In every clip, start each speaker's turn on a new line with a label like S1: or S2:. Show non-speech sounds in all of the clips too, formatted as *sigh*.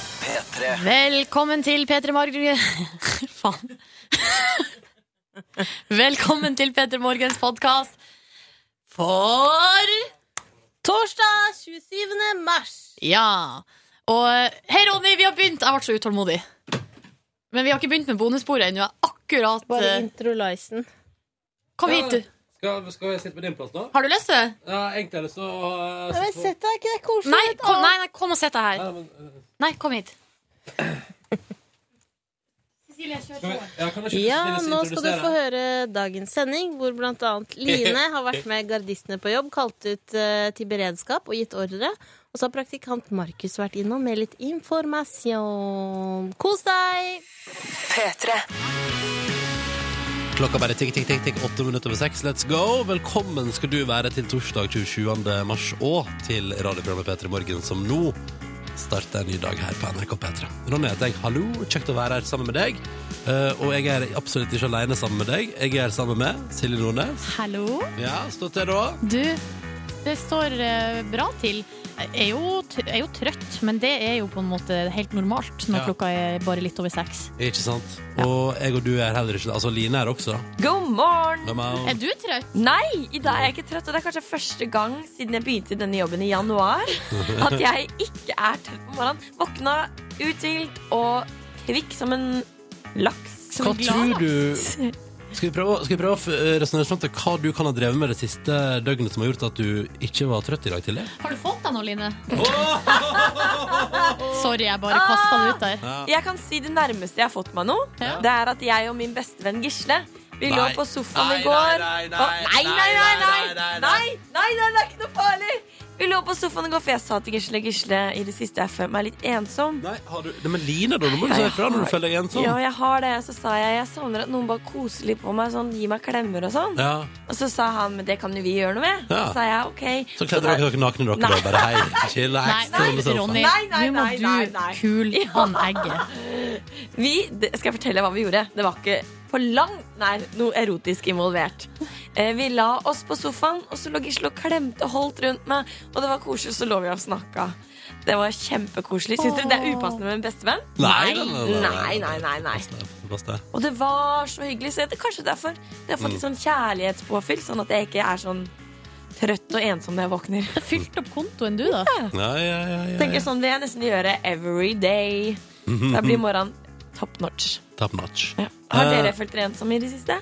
S1: P3.
S2: Velkommen til P3 Morgen... *laughs* Faen. Velkommen til P3 Morgens podkast for
S3: Torsdag 27. mars.
S2: Ja. Og hei, Ronny, vi har begynt. Jeg ble så utålmodig. Men vi har ikke begynt med bonussporet ennå. Jeg er Akkurat
S3: Bare
S2: eh,
S3: intro-licen.
S2: Kom hit, du.
S4: Skal, skal jeg sitte på din plass, da?
S2: Har du lyst til det?
S4: Ja, egentlig er det så eh,
S3: Ja, men sett deg, er ikke det koselig?
S2: Nei,
S3: Et
S2: kom,
S3: annet-
S2: nei, nei, kom og sett deg her.
S4: Ja, men, eh,
S2: Nei, kom hit.
S4: skal vi, ja, kan jeg ikke
S3: Ja,
S4: Cecilie
S3: nå skal du
S4: introdusere?
S3: få høre dagens sending, hvor blant annet *laughs* Line har vært med gardistene på jobb, kalt ut eh, til beredskap og gitt ordre. Og så har praktikant Markus vært innom med litt informasjon. Kos deg!
S4: Klokka bare tikk, tikk, tikk, tikk, åtte minutter over seks. Let's go! Velkommen skal du være til torsdag 27. mars og til radioprogrammet P3 Morgen, som nå starter en ny dag her på NRK P3. Ronny heter jeg. Hallo, kjekt å være her sammen med deg. Eh, og jeg er absolutt ikke alene sammen med deg. Jeg er sammen med Silje Nordnes.
S2: Hallo.
S4: Ja, stå til da.
S2: Du, det står eh, bra til. Jeg er jo, t- jeg er jo trøtt, men det er jo på en måte helt normalt når
S4: Ja.
S2: klokka er bare litt over seks.
S4: Ikke sant? Og jeg og du er heller ikke Altså, Line er også.
S5: God morgen!
S4: Hvem er hun?
S2: Er du trøtt?
S5: Nei, i dag er jeg ikke trøtt, og det er kanskje første gang siden jeg begynte i denne jobben i januar
S4: *laughs*
S5: at jeg ikke er trøtt på morgenen. Våkna uthvilt og kvikk som en laks.
S4: Hva tror du Skal vi prøve, å- skal vi prøve å f- resonnere fram til hva du kan ha drevet med det siste døgnet som har gjort at du ikke var trøtt i dag tidlig?
S2: Har du fått deg noe, Line? Sorry, jeg bare kasta det ut der.
S5: Jeg kan si det nærmeste jeg har fått meg noe.
S2: Ja.
S5: Det er at jeg og min bestevenn Gisle vi lå
S4: Nei.
S5: på sofaen
S4: Nei,
S5: i går.
S4: nei, nei, nei,
S5: og- nei, nei, nei,
S4: nei,
S5: nei,
S4: nei, nei,
S5: nei, nei, nei, det er ikke noe farlig! Vi lå på sofaen i går, for jeg sa til Gisle Gisle i det siste jeg føler meg litt ensom.
S4: Nei, har du Nei, men Line, da. Du må jo si ifra når du sånn. føler deg ensom.
S5: Ja, jeg har det. Så sa jeg jeg savner at noen bare koser litt på meg. Sånn, Gi meg klemmer og sånn.
S4: Ja.
S5: Og så sa han men det kan jo vi gjøre noe med.
S4: Ja.
S5: Så sa jeg ok.
S4: Så kledde dere dere nakne, dere, da. Bare hei, chillax.
S2: Nei,
S4: sånn, sånn.
S2: Ronny,
S5: Nei, nei,
S2: nå må
S5: nei, nei,
S2: du
S5: nei.
S2: kule han egget.
S5: Vi, det, skal jeg fortelle hva vi gjorde? Det var ikke på langt nær noe erotisk involvert. Eh, vi la oss på sofaen, og så lå Gisle og klemte og holdt rundt meg. Og det var koselig, så lå vi og snakka. Det var kjempekoselig. Syns dere det er upassende med en bestevenn?
S4: Nei, nei, nei, nei.
S5: nei, nei, nei, nei.
S4: Pass deg, pass deg.
S5: Og det var så hyggelig. Så det er kanskje derfor det har fått litt sånn kjærlighetspåfyll, sånn at jeg ikke er sånn trøtt og ensom når jeg våkner.
S2: Fylt opp kontoen, du, da.
S4: Ja, ja, ja, ja,
S5: Tenker
S4: ja.
S5: sånn vil jeg nesten gjøre every day. Da blir morgenen top notch.
S4: Top notch.
S5: Har
S4: Eh,
S5: dere følt dere ensomme i det siste?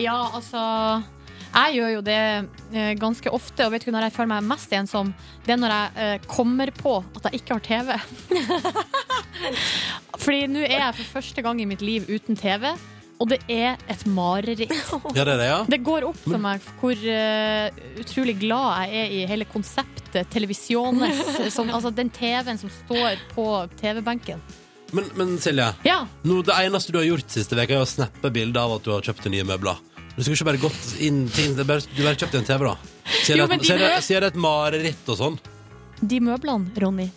S2: Ja, altså Jeg gjør jo det eh, ganske ofte, og vet du når jeg føler meg mest ensom? Det er når jeg eh, kommer på at jeg ikke har TV. *laughs* Fordi nå er jeg for første gang i mitt liv uten TV, og det er et mareritt.
S4: Ja, det er det, ja?
S2: Det går opp for meg hvor eh, utrolig glad jeg er i hele konseptet televisjones, som, altså den TV-en som står på TV-benken.
S4: Men, men Silje,
S2: Ja,
S4: nå, det eneste du har gjort siste veka er å snappe bilder av at du har kjøpt nye møbler. Du skulle ikke bare gått inn ting, det er bare, du bare kjøpt en TV, da. Sier
S2: Jo,
S4: det,
S2: men
S4: et-
S2: de
S4: sier det,
S2: møb-
S4: sier det et mareritt og sånn.
S2: de møblene, Ronny,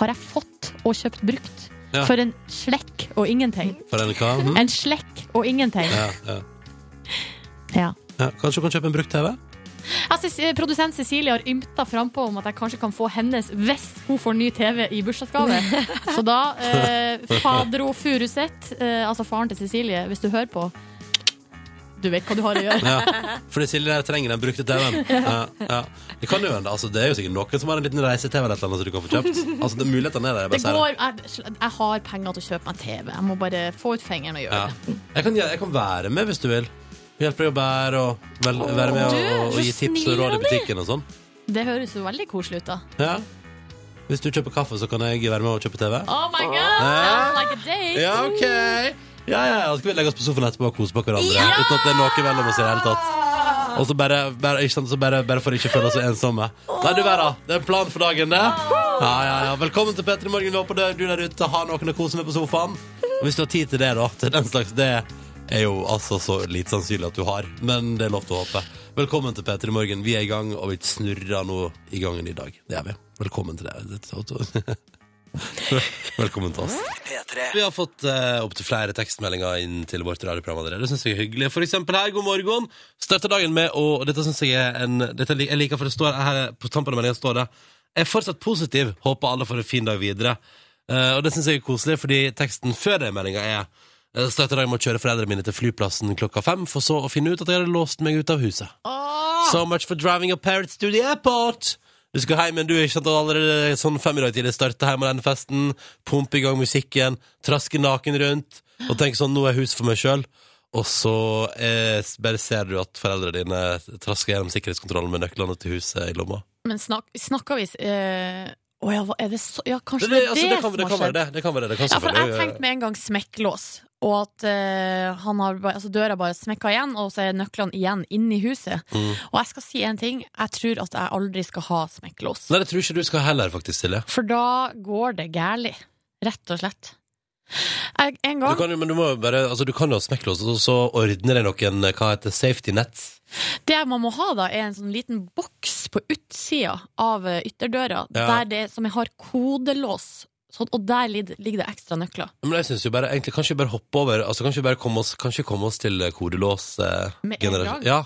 S2: har jeg fått og kjøpt brukt.
S4: Ja.
S2: For en slekk og ingenting.
S4: For en hva? Hm?
S2: En slekk og ingenting.
S4: Ja, ja.
S2: Ja.
S4: Ja, kanskje du kan kjøpe en brukt TV?
S2: Jeg synes, eh, Produsent Cecilie har ymta frampå om at jeg kanskje kan få hennes hvis hun får ny TV i
S4: *laughs*
S2: bursdagsgave. Så da, eh, Fadro Furuseth, eh, altså faren til Cecilie, hvis du hører på Du vet hva du har å
S4: *laughs*
S2: gjøre.
S4: Ja. Fordi Silje der trenger den brukte TV-en. Ja, ja. Det kan jo hende. Altså, det er jo sikkert noen som har en liten reise-TV eller et eller annet som du kan få kjøpt. Altså, det, mulighetene er der. Jeg,
S2: Det
S4: bare sier det.
S2: går, jeg, jeg har penger til å kjøpe meg TV. Jeg må bare få ut fingeren og gjøre det.
S4: Ja. Jeg, kan, jeg kan være med hvis du vil. Hjelpe deg å bære og vel, være med og, og,
S5: så
S4: gi tips og
S5: snill
S4: råd i
S5: av
S4: butikken og sånn.
S2: Det høres jo veldig koselig ut, da.
S4: Ja. Hvis du kjøper kaffe, så kan jeg være med og kjøpe TV.
S2: Oh my god! Sounds like a date!
S4: Ja, ok ja, ja, ja. Så skal vi legge oss på sofaen etterpå og kose på hverandre. Uten at det er noe mellom oss i det hele tatt. Og så bare, bare, ikke sant? Så bare, bare for å ikke føle oss så ensomme. Nei, du verda. Det er en plan for dagen, det. Ja, ja, ja. Velkommen til P3 Morgen. Vi håper det- du der ute har noen å kose med på sofaen. Og hvis du har tid til det, da. Til den slags. Det er jo altså så lite sannsynlig at du har, men det er lov til å håpe. Velkommen til P3 Morgen. Vi er i gang, og vi snurrer nå i gangen i dag. Det er vi. Velkommen til deg. *laughs* Velkommen til oss.
S1: P3.
S4: Vi har fått eh, opptil flere tekstmeldinger inn til vårt radioprogram allerede. Det syns jeg er hyggelig. For eksempel her, god morgen. Starter dagen med å og Dette syns jeg er en dette, lik- Jeg liker, for det står her på tampen av meldingen står det er fortsatt positiv. Håper alle får en fin dag videre. Eh, og det syns jeg er koselig, fordi teksten før den meldinga er eh, Start i dag med å kjøre foreldrene mine til flyplassen klokka fem, for så å finne ut at jeg hadde låst meg ut av huset.
S2: Ah.
S4: So much for driving your parents to the airport! Du skal hjem, men du er ikke sant og allerede sånn fem i dag tidlig starte hjemme denne festen, pumpe i gang musikken, traske naken rundt, og tenke sånn, nå er hus for meg sjøl. Og så eh, bare ser du at foreldrene dine trasker gjennom sikkerhetskontrollen med nøklene til huset i lomma.
S2: Men snak, snakker vi eh, Å ja, hva er det så Ja, kanskje
S4: Det,
S2: det,
S4: det, altså, det,
S2: er det,
S4: kan, det kan
S2: som har
S4: være
S2: skjedd.
S4: det. det, kan være det. det kan
S2: Ja, for jeg
S4: selvfølgelig-
S2: tenkte med en gang smekklås, og at eh, han har, bare- altså, døra bare smekka igjen, og så er nøklene igjen inne i huset.
S4: Mm.
S2: Og jeg skal si en ting, jeg tror at jeg aldri skal ha smekklås.
S4: Nei, det tror jeg ikke du skal heller, faktisk, Silje.
S2: For da går det gærlig, rett og slett. Jeg, en
S4: Du
S2: gang
S4: kan, jo- men du må jo bare, altså, du kan jo ha smekklås, og så ordner deg noen eh, hva heter safety nets.
S2: Det man må ha, da, er en sånn liten boks på utsida av eh, ytterdøra
S4: Ja.
S2: der det, som har kodelås, sånn, og der ligger ligger det ekstra nøkler.
S4: Men jeg synes jo bare, egentlig, Kanskje vi bare hoppe over altså, Kanskje vi bare komme oss, kanskje komme oss til kodelås eh,
S2: Med en
S4: generasjon-
S2: gang?
S4: Ja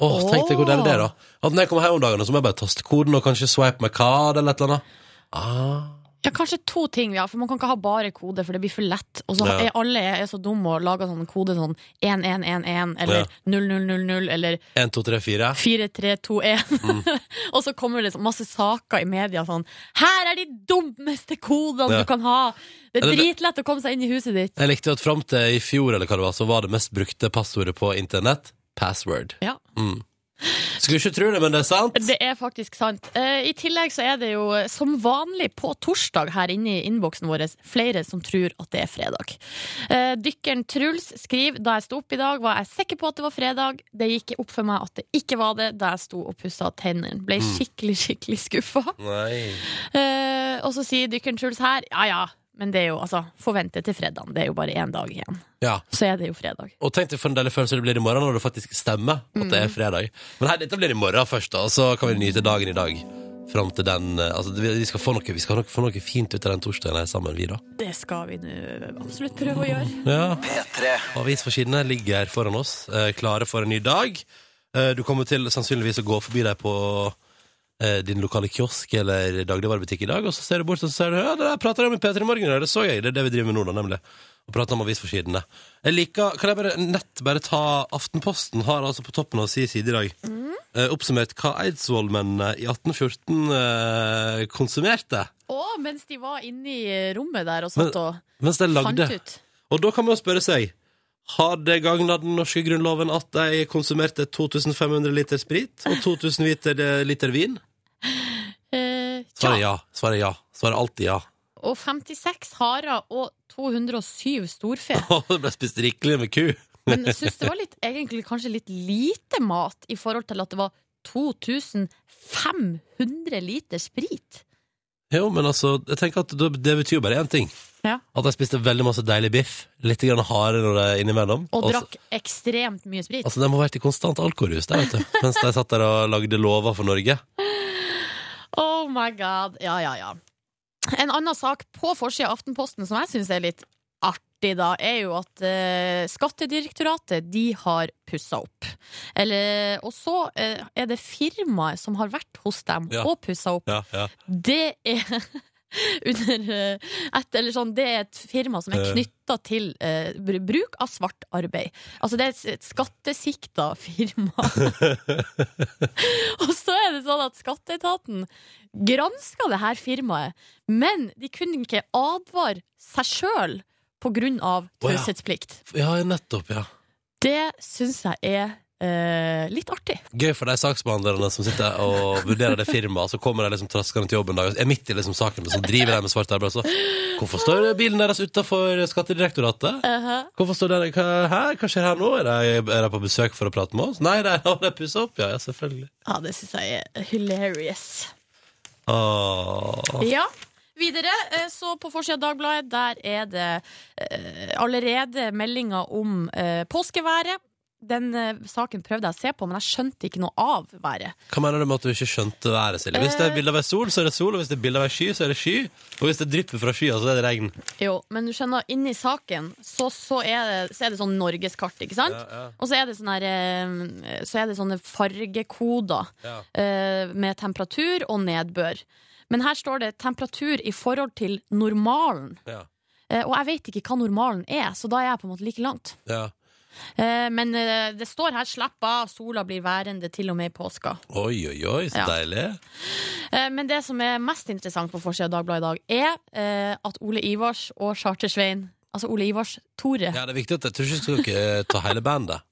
S4: Åh,
S2: Åh.
S4: tenk deg hvor deilig det er da At når jeg kommer hjem om dagen, så må jeg bare taste koden Og kanskje swipe med card eller et eller annet ah.
S2: Ja, Kanskje to ting, ja, for man kan ikke ha bare kode, for det blir for lett. Og så
S4: Ja.
S2: er alle er så dumme og lager sånn kode sånn 1111
S4: Ja.
S2: eller 0000 eller
S4: 1, 2, 3, 4
S2: 4321.
S4: Mm.
S2: *laughs* og så kommer det sånn masse saker i media sånn Her er de dummeste kodene
S4: Ja.
S2: du kan ha! Det er
S4: Eller det-
S2: dritlett å komme seg inn i huset ditt.
S4: Jeg likte jo at frem til i fjor eller hva det var Så var det mest brukte passordet på internett Password
S2: Ja.
S4: mm. Skulle ikke tro det, men det er sant
S2: Det er faktisk sant. Eh, I tillegg så er det jo eh, som vanlig på torsdag her inne i innboksen vår flere som tror at det er fredag. Eh, dykkeren Truls skriver da jeg sto opp i dag, var jeg sikker på at det var fredag. Det gikk opp for meg at det ikke var det da jeg sto og pussa tennene. Ble
S4: Mm.
S2: skikkelig, skikkelig skuffa.
S4: Nei
S2: Eh, og så sier dykkeren Truls her ja ja, men det er jo altså forventet til fredagen. Det er jo bare én dag igjen.
S4: Ja
S2: Så er det jo fredag.
S4: Og tenk deg for en del følelser det blir i morgen når det faktisk stemmer at det er fredag. Men hei, dette blir i morgen først, da, og så kan vi nyte dagen i dag. Fram til den eh, Altså, vi vi skal få noe, vi skal nok få noe fint ut av den torsdagen her sammen, vi, da.
S2: Det skal vi nå absolutt prøve å gjøre.
S4: Ja. Avisforsidene ligger her foran oss, eh, klare for en ny dag. Eh, du kommer til sannsynligvis å gå forbi deg på eh, din lokale kiosk eller dagligvarebutikk i dag, og så ser du bort og så ser du, ja, det der prater jeg om i P3 Morgen, i dag, det så jeg, det er det vi driver med nå, da, nemlig. Og prater om avisforsidene. Jeg liker, kan jeg bare nett bare ta Aftenposten, har altså på toppen av sin side i dag
S2: Mm.
S4: eh, oppsummert hva Eidsvollmennene i 1814 eh, konsumerte.
S2: Å, mens de var inne i rommet der og satt
S4: Men-
S2: og
S4: Mens de lagde
S2: fant ut.
S4: og da kan man jo spørre seg Har det gagna den norske grunnloven at de konsumerte 2500 liter sprit og 2000 liter, liter vin?
S2: Eh, tja,
S4: Svaret er ja. Svaret er ja. Svaret er alltid *laughs* ja.
S2: og 56 harer og 207 storfe.
S4: Og det ble spist rikelig med ku.
S2: Men jeg syns det var litt, egentlig kanskje litt lite mat i forhold til at det var 2500 liter sprit.
S4: Jo, men altså, jeg tenker at det det betyr jo bare én ting.
S2: Ja.
S4: At de spiste veldig masse deilig biff. Litt grann hare når de er innimellom.
S2: Og
S4: Altså-
S2: drakk ekstremt mye sprit.
S4: Altså, De må ha vært i konstant alkoholrus der, vet
S2: *laughs*
S4: du. mens de satt der og lagde lover for Norge.
S2: Oh my god. Ja, ja, ja. En annen sak på forsida av Aftenposten som jeg syns er litt artig, da, er jo at eh, Skattedirektoratet de har pussa opp. Eller, og så eh, er det firmaet som har vært hos dem
S4: Ja.
S2: og pussa opp.
S4: Ja, ja.
S2: Det er *laughs* under eh, et, eller sånn, Det er et firma som er
S4: Eh.
S2: knytta til eh, br- bruk av svart arbeid. Altså det er et, et skattesikta firma.
S4: *laughs*
S2: *laughs* Og så er det sånn at skatteetaten granska det her firmaet, men de kunne ikke advare seg sjøl pga.
S4: Å ja.
S2: taushetsplikt.
S4: ja, nettopp, ja.
S2: Det syns jeg er eh, litt artig.
S4: Gøy for de saksbehandlerne som sitter og vurderer det firmaet, så kommer de liksom traskende til jobben en dag, og er midt i liksom saken, og så driver de med svart arbeid. og Så. Hvorfor står bilen deres utafor Skattedirektoratet? Hvorfor står dere, hva, hæ, hva skjer her nå? Er de, er de på besøk for å prate med oss? Nei, de har de pussa opp, ja, ja, selvfølgelig.
S2: Ja, det syns jeg er hilarious.
S4: Åh.
S2: Ja. Videre, eh, så på forsida av Dagbladet, der er det eh, allerede meldinger om eh, påskeværet. Den eh, saken prøvde jeg å se på, men jeg skjønte ikke noe av været.
S4: Hva mener du med at du ikke skjønte været, Silje? Hvis det er bilde av ei sol, så er det sol, og hvis det er bilde av ei sky, så er det sky, og hvis det drypper fra skya, så er det regn.
S2: Jo, men du skjønner, inni saken så, så, er, det, så er det sånn norgeskart, ikke sant?
S4: Ja,
S2: Og så er, det sånne her, eh, så er det sånne fargekoder
S4: ja, ja.
S2: eh, med temperatur og nedbør. Men her står det temperatur i forhold til normalen.
S4: Ja.
S2: Eh, Og jeg vet ikke hva normalen er, så da er jeg på en måte like langt.
S4: ja.
S2: Eh, Men eh, det står her 'slapp av, sola blir værende til og med i påska'.
S4: Oi, oi, oi, så
S2: Ja.
S4: deilig.
S2: Eh, Men det som er mest interessant på forsida av Dagbladet i dag, er eh, at Ole Ivars og Charter-Svein Altså Ole Ivars Tore.
S4: Ja, det er viktig at jeg tror ikke du skal eh, ta hele bandet.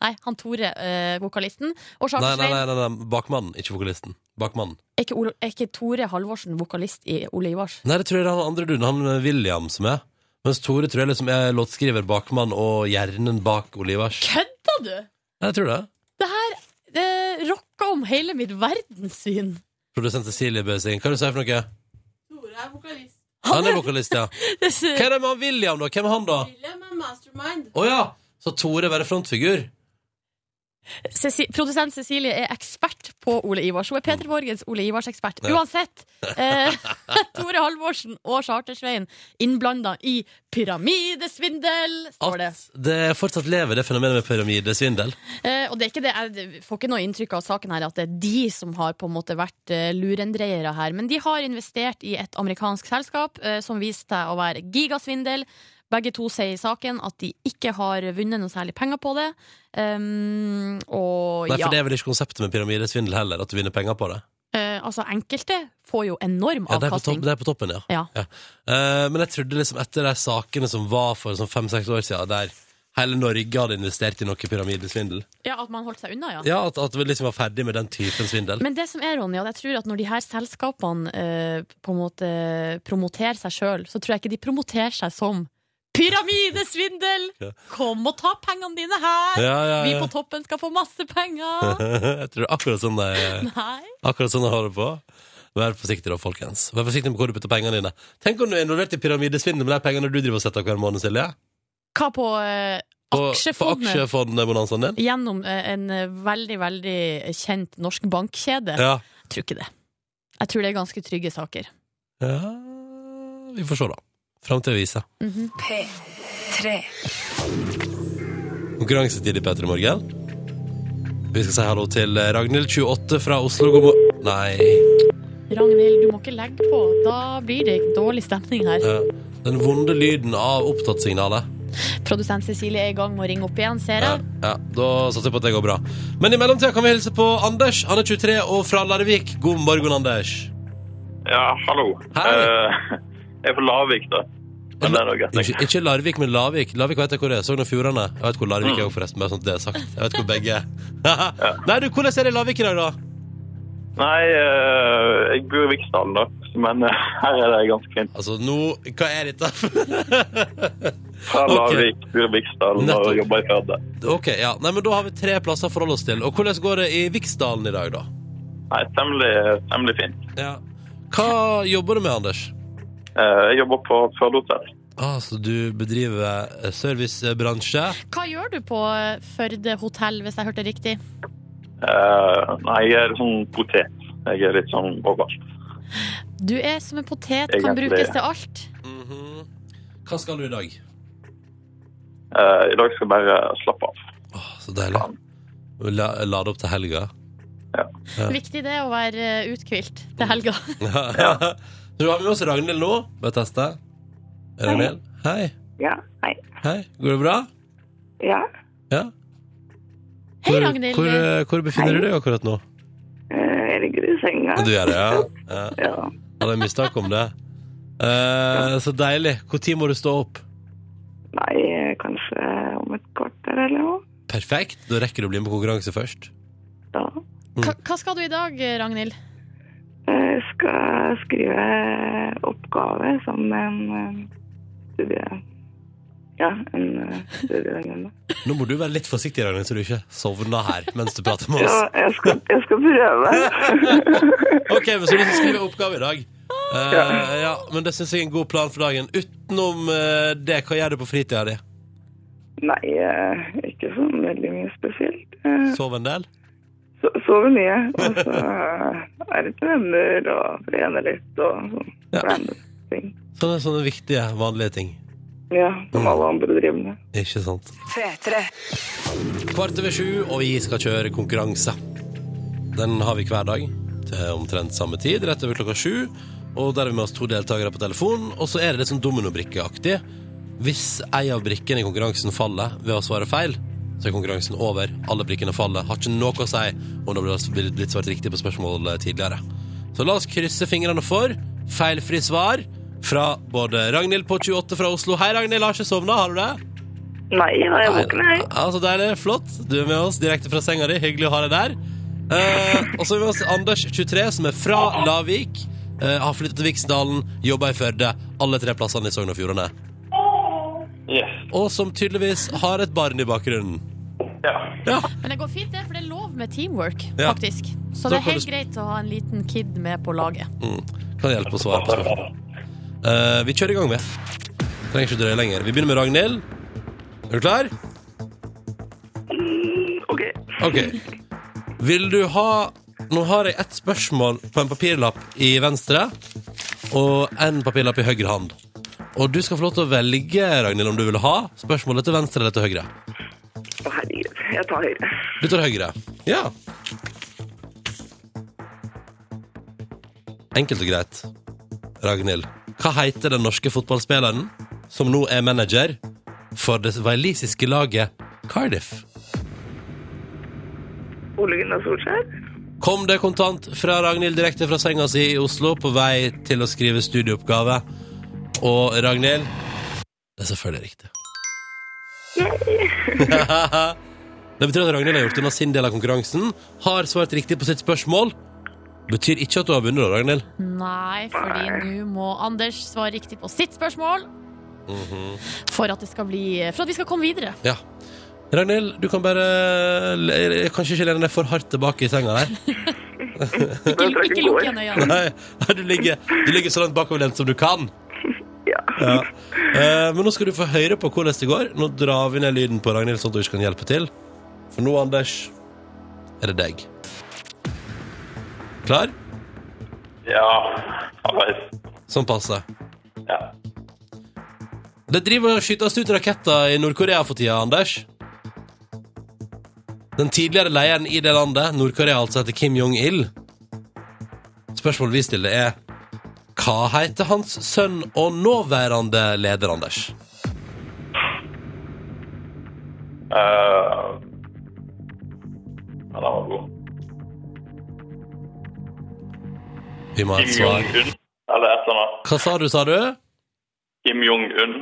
S2: Nei, han Tore, eh, vokalisten. Og
S4: Nei, nei,
S2: Charter-Svein
S4: nei, nei, nei, bakmannen, ikke vokalisten. Bakmannen.
S2: er, ikke Ole- er ikke Tore Halvorsen vokalist i Ole Ivars?
S4: Nei, det tror jeg det er han andre duden, han eh, William som er. Mens Tore tror jeg liksom er låtskriver, bakmann og hjernen bak Olivers.
S2: Kødda du?!
S4: Nei, jeg tror det.
S2: Det her eh, rocka om hele mitt verdenssyn.
S4: Produsent Cecilie bød seg inn. Hva er det du sier for noe?
S1: Tore er vokalist.
S4: Han er vokalist, ja. Hva er det med han William, da? Hvem er han, da?
S1: William er mastermind.
S4: Å ja! Så Tore bare frontfigur?
S2: Ceci Produsent Cecilie er ekspert på Ole Ivars. Hun er Peter Borgens Ole Ivars-ekspert.
S4: Ja.
S2: Uansett, eh, *laughs* Tore Halvorsen og Chartersveien innblanda i pyramidesvindel, står det.
S4: At det fortsatt lever, det fenomenet med pyramidesvindel.
S2: Eh, og det er ikke det, jeg får ikke noe inntrykk av saken her at det er de som har på en måte vært eh, lurendreiere her. Men de har investert i et amerikansk selskap eh, som viste seg å være gigasvindel. Begge to sier i saken at de ikke har vunnet noe særlig penger på det. Um, og
S4: Nei, for
S2: ja,
S4: det er vel ikke konseptet med pyramidesvindel heller, at du vinner penger på det.
S2: eh, altså enkelte får jo enorm
S4: Ja, det er på, topp,
S2: avkastning.
S4: det er på toppen, ja.
S2: Ja.
S4: Eh, men jeg trodde liksom etter de sakene som var for sånn fem-seks år siden, der hele Norge hadde investert i noe pyramidesvindel,
S2: ja, at man holdt seg unna, ja.
S4: ja, at, at vi liksom var ferdig med den typen svindel.
S2: Men det som er, Ronny, at jeg tror at når de her selskapene eh, på en måte promoterer seg sjøl, så tror jeg ikke de promoterer seg som Pyramidesvindel!
S4: Ja.
S2: Kom og ta pengene dine her!
S4: ja, ja,
S2: Vi
S4: ja.
S2: på
S4: *laughs*
S2: toppen skal få masse penger!
S4: jeg tror det er akkurat sånn det er.
S2: Nei.
S4: Akkurat sånn jeg har det på. Vær forsiktig da, folkens. Vær forsiktig med hvor du putter pengene dine. Tenk om du er involvert i pyramidesvindel med de pengene du driver og setter av hver måned, Silje.
S2: Hva på eh,
S4: På, på
S2: aksjefondet?
S4: aksjefondbonanzaen din.
S2: Gjennom eh, en eh, veldig, veldig kjent norsk bankkjede?
S4: Ja.
S2: Jeg tror ikke det. Jeg tror det er ganske trygge saker.
S4: ja. Vi får se, da. Fram til å vise. Konkurransetid i P3 Morgen. Vi skal si hallo til eh, Ragnhild, 28 fra Oslo. God morgen Nei.
S2: Ragnhild, du må ikke legge på. Da blir det dårlig stemning her.
S4: eh, Den vonde lyden av opptattsignalet.
S2: Produsent Cecilie er i gang med å ringe opp igjen, ser
S4: Ja,
S2: jeg.
S4: ja, da satser jeg på at det går bra. Men i mellomtida kan vi hilse på Anders. Han er 23 og fra Larvik. God morgen, Anders.
S6: Ja, hallo.
S4: Hei.
S6: Eh, jeg er fra Lavik, da. Men det er noe greit.
S4: Ikke, ikke Larvik, men Lavik. Lavik vet jeg hvor det er. Sogn og Fjordane. Jeg vet hvor Larvik er, forresten. Bare sånn at det er sagt. Jeg vet hvor begge er. *laughs* Nei, du, hvordan er det i Lavik i dag, da?
S6: Nei, eh, jeg bor i Viksdalen, da. Men eh, her er det ganske fint.
S4: Altså, nå Hva er dette? *laughs*
S6: Fra
S4: Ok.
S6: Lavik, bor i Viksdalen
S4: Nettopp.
S6: og jobber i Førde.
S4: OK, ja. Nei, men da har vi tre plasser å forholde oss til. Og hvordan går det i Viksdalen i dag, da?
S6: Nei, temmelig, temmelig fint.
S4: Ja. Hva jobber du med, Anders?
S6: Eh, jeg jobber på Førde hotell.
S4: Ah, så du bedriver eh, servicebransje.
S2: Hva gjør du på eh, Førde hotell, hvis jeg hørte riktig?
S6: Eh, nei, jeg er sånn potet. Jeg er litt sånn overalt.
S2: Du er som en potet, kan
S6: Egentlig.
S2: brukes til alt.
S4: Mhm. Hva skal du i dag?
S6: Eh, I dag skal jeg bare slappe av.
S4: Åh, Ah, så deilig. La, lade opp til helga. Ja. Mm.
S2: Viktig det å være eh, uthvilt til helga.
S4: Du har med oss Ragnhild nå. Bare teste. Ragnhild, hei.
S7: Ja, hei.
S4: Hei. Går det bra?
S7: Ja,
S4: Ja.
S2: Hei,
S4: Hvor-
S2: Ragnhild.
S4: Hvor, eh, hvor befinner du deg akkurat nå?
S7: eh, jeg ligger i senga.
S4: Du gjør det, ja? ja.
S7: Ja.
S4: Hadde en mistanke om det. Eh, så deilig. Når må du stå opp?
S7: Nei, eh, kanskje om et kvarter eller noe.
S4: Perfekt. Da rekker du å bli med på konkurranse først.
S7: Ja.
S2: Hva, hva skal du i dag, eh, Ragnhild?
S7: Jeg eh, skal skrive oppgave som en eh, studie... Ja, en eh, studievenninne.
S4: *laughs* Nå må du være litt forsiktig, Ragnhild, så du ikke sovner her mens du prater med
S7: Ja,
S4: oss.
S7: jeg skal, jeg skal
S4: *laughs*
S7: prøve.
S4: Ok, men Så du skal skrive oppgave i dag. Eh, ja, men det syns jeg er en god plan for dagen. Utenom eh, det, hva gjør du på fritida di?
S7: Nei, eh, ikke så veldig mye spesielt. Eh,
S4: Sove en del?
S7: so- Sover mye, og så eh, er det til venner og trener litt og sånn.
S4: Ja.
S7: random ting.
S4: Sånne, sånne viktige, vanlige ting.
S7: Ja, som alle andre driver med.
S4: Ikke sant? Kvart over sju, og vi skal kjøre konkurranse. Den har vi hver dag. eh, omtrent samme tid, rett over klokka sju. Og der er vi med oss to deltakere på telefon. Og så er det litt sånn dominobrikkeaktig. Hvis ei av brikkene i konkurransen faller ved å svare feil, så er konkurransen over. Alle brikkene faller. Har ikke noe å si om det ble blitt svart riktig på spørsmål eh, tidligere. Så la oss krysse fingrene for feilfri svar fra både Ragnhild på 28 fra Oslo. Hei, Ragnhild. Har ikke sovna, har du det?
S7: Nei, da er jeg våken, jeg.
S4: Ja, så deilig. eh, Flott. Du er med oss direkte fra senga di. Hyggelig å ha deg der. Eh, og så er vi med oss Anders 23, som er fra Lavik. eh, har flyttet til Viksdalen, jobba i Førde. Alle tre plassene i Sogn og Fjordane.
S6: Yes.
S4: Og som tydeligvis har et barn i bakgrunnen.
S6: Ja.
S4: Ja,
S2: Men det går fint, det, for det er lov med teamwork,
S4: Ja.
S2: faktisk. Så
S4: Så
S2: det
S4: kan du
S2: er
S4: Mm.
S2: helt
S4: sp-
S2: greit å ha en liten kid med på laget.
S4: kan hjelpe å svare på spørsmål. Eh, vi kjører i gang, vi. Trenger ikke drøye lenger. Vi begynner med Ragnhild. Er du klar?
S7: Mm, Ok.
S4: Ok. Vil du ha Nå har jeg ett spørsmål på en papirlapp i venstre og en papirlapp i høyre hand. Og du skal få lov til å velge Ragnhild, om du vil ha spørsmålet til venstre eller til høyre.
S7: Å, herregud. Jeg tar høyre.
S4: Du tar høyre. Ja. Enkelt og greit. Ragnhild, hva heter den norske fotballspilleren som nå er manager for det walisiske laget Cardiff?
S7: Ole Gunnar Solskjær.
S4: Kom det kontant fra Ragnhild direkte fra senga si i Oslo på vei til å skrive studieoppgave. Og Ragnhild Det er selvfølgelig riktig. *laughs* det betyr at Ragnhild har gjort unna sin del av konkurransen, har svart riktig på sitt spørsmål. Betyr ikke at du har vunnet, da, Ragnhild.
S2: Nei, fordi nå må Anders svare riktig på sitt spørsmål.
S4: Mhm.
S2: For at det skal bli For at vi skal komme videre.
S4: Ja. Ragnhild, du kan bare le- Kanskje ikke lene deg for hardt tilbake i senga der.
S2: Ikke,
S7: tror jeg
S2: ikke
S7: ikke går.
S2: lukk igjen øynene.
S4: Nei, nei, du ligger, du ligger så langt bakoverlent som du kan.
S7: Ja.
S4: Ja. Eh, men nå skal du få høre på hvordan det går. Nå drar vi ned lyden på Ragnhild, sånn at du ikke kan hjelpe til. For nå, Anders, er det deg. Klar?
S6: Ja. Arbeid.
S4: Sånn passe.
S6: Ja.
S4: Det driver og skytes ut raketter i Nord-Korea for tida, Anders. Den tidligere lederen i det landet, Nord-Korea, altså heter Kim Jong-il. Spørsmålet vi stiller, er hva heter hans sønn og nåværende leder, Anders?
S6: Uh, ja, den var god.
S4: Vi må ha
S6: Kim
S4: et svar.
S6: Jong-un, eller et eller annet.
S4: Hva sa du, sa du?
S6: Kim Jong-un.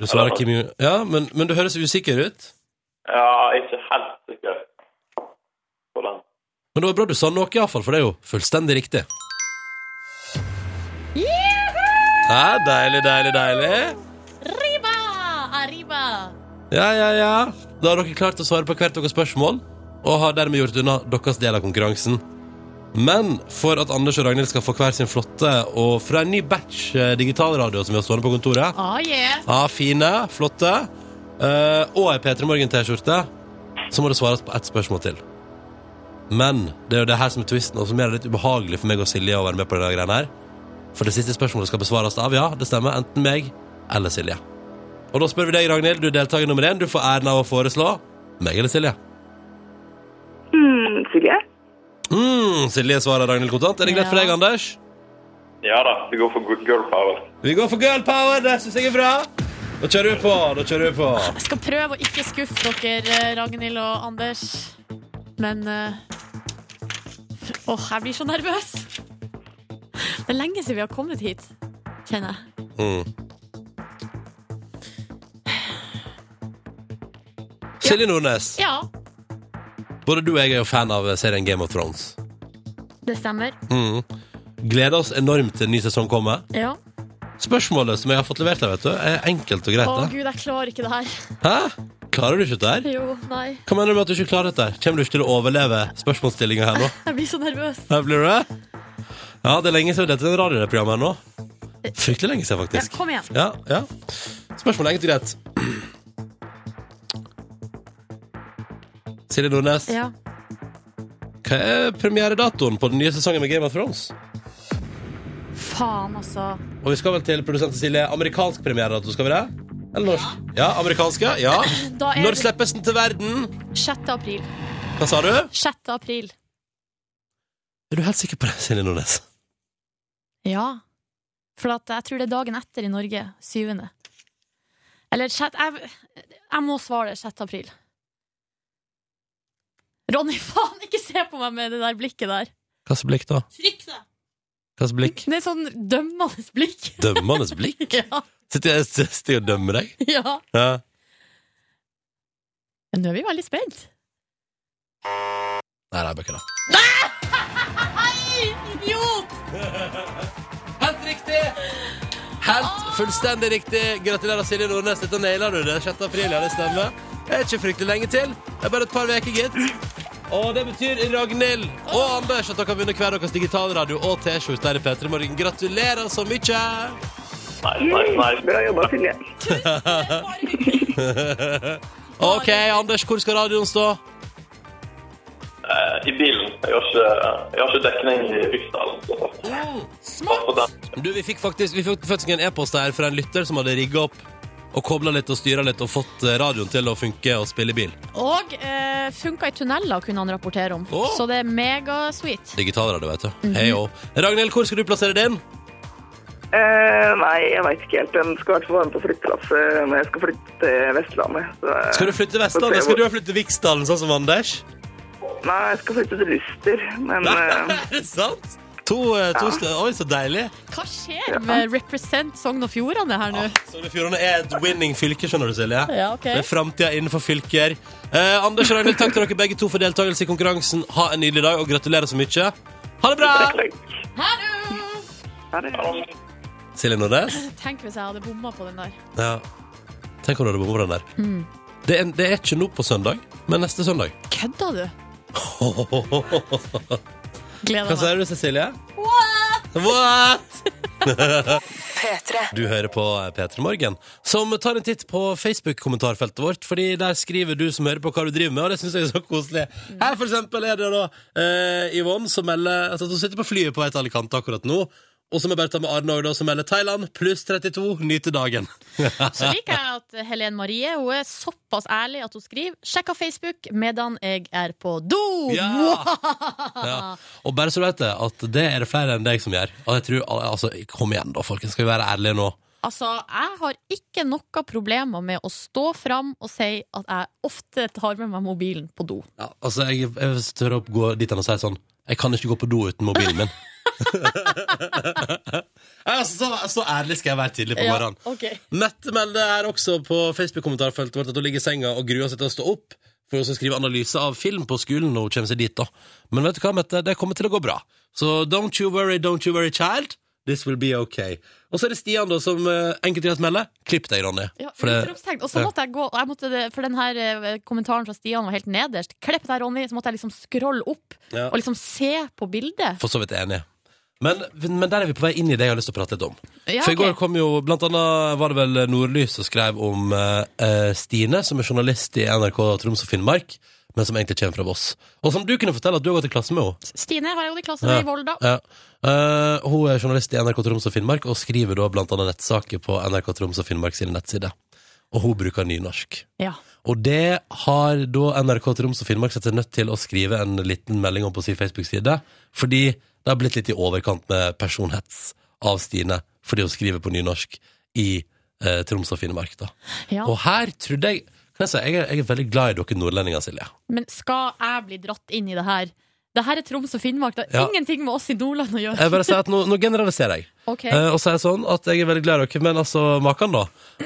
S4: Du svarer Kim Jong... Ja, men, men du høres usikker ut.
S6: Ja, ikke helt sikker på den.
S4: Men det var bra du sa noe, iallfall, for det er jo fullstendig riktig. Ja, deilig, deilig, deilig.
S2: Arriba! Arriba!
S4: Ja, ja, ja. Da har dere klart å svare på hvert deres spørsmål, og har dermed gjort unna deres del av konkurransen. Men for at Anders og Ragnhild skal få hver sin flotte og fra en ny batch eh, digitalradio som vi har stående på kontoret,
S2: Ah, yeah.
S4: Ja, fine, flotte. Eh, og ei P3 Morgen-T-skjorte. Så må det svares på ett spørsmål til. Men det er jo det her som er twisten, og som gjør det litt ubehagelig for meg og Silje å være med på det greiene her. For det siste spørsmålet skal besvares av, ja, det stemmer, enten meg eller Silje. Og da spør vi deg, Ragnhild, du er deltaker nummer én. Du får æren av å foreslå meg eller Silje.
S7: Hmm, Silje?
S4: Mm, Silje svarer Ragnhild kontant. Er det greit for deg, Anders?
S6: Ja da, vi går for gu- girl power.
S4: Vi går for girl power, det syns jeg er bra. Da kjører vi på, da kjører vi på.
S2: Jeg skal prøve å ikke skuffe dere, eh, Ragnhild og Anders. Men eh, Åh, jeg blir så nervøs! Det er lenge siden vi har kommet hit, kjenner jeg. *sighs*
S4: Mm. Silje Nordnes,
S2: Ja,
S4: både du og jeg er jo fan av serien Game of Thrones.
S2: det stemmer.
S4: Mm. Gleder oss enormt til en ny sesong kommer.
S2: Ja.
S4: Spørsmålet som jeg har fått levert her, vet du, er enkelt og
S2: Å,
S4: greit.
S2: gud, jeg klarer ikke det her.
S4: det. Hæ? Klarer du ikke dette her?
S2: Jo, nei.
S4: Hva mener du med at du ikke klarer dette? her? Kommer du ikke til å overleve spørsmålsstillinga her nå?
S2: Jeg blir så nervøs.
S4: Her blir det? Ja, det er lenge siden dette radioprogrammet her nå. Fryktelig lenge siden,
S2: Ja,
S4: faktisk.
S2: kom igjen.
S4: Ja, ja. Spørsmålet er egentlig greit. Silje Nordnes,
S2: Ja.
S4: hva er premieredatoen på den nye sesongen med Game of Thrones?
S2: Faen, altså.
S4: Og vi skal vel til produsenten Silje. Amerikansk premieredato, skal vi det? Eller norsk? Ja, amerikanske. Ja.
S2: *clears throat* Da er
S4: Når
S2: det
S4: slippes den til verden?
S2: 6. april.
S4: Hva sa du?
S2: 6. april.
S4: Er du helt sikker på det, Silje Nordnes?
S2: Ja. For at jeg tror det er dagen etter i Norge. Syvende. Eller sjett... Jeg, jeg må svare det 6. april. Ronny, *laughs* faen, ikke se på meg med det der blikket der.
S4: Hva slags blikk, da?
S1: Trykk, da!
S4: Hva slags blikk?
S2: Det er sånn dømmende blikk.
S4: Dømmende blikk?
S2: *laughs* Ja.
S4: Sitter jeg sitter jeg og dømmer deg?
S2: ja.
S4: Ja.
S2: Nå er vi veldig spent.
S4: Nei, nei, bøker da.
S1: Idiot!
S4: Helt riktig! Helt fullstendig riktig. Gratulerer, Silje Nordnes. Dette naila du. Det er 6. april, ja, det stemmer. Det er ikke fryktelig lenge til. Det er bare et par uker, gitt. Og det betyr Ragnhild og Anders at dere har vunnet hver deres digitalradio og T-skjorte her i P3 Morgen. Gratulerer så mye!
S6: Nei, nei, nei.
S7: Bra jobba, Silje.
S4: OK, Anders, hvor skal radioen stå?
S6: Eh, I bilen. Jeg har ikke, jeg har ikke dekning i Ryksdalen. så pass på den.
S4: Du, vi fikk faktisk, vi fikk faktisk en e-post her fra en lytter som hadde rigga opp og kobla litt og styra litt og fått eh, radioen til å funke og spille i bil.
S2: Og eh, funka i tunneler, kunne han rapportere om.
S4: Å.
S2: Så det er megasweet.
S4: Digitalradio, vet du.
S2: Mhm.
S4: Hei og Ragnhild, hvor skal du plassere din?
S7: Eh, nei, jeg veit ikke helt. Den skal i hvert fall være med på flytteplass eh, når jeg skal flytte til Vestlandet. Så, eh,
S4: Skal du flytte til Vestlandet? Skal du flytte til Viksdalen, sånn som Anders? *laughs*
S7: Nei, jeg skal flytte til Luster, men eh,
S4: *laughs* Er det sant? To, eh, to steder. Oi, så deilig.
S2: Hva skjer med Represent Sogn og Fjordane her nå?
S4: Sogn og Fjordane er et winning fylke, skjønner du, Silje.
S2: Ja, ok.
S4: Det er framtida innenfor fylker. Eh, Anders og Ragnhild, takk til dere begge to for deltakelse i konkurransen. Ha en nydelig dag, og gratulerer så mye. Ha det bra!
S7: takk. Ha det.
S4: Silje Nordnes.
S2: Tenk hvis jeg hadde bomma på den der.
S4: Ja. Tenk om du hadde behov for den der. Det, er, det er ikke nå på søndag, men neste søndag.
S2: Kødda
S4: *laughs*
S2: du?
S4: Hva
S2: Gleder meg.
S4: sier du, Cecilie? What? What? Du hører på P3 Morgen, som tar en titt på Facebook-kommentarfeltet vårt. fordi der skriver du som hører på, hva du driver med, og det syns jeg er så koselig. Her for eksempel er det da eh, Yvonne som melder altså, at hun sitter på flyet på vei til Alicante akkurat nå. Og som er Bertha med Arne også, da, som melder Thailand pluss 32, nyte dagen.
S2: Så liker jeg at Helene Marie hun er såpass ærlig at hun skriver 'sjekka Facebook medan jeg er på do'.
S4: Ja! ja. Og bare så du vet det, at det er det flere enn deg som gjør. Og jeg tror, al- altså, Kom igjen, da, folkens. Skal vi være ærlige nå?
S2: Altså, jeg har ikke noe problemer med å stå fram og si at jeg ofte tar med meg mobilen på do.
S4: Ja, altså, Jeg, jeg tør å gå dit hen og si sånn Jeg kan ikke gå på do uten mobilen *laughs* min. altså, så, så ærlig skal jeg være tidlig på morgenen.
S2: ok.
S4: Mette melder her også på Facebook-kommentarfeltet vårt at hun ligger i senga og gruer seg til å stå opp for hun skal skrive analyse av film på skolen når hun kommer seg dit. da. Men vet du hva, Mette, det kommer til å gå bra. Så don't you worry, don't you worry, child. This will be okay. Og så er det Stian da, som eh, enkelt og greit melder. Klipp deg, Ronny.
S2: Ja,
S4: For det-
S2: utropstegn. Og så måtte jeg gå, og jeg måtte, det- for den her eh, kommentaren fra Stian var helt nederst. Klipp der, Ronny, så måtte jeg liksom scrolle opp
S4: Ja.
S2: og liksom se på bildet.
S4: For så vidt enig. Men, men der er vi på vei inn i det jeg har lyst til å prate litt om.
S2: Ja,
S4: For i går
S2: ok.
S4: kom jo, blant annet var det vel Nordlys som skrev om eh, eh, Stine, som er journalist i NRK Troms og Finnmark, men som egentlig kommer fra Voss. Og som du kunne fortelle at du har gått i klasse med henne.
S2: Stine har jeg gått i klasse med i Volda.
S4: Ja. Eh, hun er journalist i NRK Troms og Finnmark, og skriver da blant annet nettsaker på NRK Troms og Finnmark sine nettsider. Og hun bruker nynorsk.
S2: Ja.
S4: Og det har da NRK Troms og Finnmark sett seg nødt til å skrive en liten melding om på sin Facebook-side, fordi det har blitt litt i overkant med personhets av Stine, fordi hun skriver på nynorsk i eh, Troms og Finnmark. da.
S2: Ja.
S4: Og her trodde jeg kan jeg, si, jeg, er, jeg er veldig glad i dere nordlendinger, Silje.
S2: Men skal jeg bli dratt inn i det her? Det her er Troms og Finnmark. Det
S4: Ja.
S2: har ingenting med oss i Nordland å gjøre.
S4: Jeg bare sier at Nå, nå generaliserer jeg.
S2: Ok.
S4: Eh, og så er det sånn at jeg er veldig glad i dere, men altså, maken da.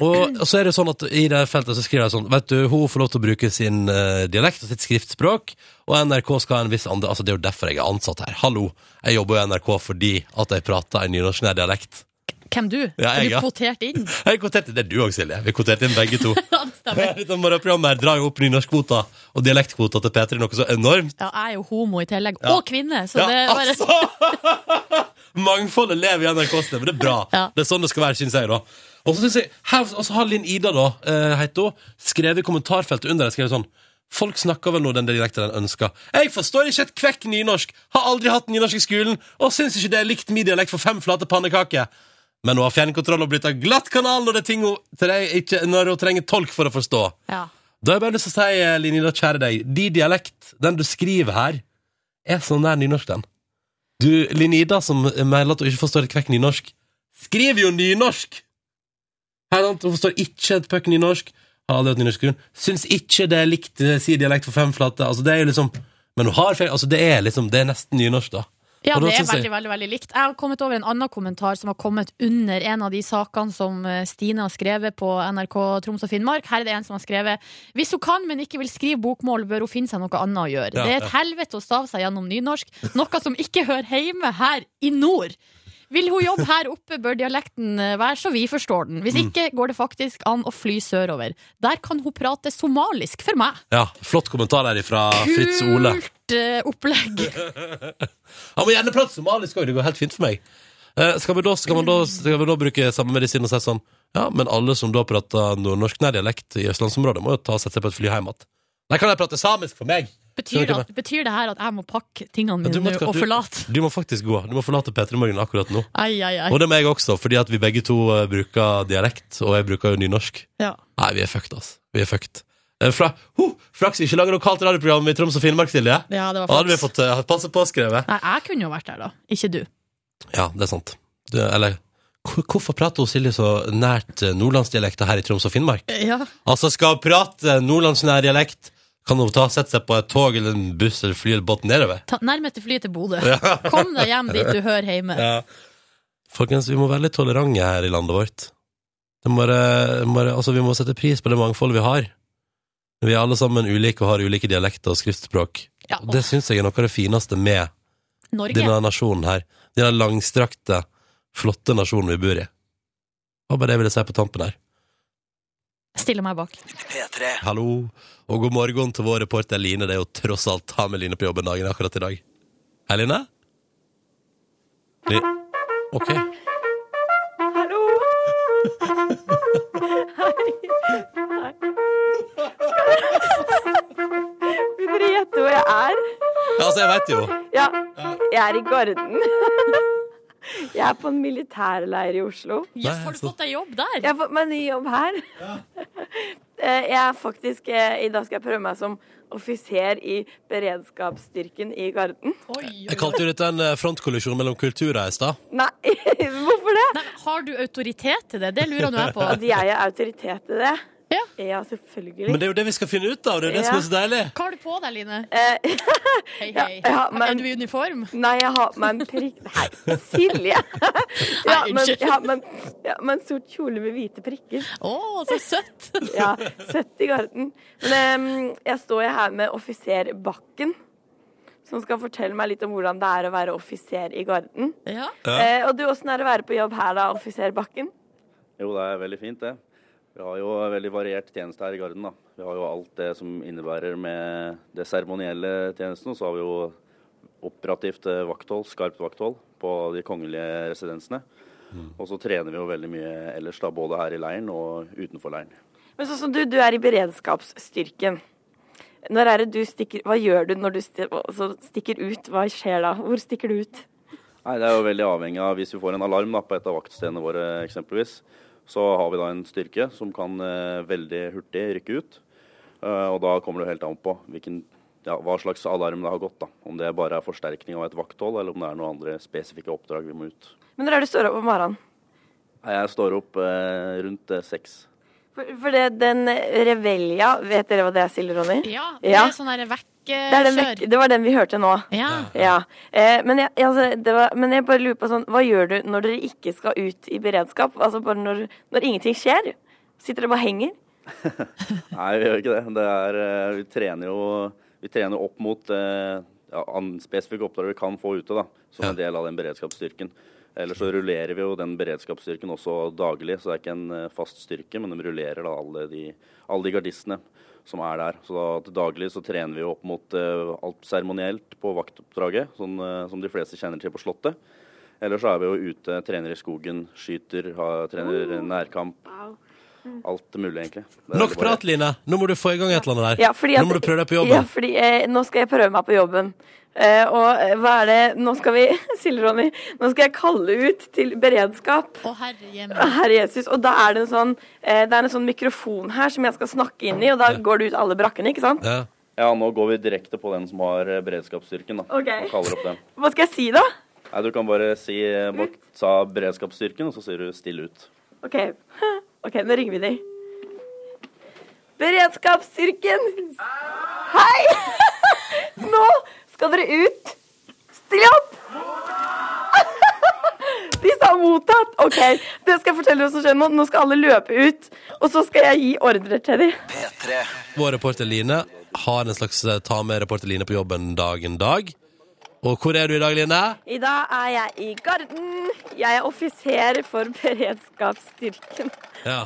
S4: Og så er det sånn at i det feltet så skriver jeg sånn, vet du, hun får lov til å bruke sin eh, dialekt og sitt skriftspråk, og NRK skal ha en viss andre, altså det er jo derfor jeg er ansatt her. Hallo, jeg jobber jo i NRK fordi at jeg prater en nynorsknær dialekt.
S2: Hvem du?
S4: Ja, jeg,
S2: er du
S4: ja.
S2: kvotert inn? *laughs*
S4: Jeg kvoterte, det er du også, Silje. Vi kvoterte inn begge to.
S2: Ja, det stemmer.
S4: Dette morgenprogrammet her drar jo opp nynorskkvota og dialektkvota til Peter, noe så enormt.
S2: Ja, jeg er jo homo i tillegg.
S4: Ja.
S2: Og kvinne! Så
S4: Ja,
S2: det er bare
S4: altså! *laughs* Mangfoldet lever i NRK, Steve. Det er bra.
S2: *laughs* Ja.
S4: Det er sånn det skal være, synes jeg. da Og så synes jeg, her, og så har Linn Ida, da, eh, heter hun, skrevet i kommentarfeltet under der skrevet sånn Folk snakker vel nå den dialekten den ønsker. Jeg forstår ikke et kvekk nynorsk, har aldri hatt nynorsk i skolen, og syns ikke det er likt min dialekt for fem flate pannekaker. Men hun har fjernkontroll og bryter glatt kanal når det er ting hun, til deg ikke, når hun trenger tolk for å forstå.
S2: ja.
S4: Da har jeg bare lyst til å si, eh, Line Ida, kjære deg, din dialekt, den du skriver her, er så nær nynorsk, den. Du, Linida, som mailer at hun ikke forstår et kvekk nynorsk, skriver jo nynorsk! Her, sant? Hun forstår ikke et pøkk nynorsk. Har aldri hatt nynorskgrunn. Syns ikke det er likt eh, si dialekt for fem flate. Altså, det er jo liksom Men hun har feil. Altså, det er liksom Det er nesten nynorsk, da.
S2: Ja,
S4: Og da
S2: det er
S4: synes jeg-
S2: veldig, veldig, veldig likt. Jeg har kommet over en annen kommentar som har kommet under en av de sakene som eh, Stine har skrevet på NRK Troms og Finnmark. Her er det en som har skrevet Hvis hun kan, men ikke vil skrive bokmål, bør hun finne seg noe annet å gjøre.
S4: Ja,
S2: det er
S4: ja.
S2: et helvete å stave seg gjennom nynorsk, noe som ikke hører hjemme her i nord. Vil hun jobbe her oppe, bør dialekten eh, være så vi forstår den. Hvis
S4: Mm.
S2: ikke går det faktisk an å fly sørover. Der kan hun prate somalisk for meg.
S4: Ja, Flott kommentar der fra Fritz Ole.
S2: Kult eh, opplegg.
S4: Han må gjerne prate somalisk òg, det går helt fint for meg. Eh, skal, vi da, skal, man da, skal vi da bruke samme medisin og si sånn Ja, men alle som da prater nordnorsk nær dialekt i østlandsområdet, må jo ta og sette seg på et fly hjem igjen. Nei, kan de prate samisk for meg? Skjønner
S2: Betyr,
S4: du hva jeg
S2: at, betyr det her at jeg må pakke tingene
S4: Ja, du
S2: mine
S4: må-
S2: nå og
S4: du-
S2: forlate?
S4: Du må faktisk gå. Du må forlate P3 Morgen akkurat nå.
S2: Ai, ai, ai.
S4: Og det må jeg også, fordi at vi begge to eh, bruker dialekt, og jeg bruker jo nynorsk.
S2: Ja.
S4: Nei, vi er fucked, altså. Vi er fucked. Eh, Fra, ho, flaks vi ikke lager lokalt radioprogram i Troms og Finnmark, Silje.
S2: Ja, det var
S4: Da hadde vi
S2: flaks.
S4: fått eh, passe påskrevet.
S2: Nei, jeg kunne jo vært der, da. Ikke du.
S4: Ja, det er sant. Det, eller hvor- Hvorfor prater hun Silje så nært eh, nordlandsdialekta her i Troms og Finnmark?
S2: Ja.
S4: Altså, skal hun prate nordlandsnær dialekt, kan hun ta, sette seg på et tog eller en buss eller fly eller båt nedover.
S2: Ta, nærmest fly til Bodø. Kom deg hjem dit du hører hjemme.
S4: Ja. Folkens, vi må være litt tolerante her i landet vårt. Det må være, må være, altså, vi må sette pris på det mangfoldet vi har. Vi er alle sammen ulike og har ulike dialekter og skriftspråk.
S2: Ja,
S4: Og det syns jeg er noe av det fineste med
S2: og Norge.
S4: denne nasjonen her. Denne langstrakte, flotte nasjonen vi bor i. Det var bare det jeg ville si på tampen her.
S2: Stiller meg bak.
S4: Hallo, og god morgen til vår reporter Line. Det er jo tross alt ta med Line på jobben dagen akkurat i dag. Hei, Line. Li ok.
S5: Vil dere gjette hvor jeg er?
S4: Ja, altså, jeg veit jo.
S5: Ja, jeg er i Garden. Jeg er på en militærleir i Oslo.
S2: Jøss, har du fått deg jobb der?
S5: Jeg har fått meg ny jobb her. Eh, Jeg er faktisk eh, I dag skal jeg prøve meg som offiser i beredskapsstyrken i Garden.
S2: Oi,
S4: Jeg
S2: oi, oi.
S4: kalte jo dette en eh, frontkollisjon mellom kulturer i stad.
S5: Nei, *laughs* hvorfor det?
S2: Nei, har du autoritet til det? Det lurer nå
S4: *laughs*
S2: jeg på.
S5: At jeg er autoritet i det?
S2: Ja.
S5: Ja,
S4: Men
S5: selvfølgelig.
S4: det er jo det vi skal finne ut av, det er jo det som er så deilig.
S2: Hva har du på deg, Line?
S5: Eh, *laughs*
S2: Hei,
S5: ja,
S2: hei.
S5: ja, men-
S2: Er du i uniform?
S5: Nei, jeg har på meg en prikk... Nei,
S2: *laughs*
S5: Silje! Ja, men,
S2: unnskyld.
S5: ja, men, ja, men sort kjole med hvite prikker.
S2: Å, så søtt! *laughs*
S5: Ja, 70 i garden. Men em, jeg står jo her med offiser Bakken, som skal fortelle meg litt om hvordan det er å være offiser i garden.
S2: Ja.
S5: Eh, og du, åssen er det å være på jobb her da, offiser Bakken?
S8: Jo, det er veldig fint det. Vi har jo veldig variert tjeneste her i garden. da. Vi har jo alt det som innebærer med det seremonielle tjenesten. Og så har vi jo operativt eh, vakthold, skarpt vakthold på de kongelige residensene. Og så trener vi jo veldig mye ellers, da, både her i leiren og utenfor leiren.
S5: Men sånn som du, du er i beredskapsstyrken. Når er det du stikker Hva gjør du når du sti- altså, stikker ut? Hva skjer da? Hvor stikker du ut?
S8: Nei, Det er jo veldig avhengig av hvis vi får en alarm da, på et av vaktstedene våre eksempelvis. Så har vi da en styrke som kan eh, veldig hurtig rykke ut. Eh, og da kommer det jo helt an på hvilken, ja, hva slags alarm det har gått. da. Om det bare er forsterkning av et vakthold, eller om det er noen andre spesifikke oppdrag vi må ut.
S5: Men når er det du står opp om morgenen?
S8: Nei, Jeg står opp eh, rundt eh, seks.
S5: For, for det, den revelja, vet dere hva det er, Silje Ronny?
S2: ja. Det
S5: Ja.
S2: er sånn der
S5: Det, er den
S2: vekkekjør.
S5: vekk, det var den vi hørte nå.
S2: Ja.
S5: Ja, eh, men, jeg, altså, det var, men jeg bare lurer på sånn, hva gjør du når dere ikke skal ut i beredskap? Altså bare når, når ingenting skjer? Sitter dere bare og henger?
S8: Nei, vi gjør ikke det. det er, eh, vi, trener jo, vi trener opp mot eh, ja, an- spesifikke oppdrag vi kan få ute, da, som
S4: Ja.
S8: en del av den beredskapsstyrken. Ellers så rullerer vi jo den beredskapsstyrken også daglig, så det er ikke en eh, fast styrke, men de rullerer da alle de, alle de gardistene som er der. Så da, til daglig så trener vi jo opp mot eh, alt seremonielt på vaktoppdraget, sånn, eh, som de fleste kjenner til på Slottet. Ellers så er vi jo ute, trener i skogen, skyter, har, trener nærkamp. Alt mulig, egentlig. Det er
S4: Nok
S8: bare-
S4: prat, Line. Nå må du få i gang et eller annet der.
S5: Ja, fordi at-
S4: Nå må du prøve deg på
S5: Ja,
S4: jobben.
S5: fordi eh, nå skal jeg prøve meg på jobben. Eh, og eh, hva er det Nå skal vi *laughs* Silje Ronny, nå skal jeg kalle ut til beredskap.
S2: Å, herre hjemme.
S5: Herre Jesus. Og da er det en sånn eh, Det er en sånn mikrofon her som jeg skal snakke inn i, og da går det ut alle brakkene, ikke sant?
S4: Ja.
S8: Ja, nå går vi direkte på den som har eh, beredskapsstyrken, da.
S5: Ok.
S8: Og kaller opp den.
S5: Hva skal jeg si, da?
S8: Nei, du kan bare si eh, bare ta beredskapsstyrken, og så sier du 'still ut'.
S5: OK. OK, nå ringer vi dem. Beredskapsstyrken! Hei! Nå skal dere ut. Still opp! De sa mottatt. OK, det skal jeg fortelle dere hva som skjer nå. Nå skal alle løpe ut. Og så skal jeg gi ordrer til dem.
S4: Vår reporter Line har en slags eh, ta med reporter Line på jobben dagen dag. Og hvor er du i dag, Line?
S5: I dag er jeg i Garden. Jeg er offiser for beredskapsstyrken.
S4: Ja.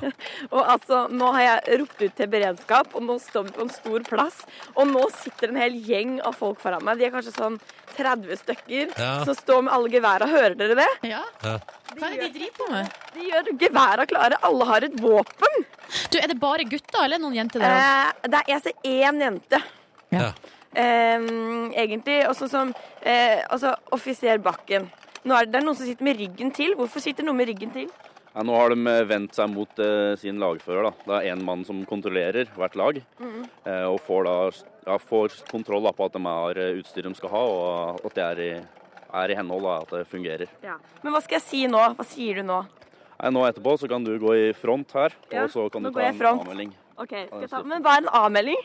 S5: Og altså, nå har jeg ropt ut til beredskap, og nå står vi på en stor plass. Og nå sitter en hel gjeng av folk foran meg. De er kanskje sånn 30 stykker
S9: *laughs*
S4: Ja.
S5: som står med alle geværa. Hører dere det?
S2: Ja.
S4: Ja.
S2: Hva er det de driver på med?
S5: De gjør geværa klare. Alle har et våpen.
S2: Du, Er det bare gutter eller er det noen jenter der også?
S5: Eh, det er, jeg ser én jente.
S4: Ja.
S5: Eh, egentlig. Også som eh, altså, offiser Bakken. Nå er det, det er noen som sitter med ryggen til. Hvorfor sitter noen med ryggen til?
S8: Ja, nå har de eh, vendt seg mot eh, sin lagfører. Da. Det er én mann som kontrollerer hvert lag,
S5: Mm.
S8: eh, og får, da, ja, får kontroll da, på at de har eh, utstyret de skal ha, og eh, at det er i, er i henhold, da, at det fungerer.
S5: Men hva skal jeg si nå? Hva sier du nå?
S8: Nei, nå etterpå så kan du gå i front her,
S5: Ja,
S8: og så kan
S5: nå
S8: du
S5: går
S8: ta
S5: jeg i
S8: en
S5: front.
S8: avmelding.
S5: Ok, skal
S8: jeg
S5: jeg ta,
S8: slutte?
S5: Men hva er en avmelding?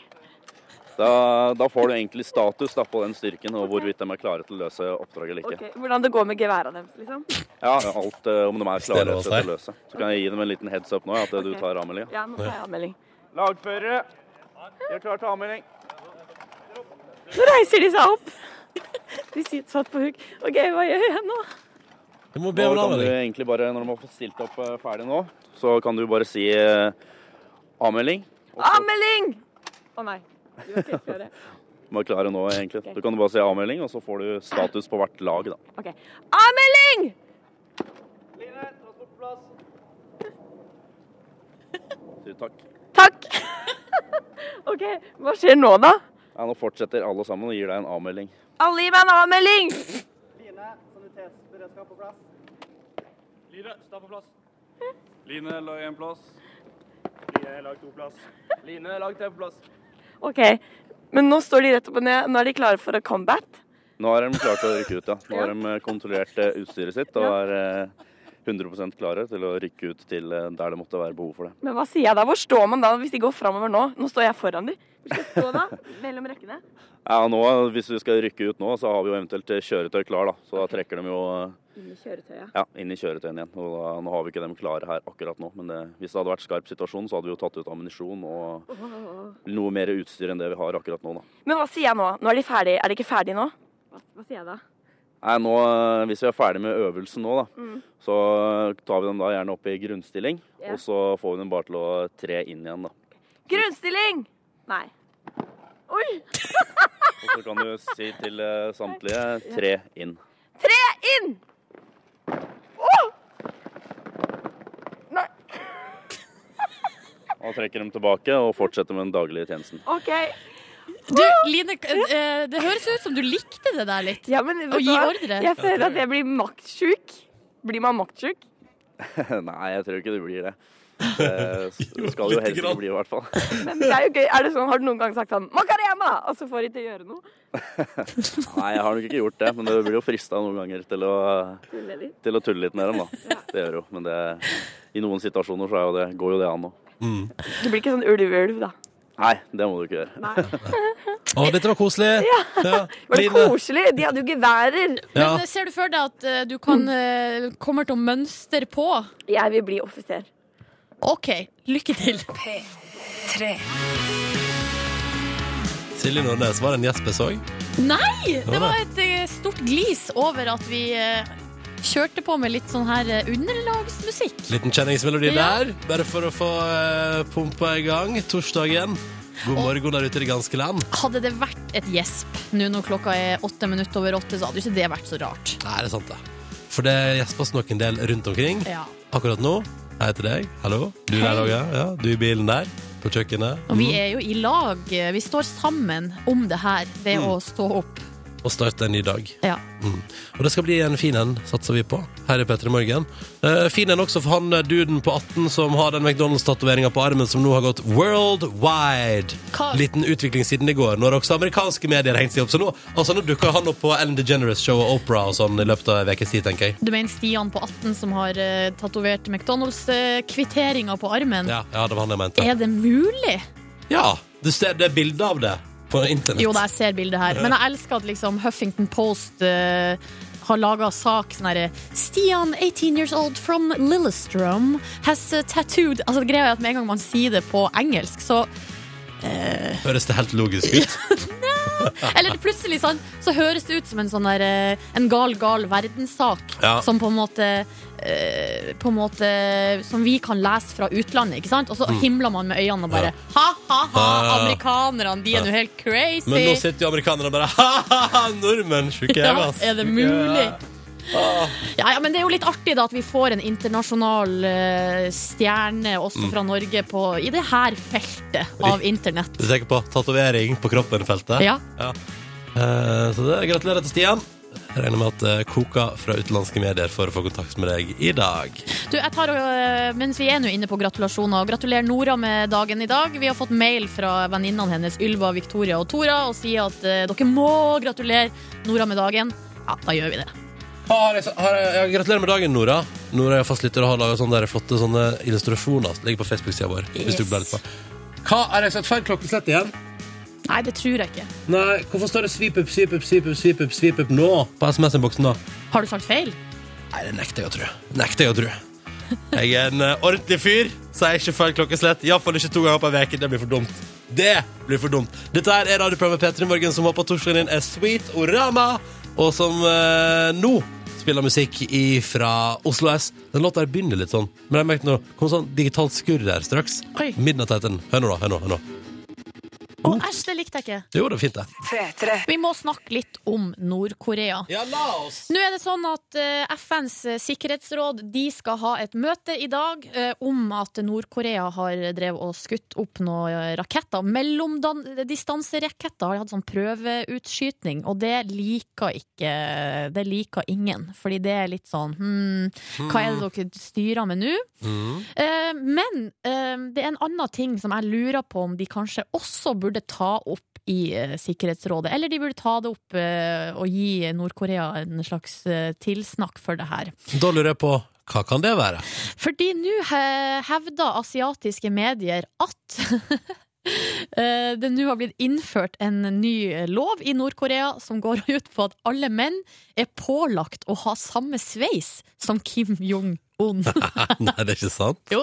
S8: Da, da får du egentlig status da, på den styrken, og hvorvidt de er klare til å løse oppdraget eller ikke.
S5: Ok, Hvordan det går med geværa deres, liksom?
S8: Ja, alt eh, om de er
S4: Stille
S8: klare
S4: oss
S8: til å
S4: der.
S8: løse. Så kan jeg gi dem en liten heads up nå, ja, at eh, du
S5: Ok.
S8: tar avmeldinga.
S5: Ja, nå tar jeg avmelding.
S8: Lagførere, de er klare til avmelding.
S5: Nå reiser de seg opp! *laughs* De sitter satt på huk. OK, hva gjør jeg nå?
S4: Du må be
S8: Nå kan
S4: om en
S8: du
S4: avmelding.
S8: egentlig bare, når de har fått stilt opp eh, ferdig nå, så kan du bare si eh, avmelding. Og så-
S5: Avmelding! Å nei. Du var ikke klar.
S8: de er klare nå, egentlig. Du kan bare si avmelding, og så får du status på hvert lag, da.
S5: OK. Avmelding!
S8: Sier takk.
S3: *laughs*
S5: Takk. OK, hva skjer nå, da?
S8: Ja, nå fortsetter alle sammen og gir deg en avmelding.
S5: Alle gi meg en avmelding!
S6: Line, stå på plass. Line, lag én plass. Line, lag to plass. Line, lag tre på plass.
S5: OK. Men nå står de rett opp og ned. Nå er de klare for a combat.
S8: Nå er de klare til å rykke ut, ja. Nå har de eh, kontrollert eh, utstyret sitt og er eh, 100 klare til å rykke ut til eh, der det måtte være behov for det.
S5: Men hva sier jeg da? Hvor står man da hvis de går framover nå? Nå står jeg foran de. Hvor skal jeg stå da? Mellom rekkene?
S8: Ja, nå, Hvis vi skal rykke ut nå, så har vi jo eventuelt eh, kjøretøy klar, da. Så da trekker de jo eh,
S5: Inn i kjøretøyet.
S8: Ja, inn i kjøretøyene igjen. Og da, nå har vi ikke dem klare her akkurat nå, men det, hvis det hadde vært skarp situasjon, så hadde vi jo tatt ut ammunisjon og noe mer utstyr enn det vi har akkurat nå, da.
S5: Men hva sier jeg nå? Nå er de ferdige. Er de ikke ferdige nå? hva sier jeg da?
S8: Nei, nå, eh, Hvis vi er ferdig med øvelsen nå, da, så tar vi dem da gjerne opp i grunnstilling.
S5: Ja.
S8: Og så får vi dem bare til å tre inn igjen, da.
S5: Grunnstilling! Nei. Oi!
S8: Og så kan du si til eh, samtlige tre inn.
S5: Tre inn! Åh! Nei.
S8: Og trekker dem tilbake og fortsetter med den daglige tjenesten.
S5: OK.
S2: Du, Line, k- eh, det høres ut som du likte det der litt.
S5: Ja, men, vet
S2: Og
S5: du
S2: gi
S5: hva?
S2: ordre.
S5: Jeg føler at jeg blir maktsjuk. Blir man maktsjuk?
S8: *laughs* Nei, jeg tror ikke det *laughs* blir det. Det skal jo
S4: lite
S8: helst
S4: grann.
S8: ikke bli, i hvert fall.
S5: Men det er jo gøy. Er det sånn, har du noen gang sagt sånn Macarena! Og så får de til å gjøre noe.
S8: Nei, jeg har nok ikke gjort det, men det blir jo frista noen ganger til å,
S5: Tuller litt.
S8: til å tulle litt med dem, da. Det gjør jo, men det, i noen situasjoner så er jo det, går jo det an òg.
S5: Du blir ikke sånn ulv-ulv, da.
S8: Nei, det må du ikke gjøre.
S4: Å, dette var koselig. Ja.
S5: Var det
S4: Line.
S5: koselig? De hadde jo geværer.
S4: Ja.
S2: Men ser du for deg at eh, du kan, eh, kommer til å mønstre på?
S5: Jeg vil bli offiser.
S2: OK, lykke til.
S4: Silje Nordnes var det en gjesp jeg så.
S2: Nei!
S4: var
S2: Det var et eh, stort glis over at vi eh, kjørte på med litt sånn her eh, underlagsmusikk.
S4: Liten kjenningsmelodi
S2: Ja.
S4: der, bare for å få eh, pumpa i gang torsdagen. God morgen der ute i det ganske land.
S2: Hadde det vært et gjesp nå når klokka er åtte minutter over åtte, så hadde jo ikke det vært så rart.
S4: Nei, det er sant, det. For det gjespes nok en del rundt omkring.
S2: Ja.
S4: Akkurat nå. Jeg heter deg. Hallo. Du
S2: Hei.
S4: der òg, ja. ja. Du i bilen der. På kjøkkenet.
S2: Og vi er jo i lag. Vi står sammen om det her, ved å stå opp.
S4: Mm. og starte en ny dag.
S2: Ja.
S4: Mm. Og det skal bli en fin en, satser vi på, her i P3 Morgen. Eh, fin en også for han eh, duden på 18 som har den McDonald's-tatoveringa på armen som nå har gått worldwide.
S2: Hva-
S4: Liten utvikling siden i går, når også amerikanske medier hengte seg opp. Så nå, altså, nå dukker han opp på Ellen DeGeneres-show og Opera og sånn i løpet av en ukes tid, tenker jeg.
S2: Du mener Stian på 18 som har uh, tatovert McDonald's-kvitteringa på armen?
S4: Ja, ja, det var han jeg mente.
S2: Er det mulig?
S4: Ja, du ser, det er bilde av det på internett.
S2: Jo da, jeg ser bildet her. Men jeg elsker at liksom Huffington Post eh, har laga sak sånn herre Stian, 18 years old from Lillestrøm, has eh, tattooed Altså Greia er at med en gang man sier det på engelsk, så
S4: Høres det helt logisk
S2: *laughs*
S4: ut?
S2: Eller plutselig sånn, så høres det ut som en sånn der eh, En gal, gal verdenssak
S4: Ja.
S2: som på en måte eh, På en måte Som vi kan lese fra utlandet, ikke sant? Og så himler man med øynene og bare Ha, ha, ha,
S4: Mm. Ja.
S2: amerikanerne, de er nå helt crazy.
S4: Men nå sitter jo amerikanerne bare *laughs* Ha-ha-ha, nordmenn! Sjuke
S2: ja,
S4: jævla, ass.
S2: er det mulig? Ja, ja, men det er jo litt artig da at vi får en internasjonal eh, stjerne
S4: Mm.
S2: også fra Norge på, i det her feltet av internett.
S4: Du tenker på tatovering på kroppen-feltet?
S2: Ja.
S4: Eh, så det er gratulerer til Stian. Jeg regner med at det koker fra utenlandske medier for å få kontakt med deg i dag.
S2: Du, jeg tar, og- mens vi er nå inne på gratulasjoner, gratulerer Nora med dagen i dag. Vi har fått mail fra venninnene hennes Ylva, Victoria og Tora og sier at eh, dere må gratulere Nora med dagen. Ja, da gjør vi det.
S4: Har jeg, har jeg, ja, gratulerer med dagen, Nora. Nora er fastlytter og har laga sånne der flotte sånne illustrasjoner. som Ligger på Facebook-sida vår. Hvis du blar litt på. Hva Har jeg sett feil klokkeslett igjen?
S2: Nei, det tror jeg ikke.
S4: Nei, Hvorfor står det sweep up, sweep up, sweep up, sweep up, sweep up nå på SMS-innboksen? da?
S2: Har du sagt feil?
S4: Nei, det nekter jeg å tro. Nekter jeg å tro. Jeg er en eh, ordentlig fyr, så jeg er ikke feil klokkeslett. Iallfall ikke to ganger per uke. Det blir for dumt. Det blir for dumt. Dette her er radioprogrammet P3 Morgen, som håper at torsdagen din er sweet orama, og som eh, nå spiller musikk fra Oslo S. Den låta her begynner litt sånn, men jeg merket nå kom sånn digitalt skurr der straks.
S2: Oi.
S4: Midnatt heter den. Hør nå, da. Hør nå. hør nå.
S2: Å, æsj, det likte jeg ikke.
S4: Jo, det er fint, det.
S2: Vi må snakke litt om Nord-Korea.
S4: Ja, la oss.
S2: Nå er det sånn at eh, FNs sikkerhetsråd de skal ha et møte i dag eh, om at Nord-Korea har drevet og skutt opp noen eh, raketter. Mellomdistanseraketter har hatt sånn prøveutskyting, og det liker ikke Det liker ingen. Fordi det er litt sånn hm,
S4: Hmm.
S2: Hva er det dere styrer med nå?
S4: Mm.
S2: Eh, men eh, det er en annen ting som jeg lurer på om de kanskje også burde ta opp i eh, Sikkerhetsrådet. Eller de burde ta det opp eh, og gi Nord-Korea en slags eh, tilsnakk for det her.
S4: Da lurer jeg på hva kan det være? *laughs*
S2: Fordi nå he- hevder asiatiske medier at *laughs* eh, det nå har blitt innført en ny lov i Nord-Korea som går *laughs* ut på at alle menn er pålagt å ha samme sveis som Kim Jong-un.
S4: Nei, det er ikke sant.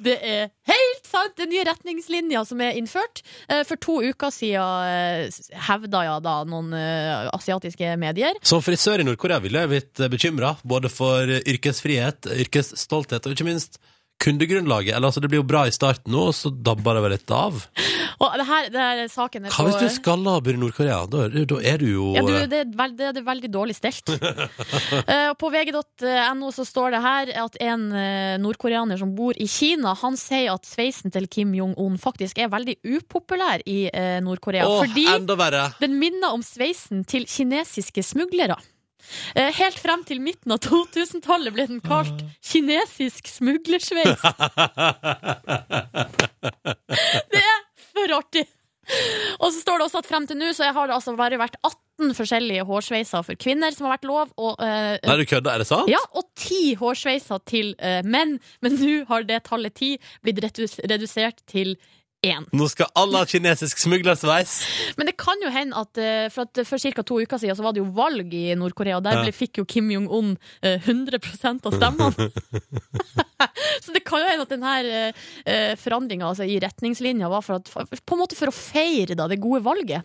S2: Det er helt sant! Den nye retningslinja som er innført. Eh, For to uker siden eh, hevda ja da noen eh, asiatiske medier.
S4: Som frisør i Nord-Korea ville jeg blitt bekymra, både for yrkesfrihet, yrkesstolthet og ikke minst kundegrunnlaget. Eller altså, det blir jo bra i starten nå, så dabber det vel litt av.
S2: Og det her, det her er saken er
S4: Hva hvis
S2: på-
S4: du skal laber i Nord-Korea? Da, er du- da er du jo
S2: ja, du, det, er veld, det er veldig dårlig
S4: *laughs*
S2: stelt. Eh, og på vg.no så står det her at en eh, nordkoreaner som bor i Kina, han sier at sveisen til Kim Jong-un faktisk er veldig upopulær i eh, Nord-Korea.
S4: Åh,
S2: fordi
S4: enda verre!
S2: Den minner om sveisen til kinesiske smuglere. Eh, Helt frem til midten av 2000-tallet ble den kalt kinesisk smuglersveis. Det er for artig! Og så står det også at frem til nå så har det altså bare vært 18 forskjellige hårsveiser for kvinner som har vært lov, og, eh,
S4: Nei, du kødder, er det sant?
S2: ja, og ti hårsveiser til eh, menn. Men nå har det tallet ti blitt redus redusert til én.
S4: Nå skal alle ha kinesisk smuglersveis!
S2: Men det kan jo hende at eh, for, at for ca. to uker siden så var det jo valg i Nord-Korea, og der
S4: Ja.
S2: ble, fikk jo Kim Jong-un eh, 100 av
S4: *laughs*
S2: stemmene. *laughs* så det kan jo hende at denne forandringa altså, i retningslinja var for at, for, på en måte for å feire da, det gode valget.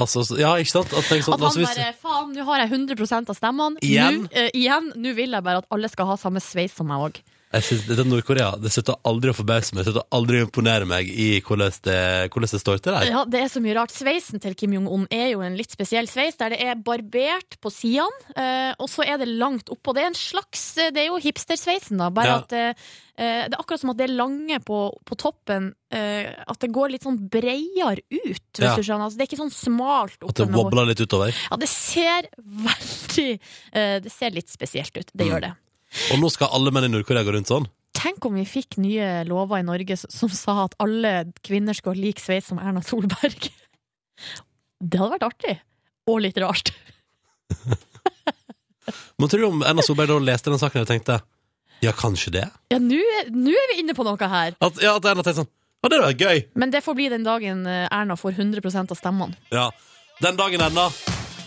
S4: Altså, så- ja, ikke sant? At, tenk sånn,
S2: At han
S4: altså, hvis-
S2: bare faen, nå har jeg 100 av stemmene.
S4: Igjen?
S2: Nå, eh, igjen. Nå vil jeg bare at alle skal ha samme sveis som meg òg.
S4: Jeg synes, dette er Nord-Korea. Det slutter aldri å forbause meg. Det slutter aldri å imponere meg i hvordan det, hvordan det står til der.
S2: Ja, det er så mye rart. Sveisen til Kim Jong-un er jo en litt spesiell sveis, der det er barbert på sidene, eh, og så er det langt oppå. Det er en slags eh, Det er jo hipstersveisen, da,
S4: Ja.
S2: bare at eh, eh, det er akkurat som at det er lange på, på toppen. eh, at det går litt sånn breiere ut, hvis
S4: Ja.
S2: du skjønner. Altså, det er ikke sånn smalt
S4: At det
S2: oppe med hår.
S4: wobler litt utover.
S2: Ja, det ser *laughs* veldig eh, Det ser litt spesielt ut.
S4: Mm.
S2: Det gjør det.
S4: Og nå skal alle menn i Nord-Korea gå rundt sånn.
S2: Tenk om vi fikk nye lover i Norge s- som sa at alle kvinner skal ha lik sveis som Erna Solberg. *laughs* Det hadde vært artig. Og litt rart.
S4: Men tror du om Erna Solberg da leste den saken og tenkte ja, kanskje det?
S2: *laughs* Ja, nå er nå er vi inne på noe her.
S4: At, ja, at Erna tenkte sånn ja, det hadde vært gøy.
S2: Men det får bli den dagen eh, Erna får 100 av stemmene.
S4: Ja. Den dagen Erna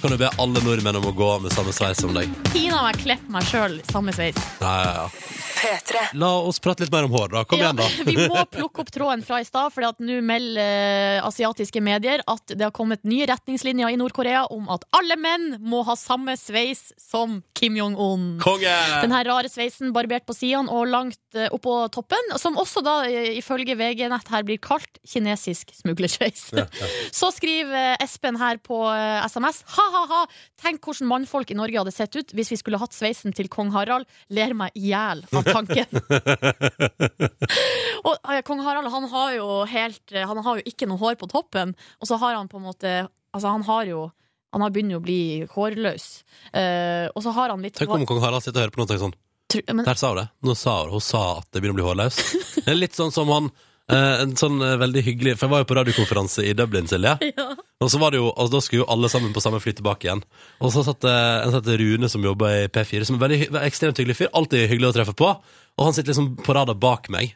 S4: kan du be alle nordmenn om å gå med samme sveis som deg.
S2: Pina meg klipp meg sjøl, samme sveis.
S4: Ja, ja, ja. La oss prate litt mer om hår, da. Kom igjen, da.
S2: Ja, *laughs* vi må plukke opp tråden fra i stad, for nå melder eh, asiatiske medier at det har kommet nye retningslinjer i Nord-Korea om at alle menn må ha samme sveis som Kim Jong-un.
S4: Konge!
S2: Den her rare sveisen barbert på sidene og langt eh, oppå toppen, som også da eh, ifølge VG Nett her blir kalt kinesisk smuglersveis. *laughs* Så skriver eh, Espen her på eh, SMS ha-ha-ha, tenk hvordan mannfolk i Norge hadde sett ut hvis vi skulle hatt sveisen til kong Harald. Ler meg i hjel av
S4: *laughs*
S2: tanken. *laughs* og eh, kong Harald han har jo helt eh, Han har jo ikke noe hår på toppen, og så har han på en måte Altså, han har jo han har begynner jo å bli hårløs. Eh, og så har han litt
S4: Tenk om kong Harald sitter og hører på noe og tenker sånn
S2: Tru- men-
S4: Der sa hun det. Nå sa hun, hun sa at det begynner å bli hårløs. Det er litt sånn som han eh, En sånn eh, veldig hyggelig For jeg var jo på radiokonferanse i Dublin, Silje. Og så var det jo, altså, da skulle jo alle sammen på samme fly tilbake igjen. Og så satt eh, en satt Rune som jobba i P4, som er en veldig, hy- ekstremt hyggelig fyr. Alltid hyggelig å treffe på. Og han sitter liksom på rada bak meg.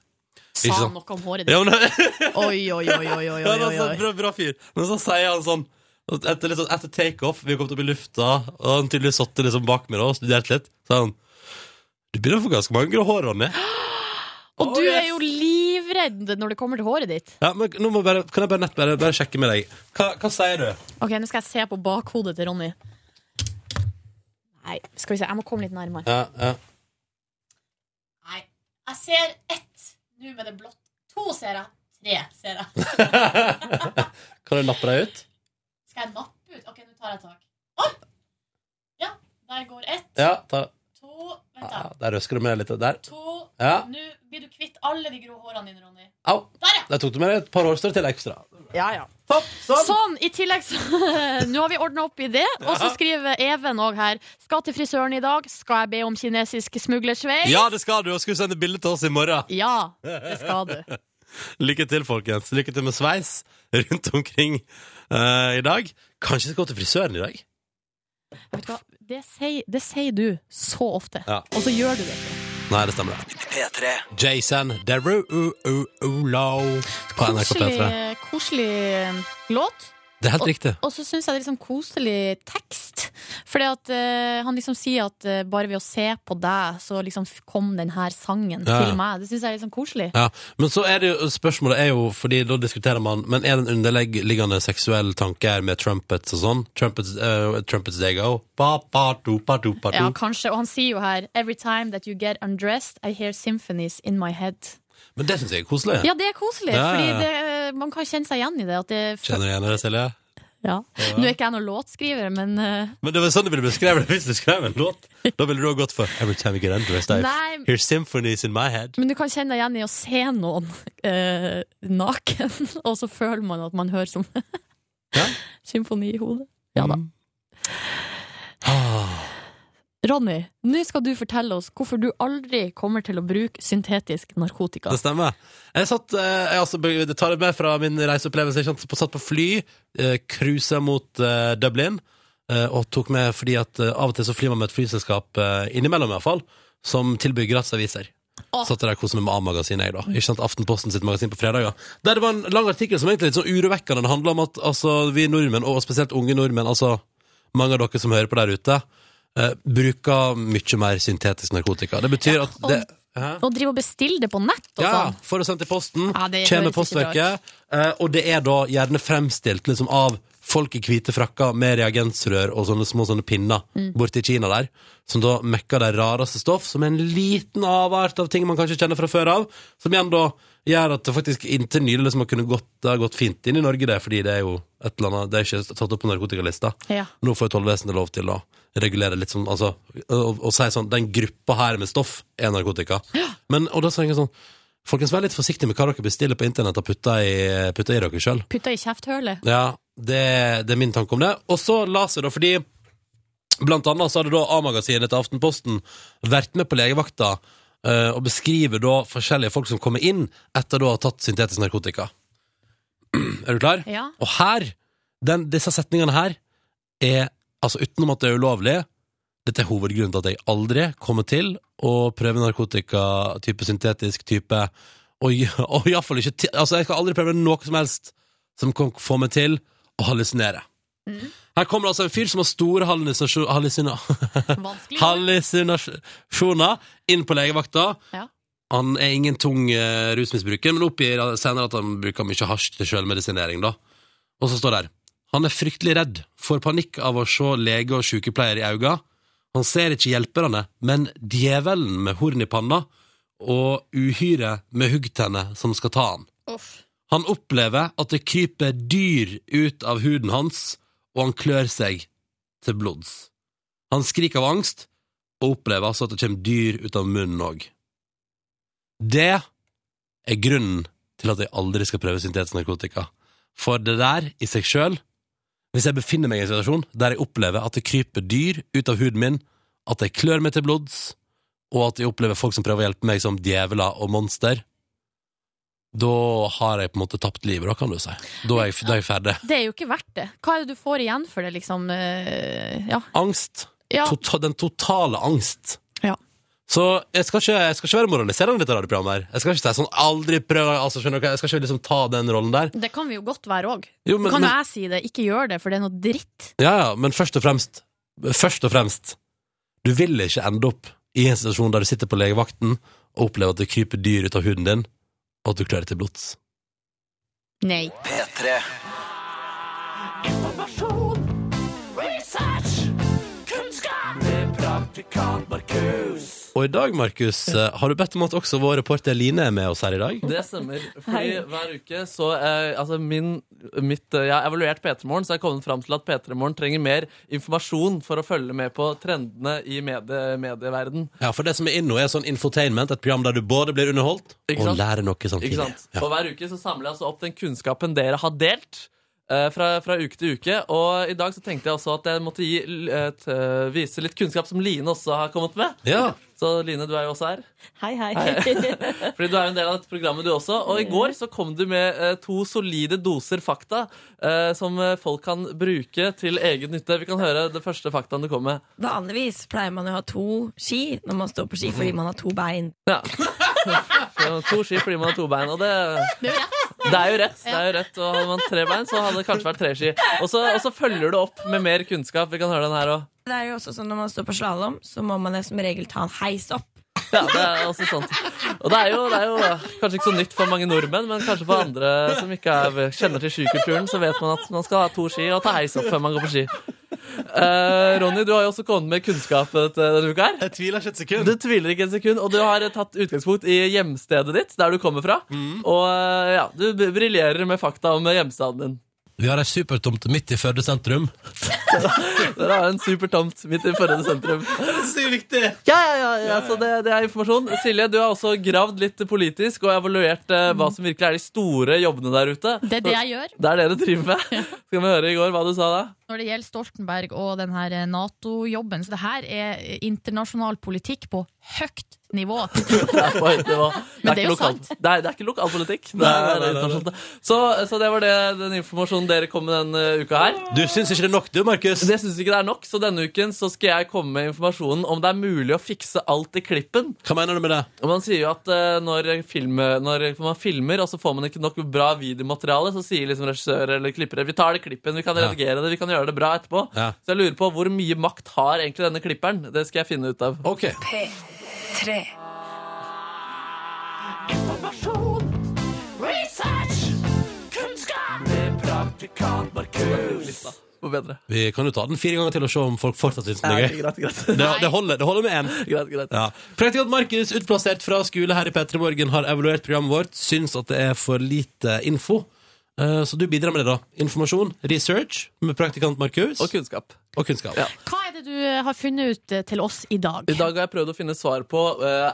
S2: Sa
S4: Ikke
S2: han
S4: sant?
S2: noe om håret ditt?
S4: Ja, men,
S2: Oi, oi, oi, oi, oi,
S4: Ja,
S2: oi,
S4: det
S2: oi,
S4: er så
S2: oi.
S4: bra, bra fyr. Men så sier han sånn etter, litt sånn, etter takeoff, vi har kommet opp i lufta, og han tydeligvis satt liksom bak meg da, og studerte litt, sa han Du begynner å få ganske mange grå hår, Ronny.
S2: *gasps* Og du er jo livredd når det kommer til håret ditt.
S4: Ja, men nå må jeg bare, kan jeg bare, nett, bare, bare sjekke med deg. Hva, hva sier du?
S2: Ok, Nå skal jeg se på bakhodet til Ronny. Nei, skal vi se. Jeg må komme litt nærmere.
S4: Ja, *laughs* ja.
S2: Nei, jeg ser ett nå med det blått. To ser jeg. Tre ser jeg.
S4: Kan du lappe deg ut?
S2: Skal jeg nappe ut? Ok, nå tar jeg tak. Opp! Ja, der går ett.
S4: Ja, ta,
S2: To. Vent,
S4: ja
S2: da.
S4: der røsker du med litt. Der.
S2: To.
S4: Ja.
S2: Nå blir du kvitt alle de grå hårene dine, Ronny.
S4: Au.
S2: Der, ja.
S4: Der tok du med deg et par hårstrå til ekstra.
S2: Ja, ja.
S4: Topp, sånn!
S2: Sånn, i tillegg så *laughs* Nå har vi ordna opp i det. Og så skriver Even òg her. Skal til frisøren i dag. Skal jeg be om kinesisk smuglersveis?
S4: Ja, det skal du, og skal du sende bilde til oss i morgen.
S2: Ja, det skal du.
S4: Lykke til, folkens. Lykke til med sveis rundt omkring eh, i dag. Kanskje jeg skal gå til frisøren i dag?
S2: Vet du hva? Det sier, det sier du så ofte.
S4: Ja.
S2: Og så gjør du det.
S4: Nei, det stemmer. det. Jason Derulo på NRK P3.
S2: Koselig, koselig låt.
S4: Det er helt riktig.
S2: Og så syns jeg det er liksom koselig tekst. Fordi at eh, han liksom sier at eh, bare ved å se på deg, så liksom f- kom den her sangen
S4: Ja.
S2: til meg. Det syns jeg er liksom koselig.
S4: Ja, men så er det jo, spørsmålet er jo, fordi da diskuterer man, men er det en underliggende seksuell tanke her med trumpets og sånn? Trumpets, eh, trumpets they go. Ba, ba, do, ba, do, ba, do.
S2: Ja, kanskje. Og han sier jo her Every time that you get undressed, I hear symphonies in my head.
S4: Men det syns jeg er koselig.
S2: Ja, det er koselig,
S4: Ja, ja,
S2: fordi
S4: ja.
S2: det, eh, man kan kjenne seg igjen i det. At det
S4: Kjenner du igjen det, Silje?
S2: ja. Nå er ikke jeg noen låtskriver, men eh,
S4: Men det var sånn det ville beskrevet det hvis du skrev en låt. Da ville du òg gått for Every time you get undressed, I
S2: Nei.
S4: hear er symphonies in my head.
S2: Men du kan kjenne deg igjen i å se noen *laughs* eh, naken, *laughs* og så føler man at man hører sånn
S4: Ja.
S2: *laughs* symfoni i hodet. Ja da.
S4: Ah.
S2: Ronny, nå skal du fortelle oss hvorfor du aldri kommer til å bruke syntetisk narkotika.
S4: Det stemmer. Jeg satt, eh, jeg altså, be- tar det med fra min reiseopplevelse. Jeg satt på- satt på fly, eh, cruiset mot eh, Dublin, eh, og tok med fordi at eh, av og til så flyr man med et flyselskap, eh, innimellom i hvert fall, som tilbyr gratisaviser.
S2: Åh.
S4: Satt der og koset meg med A-magasinet, jeg, da. Ikke sant? Aftenposten sitt magasin på fredager. Der det var en lang artikkel som egentlig er litt sånn urovekkende. Den handla om at altså, vi nordmenn, og spesielt unge nordmenn, altså mange av dere som hører på der ute, eh, bruker mye mer syntetisk narkotika. Det betyr at
S2: og-
S4: det Hæ?
S2: Og drive og bestille det på nett og
S4: Ja,
S2: sånn.
S4: for å sende til posten.
S2: Ja, det
S4: Kjem med
S2: høres ikke bra
S4: postverket. eh, Og det er da gjerne fremstilt liksom av folk i hvite frakker med reagensrør og sånne små sånne pinner
S2: Mm.
S4: borti Kina der, som da mekker de rareste stoff, som er en liten avart av ting man kanskje kjenner fra før av, som igjen da gjør at det faktisk inntil nylig liksom har kunnet gått, det har gått fint inn i Norge, det, fordi det er jo et eller annet, det er ikke tatt opp på narkotikalista.
S2: Ja.
S4: Nå får jo tollvesenet lov til å regulere litt sånn, altså, og, og si sånn, den gruppa her med stoff er narkotika. Men, og da sier jeg sånn, folkens, vær litt forsiktig med hva dere bestiller på internett og putter i, putter i dere selv.
S2: Putta
S4: *laughs*
S2: i kjefthølet.
S4: Ja, det, det er min tanke om det. Og så la seg da, fordi blant annet så hadde da A-magasinet til Aftenposten vært med på legevakta eh, og beskriver da forskjellige folk som kommer inn etter da å ha tatt syntetisk narkotika. *clears throat* Er du klar?
S2: Ja.
S4: Og her, den, disse setningene her, er altså utenom at det er ulovlig, dette er hovedgrunnen til at jeg aldri kommer til å prøve narkotika, type syntetisk type, og, *laughs* i- og iallfall ikke til, altså jeg skal aldri prøve noe som helst som kan få meg til å hallusinere. Her kommer altså en fyr som har store hallusinasjoner
S2: Vanskelig.
S4: hallusinasjoner inn på legevakta.
S2: Ja.
S4: Han er ingen tung eh, rusmisbruker, men oppgir senere at han bruker mye hasj til selvmedisinering. Da. Og så står det her Han er fryktelig redd, får panikk av å se lege og sykepleier i øynene. Han ser ikke hjelperne, men djevelen med horn i panna og uhyret med huggtenner som skal ta han.
S2: Uff.
S4: Han opplever at det kryper dyr ut av huden hans, og han klør seg til blods. Han skriker av angst, og opplever altså at det kommer dyr ut av munnen òg. Det er grunnen til at jeg aldri skal prøve syntetisk narkotika. For det der i seg sjøl Hvis jeg befinner meg i en situasjon der jeg opplever at det kryper dyr ut av huden min, at jeg klør meg til blods, og at jeg opplever folk som prøver å hjelpe meg som djevler og monster, da har jeg på en måte tapt livet, da, kan du si. Da er jeg, da er jeg ferdig.
S2: Det er jo ikke verdt det. Hva er det du får igjen for det, liksom? eh, Ja.
S4: Angst.
S2: ja.
S4: Tota, den totale angst.
S2: Ja.
S4: Så jeg skal, ikke, jeg skal ikke være moraliserende i dette radioprogrammet. her. Jeg skal ikke si sånn 'aldri prøv', altså, skjønner dere? Jeg skal ikke liksom ta den rollen der.
S2: Det kan vi jo godt være òg.
S4: Jo, men,
S2: Kan
S4: men,
S2: jeg si det? Ikke gjør det, for det er noe dritt.
S4: ja, ja, men først og fremst Først og fremst Du vil ikke ende opp i en situasjon der du sitter på legevakten og opplever at det kryper dyr ut av huden din, og at du klør deg til blods.
S2: Nei.
S4: Og i dag, Markus, eh, har du bedt om at også vår reporter Line er med oss her i dag?
S10: Det stemmer. Fordi hver uke så eh, Altså, min mitt, eh, Jeg har evaluert P3 Morgen, så jeg har kommet fram til at P3 Morgen trenger mer informasjon for å følge med på trendene i medie, medieverden.
S4: Ja, for det som er inne nå, er sånn infotainment, et program der du både blir underholdt
S10: Ikke
S4: og
S10: sant?
S4: lærer noe samtidig.
S10: Ikke sant?
S4: Ja.
S10: Og hver uke så samler jeg altså opp den kunnskapen dere har delt. eh, Fra, fra uke til uke. Og i dag så tenkte jeg også at jeg måtte gi, eh, t- vise litt kunnskap som Line også har kommet med.
S4: Ja.
S10: Så Line, du er jo også her.
S3: Hei, hei.
S10: Fordi du er jo en del av dette programmet du også. Og i går så kom du med eh, to solide doser fakta eh, som eh, folk kan bruke til egen nytte. Vi kan høre det første faktaen du kom med.
S11: *laughs* Vanligvis pleier man å ha to ski når man står på ski,
S5: Mhm.
S11: fordi man har to bein.
S10: Ja. Så To ski fordi man har to bein, og det det er jo rett. det er jo rett Og Hadde man tre bein, så hadde det kanskje vært tre ski. Og så og så følger du opp med mer kunnskap. Vi kan høre den her òg.
S11: Det er jo også sånn Når man står på slalåm, så må man som regel ta en heis opp.
S10: Ja, det er også sant. Og det er, jo, det er jo kanskje ikke så nytt for mange nordmenn, men kanskje for andre som ikke er, kjenner til skikulturen, så vet man at man skal ha to ski og ta heis opp før man går på ski. Eh, Ronny, du har jo også kommet med kunnskap eh, denne uka her.
S4: Jeg tviler ikke et sekund.
S10: Du tviler ikke et sekund, og du har eh, tatt utgangspunkt i hjemstedet ditt, der du kommer fra. Og eh, ja, du b- briljerer med fakta om eh, hjemstaden din.
S4: Vi har ei supertomt midt i Førde sentrum.
S10: Dere har en super tomt midt i Førde sentrum. Ja, ja, ja, ja, så det, det er informasjon. Silje, du har også gravd litt politisk og evaluert eh, hva som virkelig er de store jobbene der ute.
S2: Det er det jeg gjør
S10: Det er det du driver med. Skal vi høre i går hva du sa da?
S2: når det gjelder Stoltenberg og den her eh, Nato-jobben. Så det her er internasjonal politikk på høyt
S10: *laughs*
S2: nivå.
S10: Det er, på høyt nivå.
S2: Men det er
S10: ikke
S2: jo
S10: lokal-
S2: sant.
S10: Det er, det er ikke lokalpolitikk. Det
S4: Nei,
S10: er
S4: nei, nei, nei.
S10: internasjonalt. Så, så det var det, den informasjonen dere kom med denne uka her.
S4: Du syns ikke det er nok, du, Markus?
S10: Det syns ikke det er nok, så denne uken så skal jeg komme med informasjonen om det er mulig å fikse alt i klippen.
S4: Hva mener du med det?
S10: Og man sier jo at eh, når, film, når man filmer, og så får man ikke nok bra videomateriale, så sier liksom regissør eller klippere vi tar det klippen, vi kan
S4: Ja.
S10: redigere det, vi kan gjøre det bra etterpå.
S4: Ja.
S10: Så jeg lurer på hvor mye makt har egentlig denne klipperen? Det skal jeg finne ut av.
S4: Ok.
S10: Lista var bedre.
S4: Vi kan jo ta den fire ganger til og se om folk fortsatt syns den
S10: Ja,
S4: er gøy.
S10: greit, greit.
S4: Det, det, holder, det holder med én.
S10: Greit, greit.
S4: Ja. Praktikant Markus, utplassert fra skole her i P3 Morgen, har evaluert programmet vårt. Syns at det er for lite info. Eh, Så du bidrar med det, da. Informasjon, research med praktikant Markus.
S10: Og kunnskap.
S4: Og kunnskap.
S10: Ja.
S2: Hva er det du eh, har funnet ut eh, til oss i dag?
S10: I dag har jeg prøvd å finne svar på eh,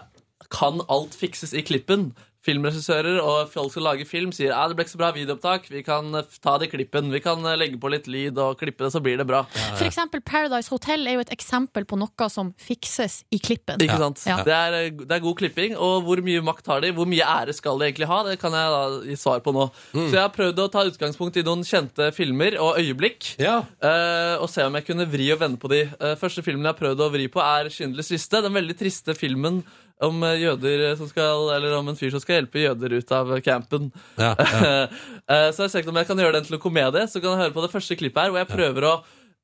S10: Kan alt fikses i klippen? Filmregissører og folk som lager film, sier at det ble ikke så bra videoopptak. Vi kan eh, ta det i klippen. Vi kan eh, legge på litt lyd og klippe det, så blir det bra.
S2: For eksempel Paradise Hotel er jo et eksempel på noe som fikses i klippen.
S10: Ikke sant?
S2: Ja.
S10: Det, er, eh, det er god klipping. Og hvor mye makt har de? Hvor mye ære skal de egentlig ha? Det kan jeg da gi svar på nå. Så jeg har prøvd å ta utgangspunkt i noen kjente filmer og øyeblikk.
S4: Ja.
S10: Eh, og se om jeg kunne vri og vende på de. Eh, første filmen jeg har prøvd å vri på, er 'Schindlers liste'. Den veldig triste filmen om eh, jøder som skal, eller om en fyr som skal hjelpe jøder ut av campen.
S4: Ja, ja.
S10: *laughs* Eh, så jeg ser ikke om jeg kan gjøre den til en komedie. Så kan jeg høre på det første klippet her, hvor jeg prøver å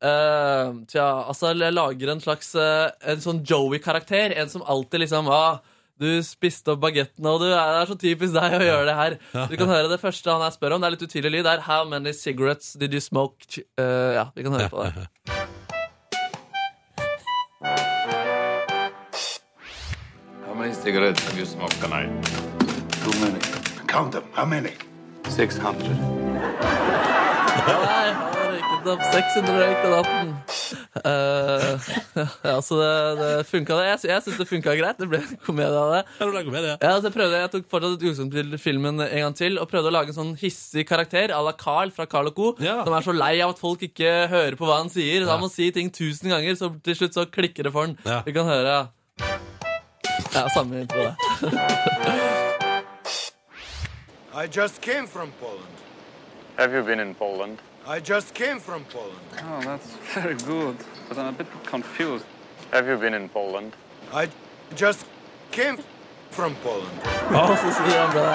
S10: eh, tja, altså, jeg lager en slags eh, En sånn Joey-karakter. En som alltid liksom ah, du spiste opp bagettene, og du er, det er så typisk deg å gjøre det her. Du kan høre det første han her spør om. Det er litt utydelig lyd. Det er 'How many cigarettes did you smoke?' Eh, ja, vi kan høre på det.
S12: How many cigarettes have you smoked tonight? Too many. Count them. How many? 600.
S10: Nei, han har røyket opp 600 røyk på natten. Eh, *laughs* ja, så det, det funka, det. Jeg, sy- jeg syns det funka greit. Det ble en komedie av det. Ja, så jeg, prøvde, jeg tok fortsatt et utgangspunkt til filmen en gang til og prøvde å lage en sånn hissig karakter à la Carl fra Carl Co. Som er så lei av at folk ikke hører på hva han sier. Da
S4: Ja.
S10: må han si ting tusen ganger, så til slutt så klikker det for han.
S4: Ja.
S10: Vi kan høre ja. Ja, samme intro, det.
S13: I just came from Poland.
S6: Have you been in Poland?
S13: I just came from Poland.
S6: Oh, that's very good. But I'm a bit confused. Have you been in Poland?
S13: I just came from Poland.
S10: Og så sier han bra.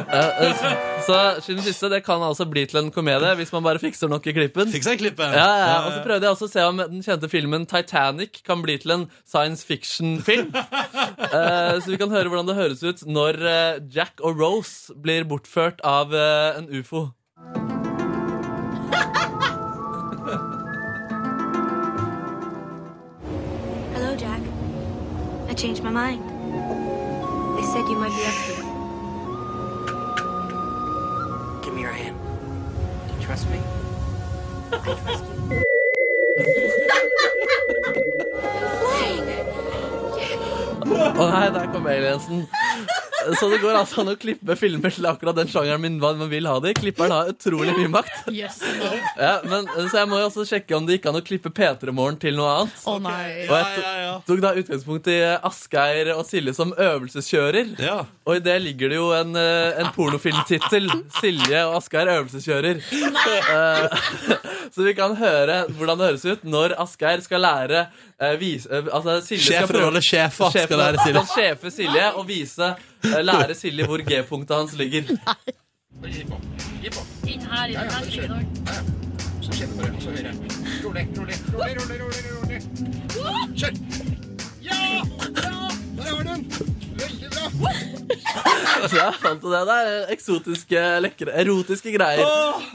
S10: Eh, eh, så- Så siden siste, det kan altså bli til en komedie hvis man bare fikser nok i klippen.
S4: Fikser i klippen.
S10: Ja, ja,
S4: Ja,
S10: Og
S4: ja.
S10: så prøvde jeg også å se om den kjente filmen Titanic kan bli til en science *laughs* fiction-film. Eh, så vi kan høre hvordan det høres ut når eh, Jack og Rose blir bortført av eh, en ufo.
S14: Hello, Jack. I changed my mind. They said you might be up here.
S15: Give me your hand. You trust me?
S10: Å nei, der kom aliensen. Så det går altså an å klippe filmer til akkurat den sjangeren min hva man vil ha det i. Klipperen har utrolig mye makt.
S2: Yes.
S10: Ja, men, så jeg må jo også sjekke om det gikk an å klippe P3 Morgen til noe annet.
S2: Å nei.
S10: Og jeg to- tok da utgangspunkt i eh, Asgeir og Silje som øvelseskjører. Og i det ligger det jo en, eh, en pornofilmtittel. Silje og Asgeir øvelseskjører. Eh, *laughs* Så vi kan høre hvordan det høres ut når Asgeir skal lære eh, vis, eh, altså Silje
S4: Sjefer
S10: skal prøve-
S4: rolle, sjefer skal
S10: Sjefen *laughs*
S4: lære Silje.
S10: skal sjefe Silje og vise, eh, lære Silje hvor G-punktet hans ligger.
S16: Inn her, inn her, slik i dag.
S12: Så kjenner du bare, og så høyre. Rolig, rolig, rolig, rolig, rolig, rolig. Kjør! Ja! Ja! Der har du den! Veldig
S10: *laughs*
S12: bra!
S10: Så jeg fant jo det. Det er eksotiske, lekre, erotiske greier.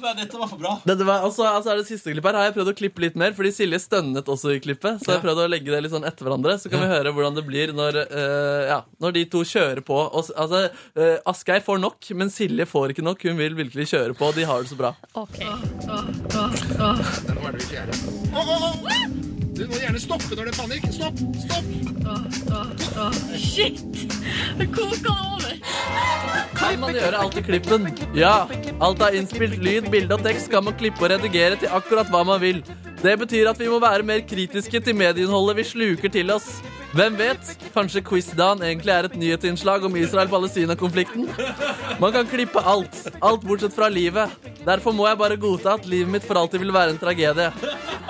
S4: nei, dette var for bra.
S10: Dette var, altså, altså er det siste klippet her Har jeg prøvd å klippe litt mer, fordi Silje stønnet også i klippet. Så jeg prøvde å legge det litt sånn etter hverandre, så kan vi høre hvordan det blir når, eh, ja, når de to kjører på. Og, s- altså, eh, Asgeir får nok, men Silje får ikke nok. Hun vil virkelig kjøre på, og de har det så bra.
S2: Ok.
S12: Nå er du i fjerde. Å, å, å! Du må gjerne stoppe når det er panikk. Stopp, stopp! Shit! Koka det over.
S10: Kan man gjøre alt i klippen? Ja. Alt av innspilt lyd, bilde og tekst kan man klippe og redigere til akkurat hva man vil. Det betyr at vi må være mer kritiske til medieinnholdet vi sluker til oss. Hvem vet? Kanskje quiz-dagen egentlig er et nyhetsinnslag om Israel-Palestina-konflikten? Man kan klippe alt. Alt bortsett fra livet. Derfor må jeg bare godta at livet mitt for alltid vil være en tragedie.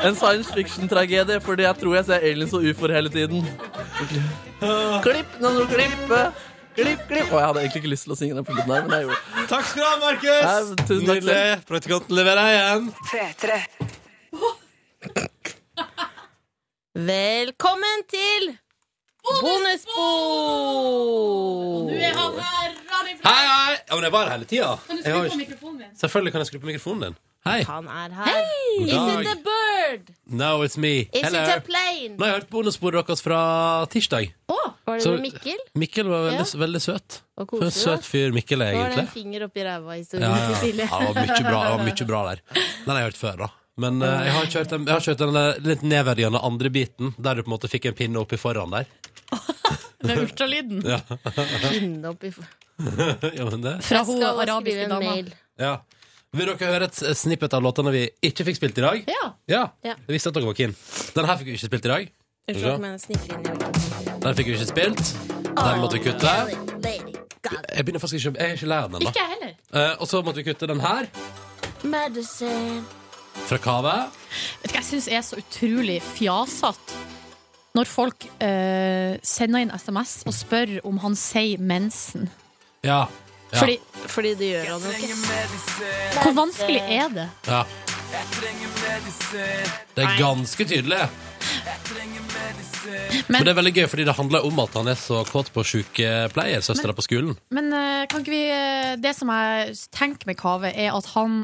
S10: En science fiction-tragedie fordi jeg tror jeg ser aliens og ufoer hele tiden. Klipp, nå må du klippe. Klipp, klipp. Å, jeg hadde egentlig ikke lyst til å synge den på slutten her, men jeg gjorde det.
S4: Takk skal du ha, Markus!
S10: Ja, tusen takk selv.
S4: Nydelig. Praktikanten leverer igjen.
S3: Velkommen til bonusbord!
S1: Nå er han her, Ronny
S4: Hei, hei! Ja, men jeg var her hele tida.
S2: Kan du
S4: Jeg har
S2: skru på
S4: ikke-
S2: mikrofonen min?
S4: Selvfølgelig kan jeg skru på mikrofonen din. Hei.
S3: Han er her.
S4: God
S3: Is it
S4: dag.
S3: a bird?
S4: No, it's me.
S3: Is
S4: Hello.
S3: it a plane?
S4: Nå har jeg hørt bonussporet deres fra tirsdag.
S3: Var det
S4: Så-
S3: med Mikkel?
S4: Mikkel var veldig,
S3: Ja.
S4: veldig søt.
S3: Og
S4: For en
S3: koselig, da.
S4: søt fyr Mikkel er,
S3: Nå var det
S4: egentlig.
S3: en finger oppi ræva-historien
S4: Ja, ja.
S3: til
S4: ja,
S3: *laughs* Silje.
S4: det var mye bra, det var mye bra der. Den har jeg hørt før, da. Men eh, jeg har ikke hørt den, jeg har ikke hørt den der litt nedverdigende andre biten, der du på en måte fikk en pinne oppi foran der. *laughs*
S2: Med ultralyden.
S4: Ja,
S3: Pinne opp i f-
S4: ja men det
S2: Fra hun
S3: Skal skrive
S2: arabiske
S3: en
S2: dama.
S3: mail.
S4: ja. Vil dere høre et snippet av låtene vi ikke fikk spilt i dag?
S2: Ja.
S3: Ja.
S4: Jeg visste at dere var keen. Den her fikk vi ikke spilt i dag. Skal vi
S3: Unnskyld
S4: se.
S3: meg, sniffer inn i
S4: Den fikk vi ikke spilt. Den måtte vi kutte. Jeg begynner faktisk ikke, jeg er ikke lei av den
S3: Ikke
S4: ennå.
S3: jeg heller.
S4: Eh, og så måtte vi kutte den her,
S3: Medicine.
S4: fra Kave.
S2: Vet du hva jeg syns er så utrolig fjasete? Når folk eh, sender inn SMS og spør om han sier mensen.
S4: Ja. Ja.
S2: Fordi,
S3: Fordi det gjør han jo ikke.
S2: hvor vanskelig er det?
S4: ja. Det er ganske tydelig. Men, det er veldig gøy, fordi det handler om at han er så kåt på sykepleiersøstera på skolen.
S2: Men eh, kan ikke vi eh, Det som jeg tenker med Kave, er at han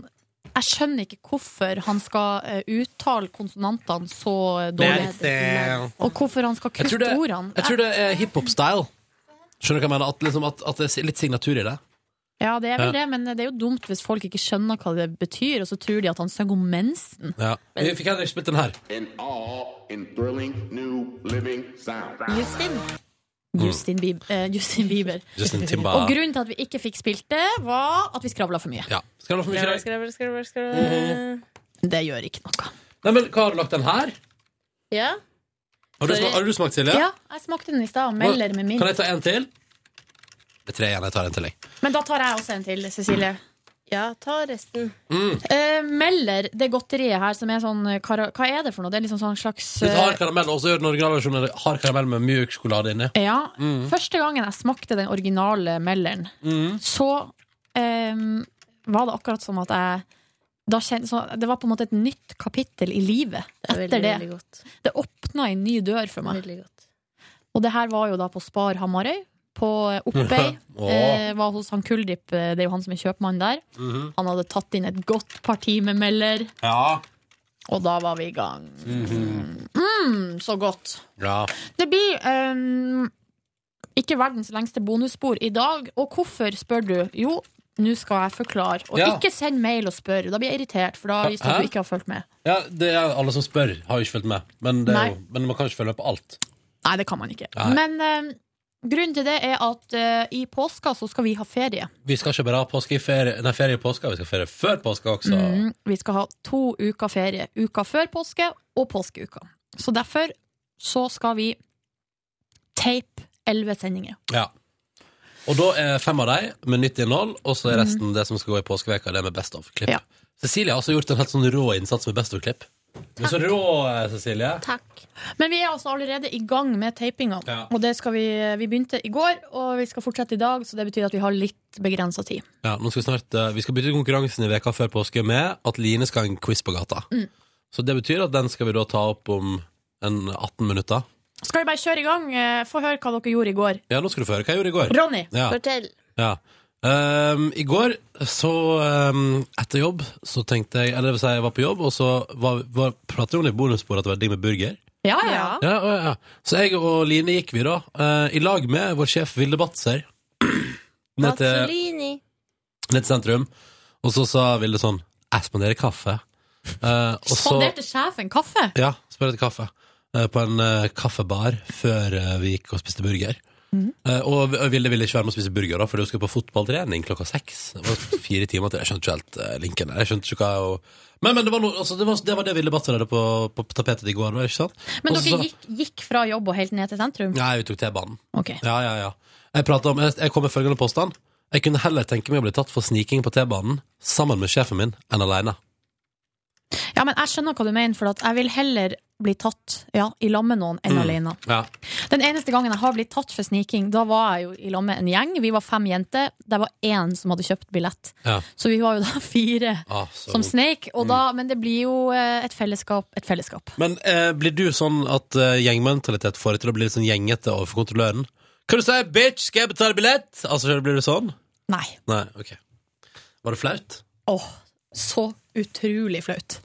S2: Jeg skjønner ikke hvorfor han skal eh, uttale konsonantene så dårlig.
S4: Mensen.
S2: Og hvorfor han skal
S4: eh, Jeg tror
S2: kutte
S4: det,
S2: ordene.
S4: jeg tror det er hiphop-style. Skjønner du hva jeg mener? At, liksom, at, at det er litt signatur i det.
S2: Ja, det er
S4: Ja.
S2: vel det, men det er jo dumt hvis folk ikke skjønner hva det betyr, og så tror de at han synger om mensen.
S4: Ja. Vi fikk heller ikke spilt den her.
S17: An all and thrilling new living sound.
S2: Justin.
S4: Mm.
S2: Justin, Bieber, eh, Justin Bieber.
S4: Justin
S2: Og
S4: Timba.
S2: grunnen til at vi ikke fikk spilt det, var at vi skravla for mye.
S4: Ja. Skal du ha for mye
S3: Skravle,
S4: greier?
S3: skravle, skravle, skravle.
S2: Det gjør ikke noe.
S4: Nei, men Hva har du lagt den her?
S3: Ja.
S4: Har du,
S3: Sorry.
S4: sma- har du smakt, Silje?
S2: Ja, jeg smakte den i stad. Melder med
S4: Kan jeg
S2: mint.
S4: ta en til? Det er tre igjen. Jeg tar en til, jeg.
S2: Men da tar jeg også en til, Cecilie.
S3: Ja, ta resten.
S4: Mm.
S2: Eh, Meller, det godteriet her som er sånn eh, kara- Hva er det for noe? Det er liksom sånn slags
S4: Litt
S2: eh,
S4: hard karamell, og så gjør den originalversjonen hard karamell med mjuk sjokolade inni.
S2: eh, Ja.
S4: Mm.
S2: Første gangen jeg smakte den originale Melleren,
S4: Mm.
S2: så eh, var det akkurat som at jeg da kjente, så Det var på en måte et nytt kapittel i livet
S3: er veldig,
S2: etter det.
S3: veldig godt.
S2: Det åpna en ny dør for meg.
S3: Veldig godt.
S2: Og det her var jo da på Spar Hamarøy. På eh,
S4: *laughs*
S2: Oppøy.
S3: Åh.
S2: eh, var hos han Kuldip, eh, det er jo han som er kjøpmann der.
S4: Mhm.
S2: Han hadde tatt inn et godt parti med Meller,
S4: Ja.
S2: og da var vi i gang.
S4: Mhm.
S2: Mm, så godt.
S4: ja.
S2: Det blir ehm, ikke verdens lengste bonusspor i dag. Og hvorfor, spør du? Jo, nå skal jeg forklare. Og
S4: Ja.
S2: ikke send mail og spør. Da blir jeg irritert, for da viser det at
S4: Hæ?
S2: du ikke har fulgt med.
S4: ja, det er alle som spør, har jo ikke fulgt med. Men, det er jo,
S2: Nei.
S4: men man kan ikke følge med på alt.
S2: Nei, det kan man ikke.
S4: Nei.
S2: Men eh, grunnen til det er at eh, i påska så skal vi ha ferie.
S4: Vi skal ikke bare ha påske i ferie, nei, ferie i påska, vi skal ferie før påska også.
S2: Mm, vi skal ha to uker ferie. Uka før påske og påskeuka. Så derfor så skal vi tape elleve sendinger.
S4: Ja. Og da er fem av deg med nytt innhold, og så er resten det som skal gå i påskeveka, det med Best of-klipp. Cecilie har også gjort en helt sånn rå innsats med Best of-klipp. Du er så rå, eh, Cecilie.
S2: Men vi er altså allerede i gang med tapinga.
S4: Ja.
S2: Og det skal vi, vi begynte i går, og vi skal fortsette i dag, så det betyr at vi har litt begrensa tid.
S4: Ja, nå skal vi, snart, eh, vi skal bytte ut konkurransen i veka før påske med at Line skal ha en quiz på gata.
S2: Mm.
S4: Så det betyr at den skal vi da ta opp om en 18 minutter.
S2: Skal vi bare kjøre i gang? Eh, Få høre hva dere gjorde i går.
S4: Ja, nå skal du få høre hva jeg gjorde i går.
S2: Ronny,
S4: ja.
S3: fortell.
S4: Ja. Ehm, I går, så ehm, etter jobb, så tenkte jeg Eller det vil si, jeg var på jobb, og så var, var, pratet hun i bonussporet at det var digg med burger.
S2: Ja, ja.
S4: Ja, ja, ja. Så jeg og Line gikk vi da, eh, i lag med vår sjef Vilde Batzer, ned til,
S3: Bazzolini.
S4: ned til sentrum. Og så sa Vilde sånn Jeg spanderer kaffe. Eh, og så
S2: Spanderte sjefen kaffe?
S4: ja, spør etter kaffe. Eh, på en eh, kaffebar før eh, vi gikk og spiste burger.
S2: Mhm.
S4: Eh, og vi- og Vilde ville ikke være med å spise burger, da, fordi hun skulle på fotballtrening klokka seks. Det var fire timer til. Jeg skjønte ikke helt eh, linken der. Jeg skjønte ikke hva hun- Men, men det, var noe, altså, det, var, det var det Vilde Batzer hadde på, på tapetet i går. da, Ikke sant?
S2: Men
S4: Og så-
S2: dere gikk, gikk fra jobb og helt ned til sentrum?
S4: Nei, vi tok T-banen.
S2: Ok.
S4: Ja, ja, ja. Jeg, pratet om, jeg, jeg kom med følgende påstand. Jeg kunne heller tenke meg å bli tatt for sniking på T-banen sammen med sjefen min enn alene.
S2: Ja, men jeg skjønner hva du mener, for at jeg vil heller bli tatt ja, i lag med noen enn
S4: Mm.
S2: alene.
S4: Ja.
S2: Den eneste gangen jeg har blitt tatt for sniking, da var jeg jo i lag med en gjeng. Vi var fem jenter. Det var én som hadde kjøpt billett.
S4: Ja.
S2: Så vi var jo da *laughs* fire
S4: Ah, så
S2: som
S4: vondt.
S2: snek. Og da, men det blir jo eh, et fellesskap. Et fellesskap.
S4: Men eh, blir du sånn at eh, gjengmentalitet får deg til å bli litt sånn gjengete overfor kontrolløren? Kan du si 'bitch, skal jeg betale billett'? Altså, blir du sånn?
S2: Nei.
S4: Nei, ok Var det flaut?
S2: Åh, så utrolig flaut.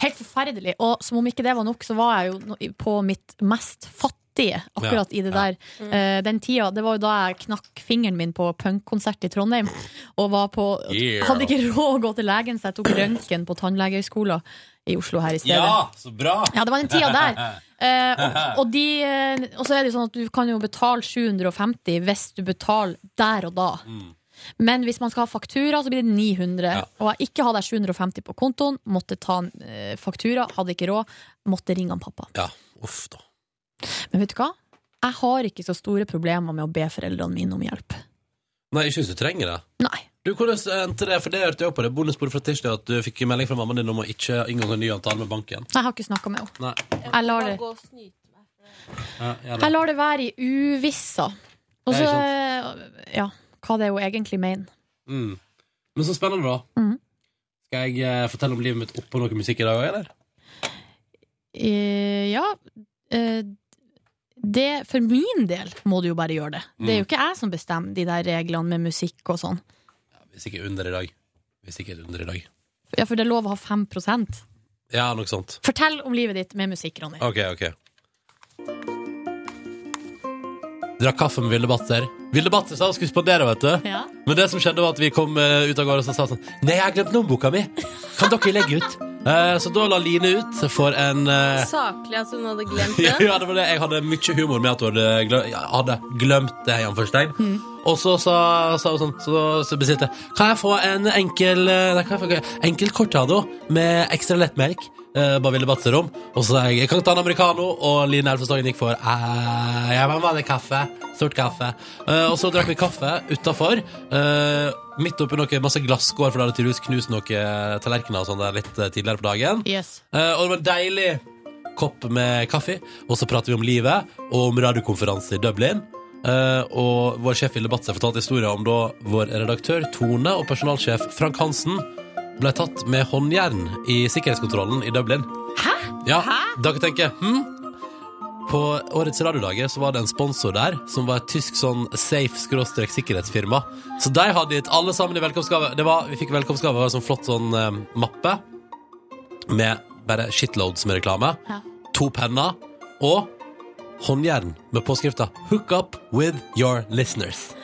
S2: Helt forferdelig. Og som om ikke det var nok, så var jeg jo no- i- på mitt mest fattige akkurat
S18: Ja,
S2: i det
S18: ja.
S2: der. Eh, den tida, det var jo da jeg knakk fingeren min på punkkonsert i Trondheim. Og var på
S4: Yeah.
S2: Hadde ikke råd å gå til legen, så jeg tok røntgen på tannlegehøgskolen i Oslo her i stedet.
S4: Ja, så bra!
S2: Ja, det var den tida
S4: *laughs*
S2: der. Eh, og, og, de, eh, og så er det jo sånn at du kan jo betale 750 hvis du betaler der og da.
S4: Mm.
S2: Men hvis man skal ha faktura, så blir det 900. Og jeg ikke hadde jeg 750 på kontoen, måtte ta en eh, faktura, hadde ikke råd, måtte ringe han pappa.
S4: Ja, uff da
S2: Men vet du hva? Jeg har ikke så store problemer med å be foreldrene mine om hjelp.
S4: Nei, jeg synes du trenger det
S2: Nei
S4: Du, hvordan eh, endte det? For det hørte jeg også på det Bonusbordet fra tirsdag At du fikk melding fra mammaen din Om å ikke inngå en ny avtale med banken
S2: Jeg har ikke snakka med henne.
S4: Nei
S2: Jeg lar det
S4: ja, ja, da.
S2: Jeg lar det være i uvissa. Og
S4: Det er
S2: så, eh, ja, hva det er hun egentlig mener.
S4: mm. Men så spennende da
S2: Mhm.
S4: Skal jeg eh, fortelle om livet mitt oppå noe musikk i dag, også, eller?
S2: Eh, ja eh, det, For min del må du jo bare gjøre det. Det er jo ikke jeg som bestemmer de der reglene med musikk og sånn.
S4: Hvis ikke under i dag Hvis ikke under i dag
S2: Ja, For det er lov å ha 5
S4: Ja, noe sånt
S2: Fortell om livet ditt med musikk, Ronny.
S4: Ok, ok Drakk kaffe med Ville Batter Ville Batter sa hun skulle spandere, vet du
S2: Ja.
S4: Men det som skjedde var at vi kom eh, ut av gården Og så sa hun sånn, nei jeg har glemt lommeboka mi Kan dere legge ut? Eh, så da la Line ut for en eh,
S3: Saklig at hun hadde glemt det.
S4: *laughs* ja, det var det. Jeg hadde mye humor med at hun hadde glø- jeg hadde glemt det. i anførselstegn. Og så sa, sa hun sånn, så, så bestilte jeg Kan jeg få en enkel eh, nei, kan jeg få enkel cortado med ekstra lettmelk? Eh, bare ville batse rom. Og så sa jeg jeg kan ta en americano, og Line Elfestagen gikk for eh, jeg vil ha vanlig kaffe. Sort kaffe. Eh, og så drakk vi kaffe utafor. Eh, midt oppi noe masse glasskår, for da hadde tydeligvis knust noen tallerkener og sånn der litt eh, tidligere på dagen.
S2: Yes.
S4: Eh, og det var en deilig kopp med kaffe, og så prater vi om livet og om radiokonferanse i Dublin. Eh, og vår sjef Ville Batse fortalte historien om da vår redaktør Tone og personalsjef Frank Hansen ble tatt med håndjern i sikkerhetskontrollen i Dublin. Hæ? Ja, da kan jeg tenke, hm? På årets radiodager så var det en sponsor der som var et tysk sånn safe-sikkerhetsfirma. Så de hadde gitt alle sammen i velkomstgave. Det var, vi fikk velkomstgave, det var en sånn flott sånn eh, mappe med bare shitloads med reklame. To penner og håndjern med påskrifta 'Hook up with your listeners'.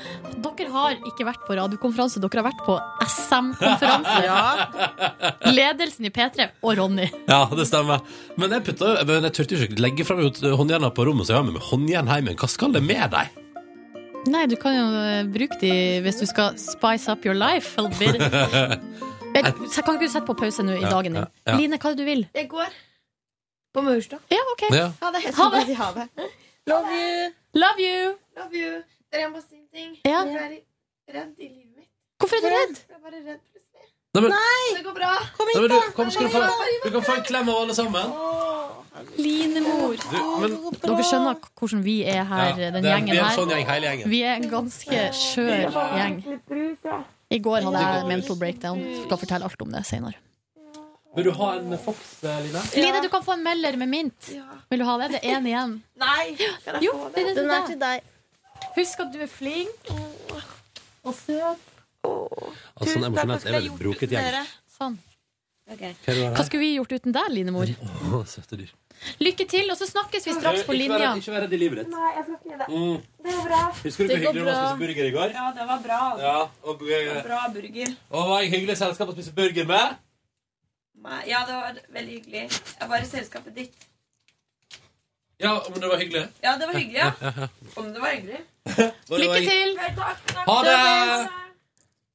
S2: Dere har ikke vært på radiokonferanse, dere har vært på SM-konferanse. Ledelsen i P3 og Ronny.
S4: Ja, det stemmer. Men jeg, putta, men jeg turte jo ikke legge fram håndjerna på rommet, så jeg har med meg håndjern hjem igjen. Hva skal det med deg?
S2: Nei, du kan jo eh, bruke de hvis du skal spice up your life. a
S4: *laughs*
S2: little bit. Vet- så Kan ikke du sette på pause nå i
S4: Ja,
S2: dagen din?
S4: ja, ja.
S2: Line, hva er det du vil?
S5: Jeg går på Maurstad.
S2: Ja, ok.
S4: Ja.
S5: Ha det.
S2: Ha det.
S5: Jeg sier Ha det. Love you.
S2: Love you.
S5: Love you. Dere jeg må si en ting.
S2: Ja.
S5: Jeg er redd i livet mitt.
S2: Hvorfor er du redd?
S5: Jeg er bare redd plutselig.
S4: Nei, men-
S5: Det går bra.
S4: Nei, men du, kom, skal du, få, du kan få en klem av alle sammen.
S2: Linemor.
S4: Du, men,
S2: Dere skjønner k- hvordan vi er her,
S4: Ja,
S2: den
S4: det er-
S2: gjengen
S4: vi er en
S2: her.
S4: sånn gjeng, hele gjengen.
S2: Vi er en ganske skjør gjeng. I går hadde jeg mental breakdown. Skal fortelle alt om det senere.
S4: Vil du ha en Fox, eh, Line?
S2: Line, du kan få en melder med mint. Vil du ha det? Det er én igjen.
S5: Nei, kan jeg
S2: Jo,
S5: få
S2: det
S5: det?
S2: er den til
S5: deg.
S2: Husk at du er flink og søt.
S4: Altså, sånn emosjonelt er vel broket gjeng.
S2: Sånn.
S4: Hva er det du har her?
S2: Hva skulle vi gjort uten deg, Linemor?
S4: Å, søte dyr.
S2: Lykke til, og så snakkes vi straks på
S4: Ikke være-
S2: linja.
S4: Ikke vær redd i livet ditt.
S5: Nei, jeg skal ikke gjøre det.
S4: Mm.
S5: Det går bra.
S4: Husker du hvor hyggelig det var å spise burger i går?
S5: Ja, det var bra. altså.
S4: Ja, og, eh,
S5: Det var Bra burger.
S4: og var jeg hyggelig selskap å spise burger med?
S5: Nei, Ja, det var veldig hyggelig. Jeg var i selskapet ditt.
S4: Ja, men det var hyggelig.
S5: Ja, det var hyggelig, *laughs* ja. Om det var hyggelig.
S4: Var det- var-
S5: Vel, takk.
S4: Ha det!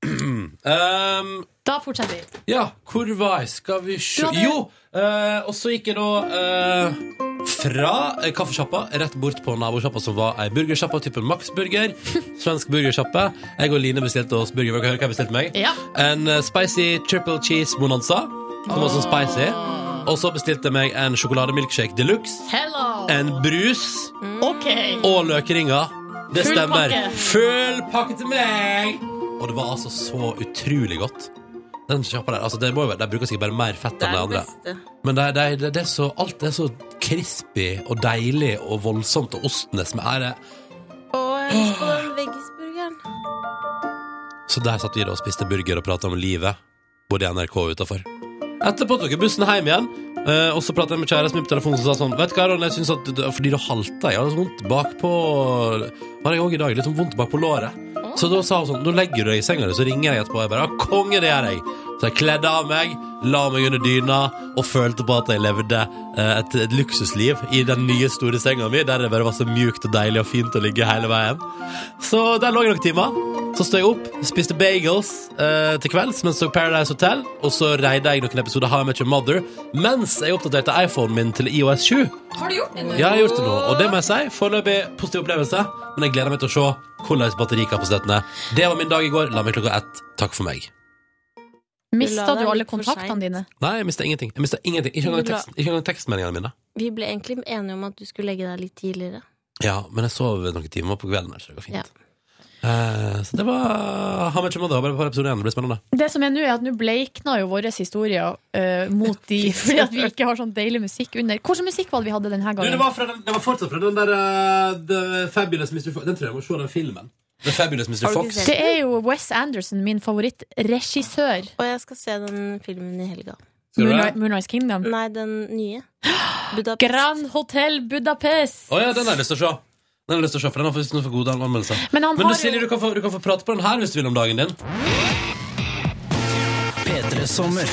S4: *clears throat* Um,
S2: Da fortsetter vi.
S4: ja, hvor var jeg? Skal vi sjå
S2: Du hadde-
S4: Jo! eh, og så gikk jeg da eh, fra eh, kaffesjappa rett bort på nabosjappa, som var ei burgersjappa typen Max Burger. Svensk burgersjappe. Jeg og Line bestilte oss burger. Vil dere høre hva jeg bestilte meg?
S2: Ja.
S4: En eh, spicy triple cheese bonanza, som var sånn spicy. Og så bestilte jeg meg en sjokolademilkshake de luxe.
S2: Hello!
S4: En brus
S2: OK.
S4: og løkringer. Det
S2: Full
S4: stemmer.
S2: pakke.
S4: Full pakke til meg! Og det var altså så utrolig godt. Den sjappa der, altså det må jo være, De bruker sikkert bare mer fett enn de andre. Men det, det, det, det er så, alt er så crispy og deilig og voldsomt, og osten er som er
S3: Og husk på den veggisburgeren.
S4: Så der satt vi da og spiste burger og prata om livet. Bodde i NRK utafor. Etterpå tok jeg bussen hjem igjen, eh, og så prata jeg med kjæresten min på telefonen som sa sånn Vet du hva, Ronny, jeg synes at du- fordi du halta, jeg hadde så vondt bakpå Har jeg òg i dag, litt sånn vondt bakpå låret. Så da sa hun sånn, nå legger du deg i senga di, så ringer jeg etterpå. Og jeg bare, ja, konge, det gjør jeg. Så jeg kledde av meg, la meg under dyna og følte på at jeg levde eh, et, et luksusliv i den nye, store senga mi, der det bare var så mjukt og deilig og fint å ligge hele veien. Så der lå jeg noen timer. Så stod jeg opp, spiste bagels eh, til kvelds mens jeg så Paradise Hotel, og så reide jeg noen episoder How I Met Your Mother mens jeg oppdaterte iPhonen min til IOS 7.
S11: Har du gjort det?
S4: Ja, jeg har gjort det nå, og det må jeg si. Foreløpig positiv opplevelse, men jeg gleder meg til å se hvordan batterikapasiteten er. Det var min dag i går. La meg klokka ett. Takk for meg.
S2: Mista du
S3: deg
S2: alle
S3: litt for
S2: kontaktene dine?
S4: Nei, jeg mista ingenting. Jeg mistet ingenting. Ikke engang,
S3: Bra.
S4: tekst, ikke engang tekstmeldingene mine.
S3: Vi ble egentlig enige om at du skulle legge deg litt tidligere.
S4: Ja, men jeg sov noen timer på kvelden. her, Så det går fint.
S3: Ja.
S4: Eh, så det var How much mother? Bare et par episoder igjen. Det blir spennende.
S2: Det som er nå, er at nå bleikna jo våre historier eh, mot de, fordi at vi ikke har sånn deilig musikk under. Hvilken musikk var det vi hadde
S4: Du,
S2: denne gangen?
S4: det, var fra den, det var fortsatt fra den der eh, The Fabulous Mr. Fox. Den tror jeg må se den filmen. The Fabulous Mr. Fox.
S2: Det er jo Wes Anderson, min favorittregissør.
S3: Og jeg skal se den filmen i helga.
S4: Skal du det?
S2: Moonri- Moonrise Kingdom.
S3: Nei, den nye. *gasps* Budapest.
S2: Grand Hotel Budapest.
S4: Å ja, den har jeg lyst til å se. Den har jeg lyst til å se, for den har faktisk noen for gode anmeldelser.
S2: Men han
S4: du,
S2: har
S4: Silje,
S2: jo-
S4: du kan, få, du kan få prate på den her hvis du vil om dagen din. P3 Sommer.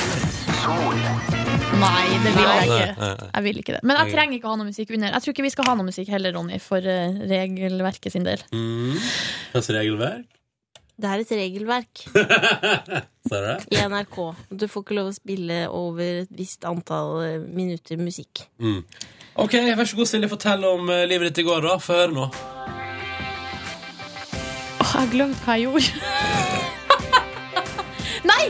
S2: Nei, det vil jeg
S4: Nei,
S2: ikke.
S4: nei, nei.
S2: Jeg vil ikke det. Men jeg trenger ikke å ha noe musikk under. Jeg tror ikke vi skal ha noe musikk heller, Ronny, for eh, regelverket sin del.
S4: Mm. Kanskje regelverk?
S3: Det er et regelverk
S4: Ser du det?
S3: i NRK. Du får ikke lov å spille over et visst antall eh, minutter musikk.
S4: Mm. Ok, vær så god, Silje. Fortell om eh, livet ditt i går, da. Få høre nå.
S2: Åh, jeg har glemt hva jeg gjorde. *laughs* Nei!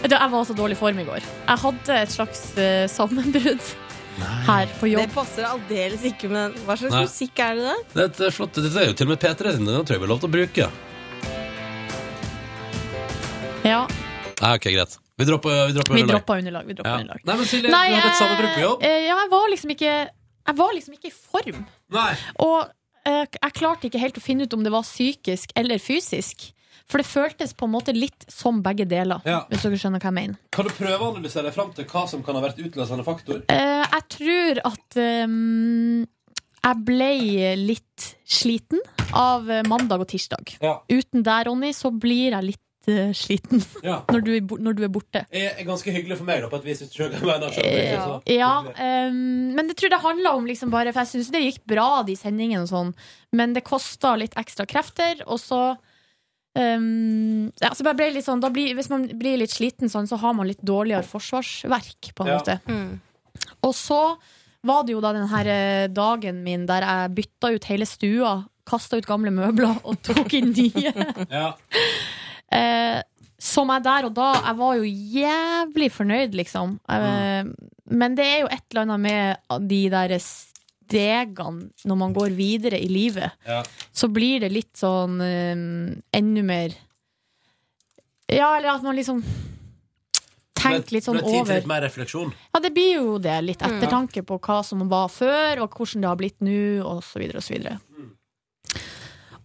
S2: Vet du, Jeg var så dårlig i form i går. Jeg hadde et slags eh, sammenbrudd her på
S3: Det
S2: jobb.
S3: passer aldeles ikke med den. Hva slags
S4: Nei.
S3: musikk er det der?
S4: Det er et, eh, flott. Dette er jo til og med P3 sin. Den tror jeg vi har lov til å bruke.
S2: Ja,
S4: Nei, ok, greit. Vi dropper, vi dropper
S2: vi
S4: underlag.
S2: droppa underlag. Vi droppa
S4: Ja.
S2: underlag.
S4: Nei, men Silje, du hadde et sammenbrudd på jobb.
S2: eh, eh, ja, jeg var liksom ikke Jeg var liksom ikke i form.
S4: Nei.
S2: Og eh, jeg klarte ikke helt å finne ut om det var psykisk eller fysisk. For det føltes på en måte litt som begge deler,
S4: Ja.
S2: hvis dere skjønner hva jeg mener.
S4: Kan du prøve å analysere deg fram til hva som kan ha vært utløsende faktor?
S2: Eh, jeg tror at eh, jeg ble litt sliten av eh, mandag og tirsdag.
S4: Ja.
S2: Uten deg, Ronny, så blir jeg litt eh, sliten *laughs*
S4: Ja.
S2: når, du, er bo- når du er borte.
S4: Er er ganske hyggelig for meg, da, på et vis. Hvis du skjønner hva jeg mener, skjønner du,
S2: Ja,
S4: altså.
S2: eh, men det tror jeg det handla om liksom bare For jeg syns det gikk bra, de sendingene og sånn, men det kosta litt ekstra krefter, og så eh, ja, så bare ble det litt sånn, da blir, Hvis man blir litt sliten sånn, så har man litt dårligere forsvarsverk, på en
S19: Ja.
S2: måte. Og så var det jo da den her eh, dagen min der jeg bytta ut hele stua, kasta ut gamle møbler og tok inn nye.
S4: Ja.
S2: Eh, som jeg der og da Jeg var jo jævlig fornøyd, liksom. Eh, Men det er jo et eller annet med de der stegene når man går videre i livet.
S4: Ja.
S2: Så blir det litt sånn eh, enda mer Ja, eller at man liksom tenker litt sånn
S4: Det er tid til
S2: over
S4: litt mer refleksjon.
S2: ja, det blir jo det. Litt
S4: Mm.
S2: ettertanke på hva som var før, og hvordan det har blitt nå, og så videre og så videre.
S4: Mm.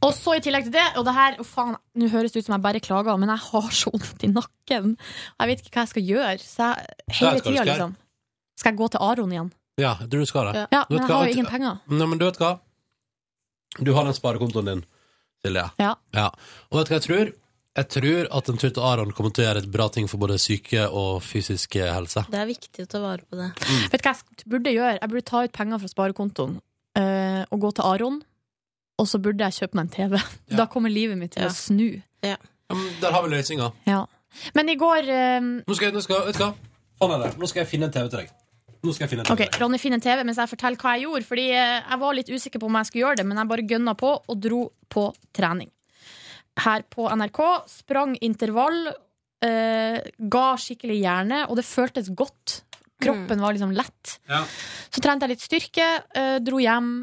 S2: Og så i tillegg til det, og det her, å faen, nå høres det ut som jeg bare klager, men jeg har *laughs* så vondt i nakken. Jeg vet ikke hva jeg skal gjøre. Så jeg,
S4: Hva skal
S2: hele
S4: du
S2: tida,
S4: skal?
S2: liksom. Skal jeg gå til Aron igjen?
S4: Ja, jeg tror du skal det.
S2: Ja,
S4: vet
S2: men jeg
S4: hva,
S2: har
S4: at-
S2: jo ingen penger.
S4: Nei, men du vet hva? Du har den sparekontoen din, Silje.
S2: Ja.
S4: Ja. Og vet du hva jeg tror? Jeg tror at en tur til Aron kommer til å gjøre et bra ting for både psyke og fysisk helse.
S3: Det er viktig å ta vare på det.
S2: Vet du hva jeg sk- burde gjøre? Jeg burde ta ut penger fra sparekontoen eh, og gå til Aron. Og så burde jeg kjøpe meg en TV. Da kommer livet mitt til
S4: Ja.
S2: å snu.
S4: Ja, men der har vi løsninga.
S2: Ja. Men i går eh,
S4: Nå skal, jeg- nå skal, vet du hva? Faen er det. Nå skal jeg finne en TV til deg. Nå skal jeg finne en TV
S2: Ok, Ronny finner TV mens jeg forteller hva jeg gjorde. Fordi eh, jeg var litt usikker på om jeg skulle gjøre det, men jeg bare gønna på og dro på trening. Her på NRK. Sprang intervall. eh, ga skikkelig jernet, og det føltes godt. Kroppen var liksom lett.
S4: Ja.
S2: Så trente jeg litt styrke, eh, dro hjem.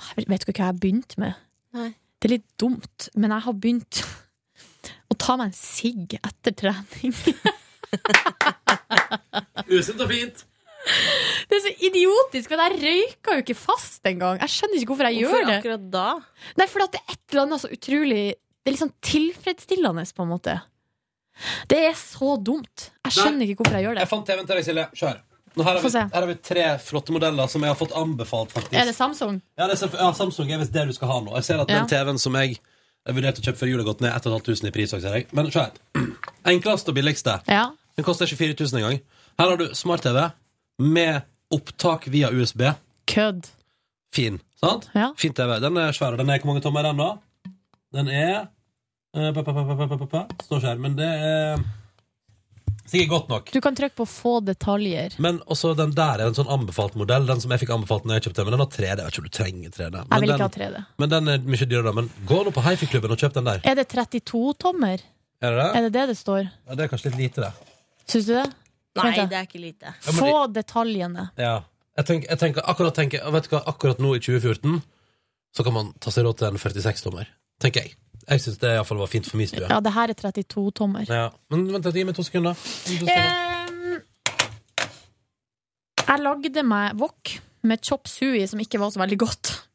S2: Ah, Jeg vet ikke hva jeg begynte med.
S3: Nei.
S2: Det er litt dumt, men jeg har begynt å ta meg en sigg etter
S4: *laughs*
S2: trening.
S4: Usint og fint.
S2: Det er så idiotisk, men jeg røyka jo ikke fast engang. Jeg skjønner ikke hvorfor jeg
S3: Hvorfor
S2: gjør det.
S3: akkurat da?
S2: Nei, for at det er et eller annet så utrolig Det er liksom tilfredsstillende, på en måte. Det er så dumt. Jeg skjønner ikke hvorfor jeg gjør det.
S4: Jeg fant TV-en til deg, Silje. Kjør. Nå her, har
S2: Få
S4: vi,
S2: se.
S4: her har vi tre flotte modeller som jeg har fått anbefalt, faktisk.
S2: Er det Samsung?
S4: Ja, det er, selvfø- ja, Samsung er visst det du skal ha nå. Jeg ser at
S2: Ja.
S4: den TV-en som jeg jeg vurderte å kjøpe før jul, har gått ned 1500 i pris. også, ser jeg. Men se *clears throat* her. Enkleste og billigste.
S2: Ja.
S4: Den koster 24 000 en gang. Her har du smart-TV med opptak via USB.
S2: Kødd.
S4: Fin. Sant? Fin TV. Den er svær. og Den er, hvor mange tommer er den, da? Den er eh, pa, pa, pa, pa, pa, pa, pa. Står ikke her, men det er sikkert godt nok.
S2: Du kan trykke på 'få detaljer'.
S4: Men også den der er en sånn anbefalt modell. Den som jeg fikk anbefalt når jeg kjøpte den, men den har 3D. Jeg vet ikke om du trenger 3D. Men
S2: Jeg vil ikke
S4: den,
S2: ha 3D.
S4: Men den er mye dyrere, da. Men gå nå på Hifi-klubben og kjøp den der.
S2: Er det 32 tommer?
S4: Er det det?
S2: Er det det det står?
S4: Ja, det er kanskje litt lite, det.
S2: Syns du det?
S3: Nei,
S2: Vent da.
S3: det er ikke lite.
S4: Ja, men
S2: Få detaljene.
S4: Ja. Jeg tenker, jeg tenker, akkurat, tenker, vet du hva, akkurat nå i 2014 så kan man ta seg råd til en 46-tommer, tenker jeg. Jeg syns det i hvert fall var fint for min stue.
S2: Ja, det her er 32 tommer.
S4: Ja. Men vent, gi meg to sekunder. Gi meg to sekunder.
S2: Ehm, Jeg lagde meg wok med chop sui, som ikke var så veldig godt.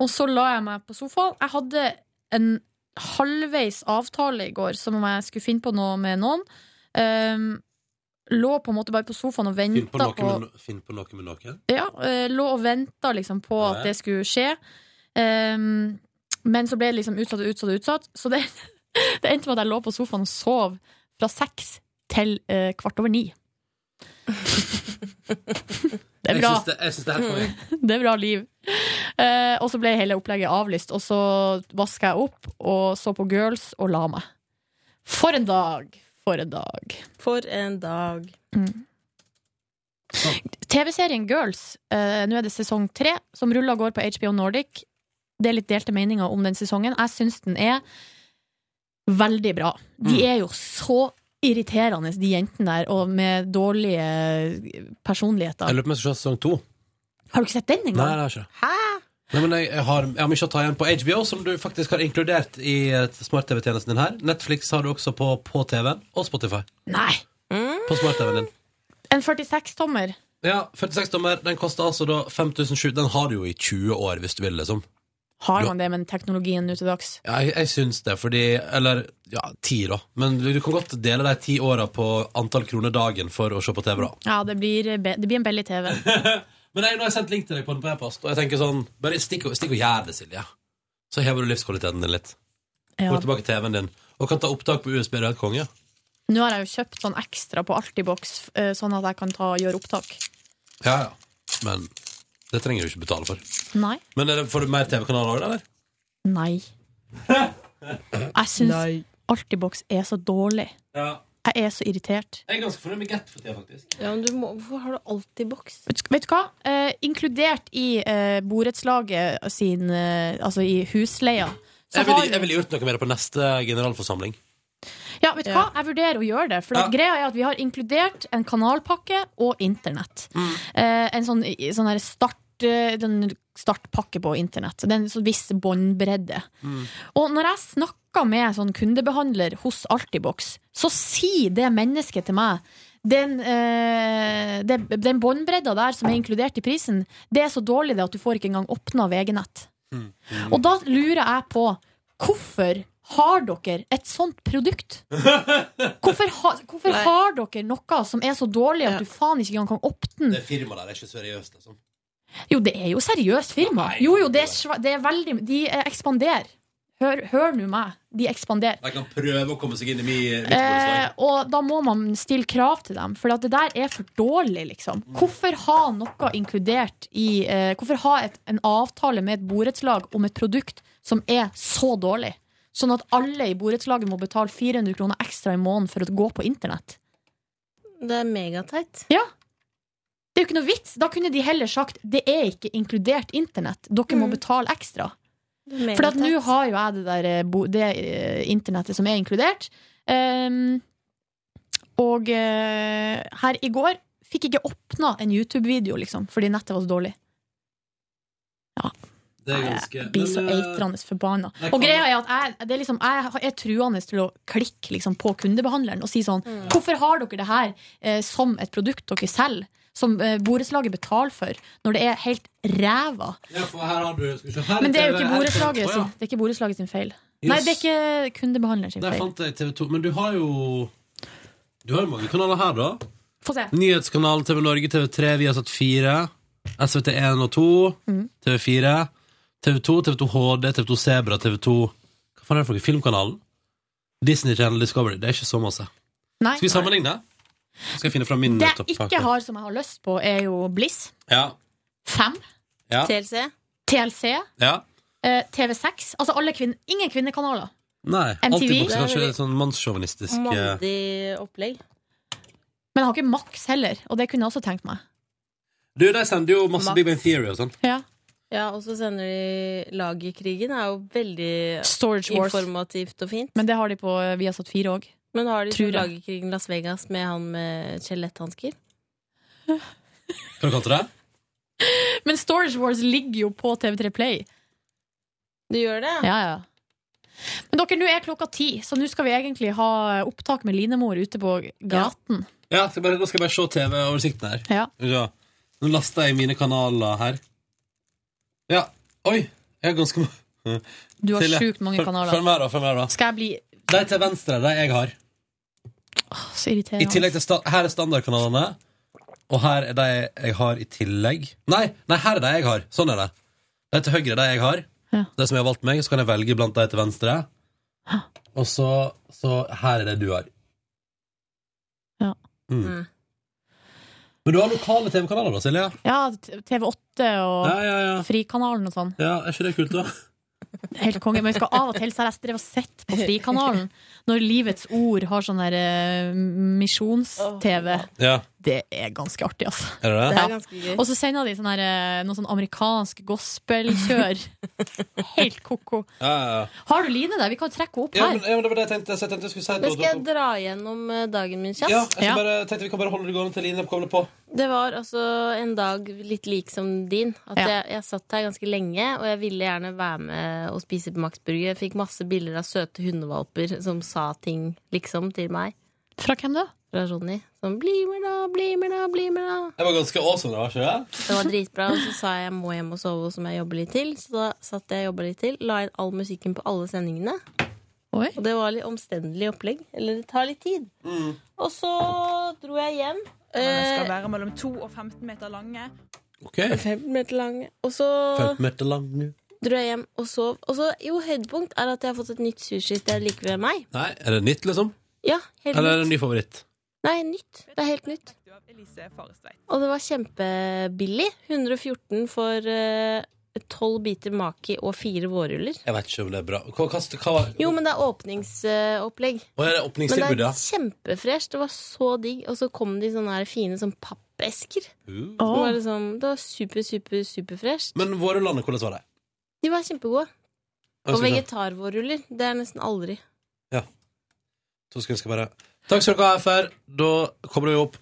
S2: Og så la jeg meg på sofaen. Jeg hadde en halvveis avtale i går, som om jeg skulle finne på noe med noen. Ehm, lå på en måte bare på sofaen og
S4: Finn på
S2: venta
S4: noe
S2: på,
S4: med, no- finn på noe med noen.
S2: ja, eh, lå og venta liksom på
S4: Nei.
S2: at det skulle skje. Ehm, men så ble det liksom utsatt og utsatt og utsatt. Så det, *laughs* det endte med at jeg lå på sofaen og sov fra seks til eh, kvart over ni. Det er
S4: Jeg
S2: bra.
S4: syns det- jeg syns det er helt konge.
S2: Det er bra liv. Eh, og så ble hele opplegget avlyst. Og så vaska jeg opp og så på Girls og la meg. For en dag! For en dag.
S3: For en dag.
S2: TV-serien Girls, eh, nå er det sesong tre, som ruller og går på HBO Nordic. Det er litt delte meninger om den sesongen. Jeg syns den er veldig bra. De er jo så irriterende, de jentene der, og med dårlige eh,
S4: Jeg
S2: personligheter.
S4: lurer på om jeg skal se sesong to.
S2: Har du ikke sett den
S4: Nei,
S2: engang?
S4: det har jeg ikke. Nei, men jeg, jeg, har, jeg har mye å ta igjen på HBO, som du faktisk har inkludert i eh, smart-TV-tjenesten din her. Netflix har du også på, på TV-en, og Spotify.
S2: Nei.
S4: På smart-TV-en din.
S2: En 46-tommer.
S4: Ja, 46-tommer. Den koster altså da 5007. Den har du jo i 20 år, hvis du vil, liksom.
S2: Har man det med den teknologien nå til dags?
S4: Ja, jeg, jeg syns det, fordi Eller ja, ti, da. Men du, du kan godt dele de ti åra på antall kroner dagen for å se på TV, da.
S2: Ja, det blir, eh, be- det blir en billig TV.
S4: Men jeg, nå har jeg sendt link til deg på den på e-post, og jeg tenker sånn Bare stikk og, stikk og gjør det, Silje. Så hever du livskvaliteten din litt.
S2: Ja.
S4: Går tilbake til TV-en din, og kan ta opptak på USB. Det er helt konge.
S2: Nå har jeg jo kjøpt sånn ekstra på Altibox, eh, sånn at jeg kan ta, gjøre opptak.
S4: Ja, ja. Men det trenger du ikke betale for.
S2: Nei.
S4: Men er det, får du mer TV-kanaler òg, eller?
S2: Nei. Jeg syns Altibox er så dårlig.
S4: Ja.
S2: Jeg er så irritert.
S4: Jeg er ganske fornøyd med Get for tida, faktisk.
S3: Ja, men du må, hvorfor har du alltid boks?
S2: Vet du hva? Eh, inkludert i eh, borettslaget sin eh, Altså i husleia. Så
S4: Jeg ville
S2: har vi-
S4: jeg ville gjort noe med det på neste generalforsamling.
S2: Ja, vet du hva? Jeg vurderer å gjøre det. For at greia er at vi har inkludert en kanalpakke og internett.
S4: Mm.
S2: Eh, en sånn, i- sånn her start eh, den startpakke på internett. Det er en sånn viss båndbredde. Og når jeg snakker med sånn kundebehandler hos Altibox, så sier det mennesket til meg den, eh, den, den båndbredda der som er inkludert i prisen, det er så dårlig det at du får ikke engang åpna VG-nett. Og da lurer jeg på hvorfor har dere et sånt produkt? Hvorfor, ha, hvorfor
S4: Nei.
S2: har dere noe som er så dårlig at du faen ikke engang kan åpne
S4: Det firmaet der er ikke seriøst, liksom.
S2: Jo, det er jo seriøst firma. Jo, jo, det er, sva- det er veldig De eh, ekspanderer. Hør, hør nå meg. De ekspanderer.
S4: De kan prøve å komme seg inn i mi, mitt
S2: Eh,
S4: borettslag.
S2: og da må man stille krav til dem, for at det der er for dårlig, liksom. Hvorfor ha noe inkludert i eh, Hvorfor ha et, en avtale med et borettslag om et produkt som er så dårlig? Sånn at alle i borettslaget må betale 400 kroner ekstra i måneden for å gå på internett.
S3: Det er megateit.
S2: Ja. Det er jo ikke noe vits. Da kunne de heller sagt det er ikke inkludert internett. Dere må betale ekstra. For at nå har jo jeg det der eh, bo- det eh, internettet som er inkludert. Ehm, og eh, her i går fikk ikke åpna en YouTube-video, liksom, fordi nettet var så dårlig.
S4: Det er ganske
S2: Jeg blir så
S4: Men, eh,
S2: eitrende forbanna.
S4: jeg
S2: Og
S4: kan-
S2: greia er at jeg, det er liksom, jeg har- er truende til å klikke liksom, på kundebehandleren og si sånn
S4: Mm.
S2: Hvorfor har dere det her eh, som et produkt dere selger, som eh, borettslaget betaler for, når det er helt ræva?
S4: Ja, for her har du skal vi se, her
S2: Men det er jo
S4: TV,
S2: ikke
S4: her-
S2: borettslaget altså.
S4: Å,
S2: sin,
S4: ja.
S2: det er ikke borettslaget sin feil. Nei, det er ikke kundebehandleren sin
S4: Der
S2: feil.
S4: fant jeg TV2. Men du har jo Du har jo mange kanaler her, da.
S2: Få se.
S4: Nyhetskanal TV Norge, TV3, vi har satt fire. SVT1 og 2,
S2: Mm.
S4: TV4, TV2, TV2 HD, TV2 Sebra, TV2 Hva faen er det for noe? Filmkanalen? Disney Channel Discovery. Det er ikke så masse.
S2: Nei.
S4: Skal vi sammenligne? Skal jeg finne fram min
S2: Det
S4: topp-
S2: jeg ikke har som jeg har lyst på, er jo Bliss.
S4: Ja.
S2: Fem.
S4: Ja.
S3: TLC.
S2: TLC.
S4: ja.
S2: eh, TV6. Altså alle kvin ingen kvinnekanaler.
S4: Nei. Alltid
S2: MTV?
S4: voksen.
S2: Det er
S4: Kanskje
S2: veldig-
S4: sånn mannssjåvinistisk eh,
S3: Mandig opplegg.
S2: Men jeg har ikke Max heller, og det kunne jeg også tenkt meg.
S4: Du, de sender jo masse
S3: Max.
S4: Big Bang Theory og sånn.
S2: Ja.
S3: Ja, og så sender de Lagerkrigen. er jo veldig
S2: Storage Wars.
S3: informativt og fint.
S2: Men det har de på eh, Viasat 4 òg.
S3: Men har de
S2: Tror
S3: sånn
S2: jeg.
S3: Lagerkrigen Las Vegas med han med skjeletthansker?
S4: Hva kalte du det?
S2: Men Storage Wars ligger jo på TV3 Play.
S3: Du gjør det?
S2: Ja, ja. Men dere, nå er klokka ti, så nå skal vi egentlig ha opptak med Linemor ute på gaten.
S4: Ja, skal jeg bare, nå skal jeg bare se TV-oversikten her.
S2: Ja.
S4: Ja. Nå laster jeg mine kanaler her. Ja. Oi! Jeg har ganske mange.
S2: Du har
S4: Silje,
S2: sjukt mange
S4: følg-
S2: kanaler.
S4: Følg med, da. Følg med, da.
S2: Skal jeg bli
S4: De til venstre, de jeg har.
S2: så
S4: I
S2: irriterende?
S4: tillegg til sta Her er standardkanalene. Og her er de jeg har i tillegg. Nei, nei her er de jeg har. Sånn er det. De til høyre er de jeg har.
S2: Ja.
S4: De som jeg har valgt meg, så kan jeg velge blant de til venstre. Og så, så her er det du har.
S2: Ja.
S4: Mm. Men du har lokale TV-kanaler da, Silje?
S2: Ja, t- TV8 og
S4: Ja, ja, ja.
S2: Frikanalen og sånn.
S4: Ja, er ikke det kult, da?
S2: Helt konge. Men vi skal av og til, så har jeg drevet og sett på Frikanalen, når Livets Ord har sånn der eh, misjons-TV.
S4: Ja.
S2: Det er ganske artig, altså.
S4: Er det det?
S2: Ja. Og så sender de sånn her, eh, noe sånn amerikansk gospelkjør. Helt ko-ko.
S4: Ja, ja, ja.
S2: Har du Line der? Vi kan jo trekke henne opp
S4: Ja,
S2: her.
S4: men, ja, men det var det jeg tenkte, så jeg tenkte jeg skulle si
S3: Men skal jeg dra gjennom eh, dagen min kjapt?
S4: Ja, jeg skal bare, tenkte vi kan bare holde det gående til Line kobler på.
S3: Det var altså en dag litt lik som din. At
S4: Ja.
S3: jeg, jeg satt her ganske lenge, og jeg ville gjerne være med og spise på Max Burger. Jeg fikk masse bilder av søte hundevalper som sa ting, liksom, til meg.
S2: Fra hvem da?
S3: Fra Ronny. Sånn 'bli med, da, bli med, da, bli med', da.
S4: Det var ganske awesome, det var ikke det?
S3: Det var dritbra, og så sa jeg jeg må hjem og sove, og så må jeg jobbe litt til. Så da satt jeg og jobba litt til, la inn all musikken på alle sendingene.
S2: Og
S3: det var litt omstendelig opplegg. Eller det tar litt tid. Og så dro jeg hjem.
S5: Den skal
S3: Eh,
S5: være mellom 2 og 15 meter lange.
S4: Ok.
S3: 15 meter lang. Og så
S4: meter lang nå.
S3: dro jeg hjem og sov. Og så, jo, høydepunkt er at jeg har fått et nytt sushisted like ved meg.
S4: Nei, er det nytt, liksom?
S3: Ja, helt
S4: Eller er det en
S3: nytt.
S4: ny favoritt?
S3: Nei, nytt. Det er helt nytt. Og det var kjempebillig. 114 for eh, 12 biter maki og fire vårruller.
S4: Jeg vet ikke om det er bra. Hva, hva, hva,
S3: Jo, men det er åpningsopplegg.
S4: Å, er det åpningstilbud,
S3: Men det
S4: ja?
S3: er kjempefresh. Det var så digg. Og så kom de sånne her fine sånn pappesker.
S4: Uh.
S3: Det, var liksom, det var super, super, superfresh.
S4: Men våre landet, hvordan var det?
S3: De var kjempegode.
S4: Jeg
S3: Og
S4: skal-
S3: vegetarvårruller. Det er nesten aldri.
S4: To sekunder skal bare Takk skal dere ha, FR. Da kommer vi opp.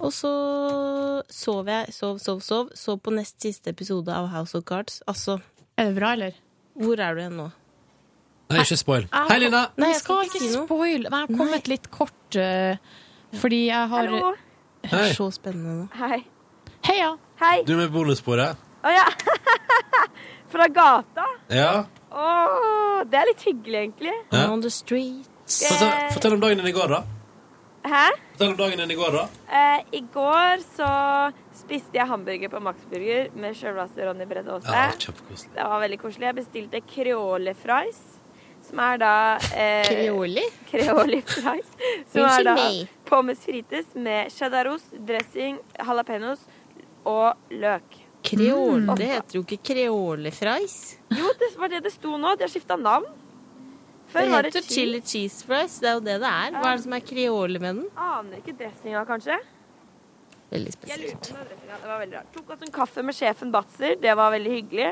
S3: Og så sov jeg, sov, sov, sov. Sov på nest siste episode av House of Cards. Altså
S2: Er det bra, eller?
S3: Hvor er du igjen nå?
S4: Nei, ikke spoil. Hei, Lina!
S2: Vi
S3: Nei, jeg
S2: skal
S3: skal
S2: ikke
S3: ikke si noe.
S2: spoil. Men jeg har kommet litt kort, eh, fordi jeg har
S5: Hallo.
S3: Det er så spennende nå.
S5: Hei.
S2: Heia.
S5: Hei.
S4: Du er med på bonussporet.
S5: Å ja. *laughs* Fra gata.
S4: Ja.
S5: Å, det er litt hyggelig, egentlig.
S4: Ja.
S3: On the street.
S4: Fortell, fortell om dagen din i går, da.
S5: Hæ?
S4: Fortell om dagen din i går, da.
S5: Eh, I går så spiste jeg hamburger på Max Burger med sjølvaste Ronny Bredde Aase.
S4: Ja, kjempekoselig.
S5: det var veldig koselig. Jeg bestilte creole fries, som er da eh,
S3: Creole?
S5: Creole
S3: *laughs*
S5: fries. Som
S3: Unnskyld
S5: er da
S3: meg.
S5: pommes frites med cheddarost, dressing, jalapeños og løk.
S3: Kreole.
S5: Mm.
S3: Det heter jo ikke kreolefries.
S5: Jo, det var det det sto nå. De har skifta navn.
S3: Det
S5: Før var det
S3: heter chili cheese fries. Det er jo det det er. Hva er det som er kreole med den?
S5: Aner ikke dressinga, kanskje.
S3: Veldig
S5: Jeg lurte på den dressinga. Det var veldig rart. Tok oss en kaffe med sjefen Batzer. Det var veldig hyggelig.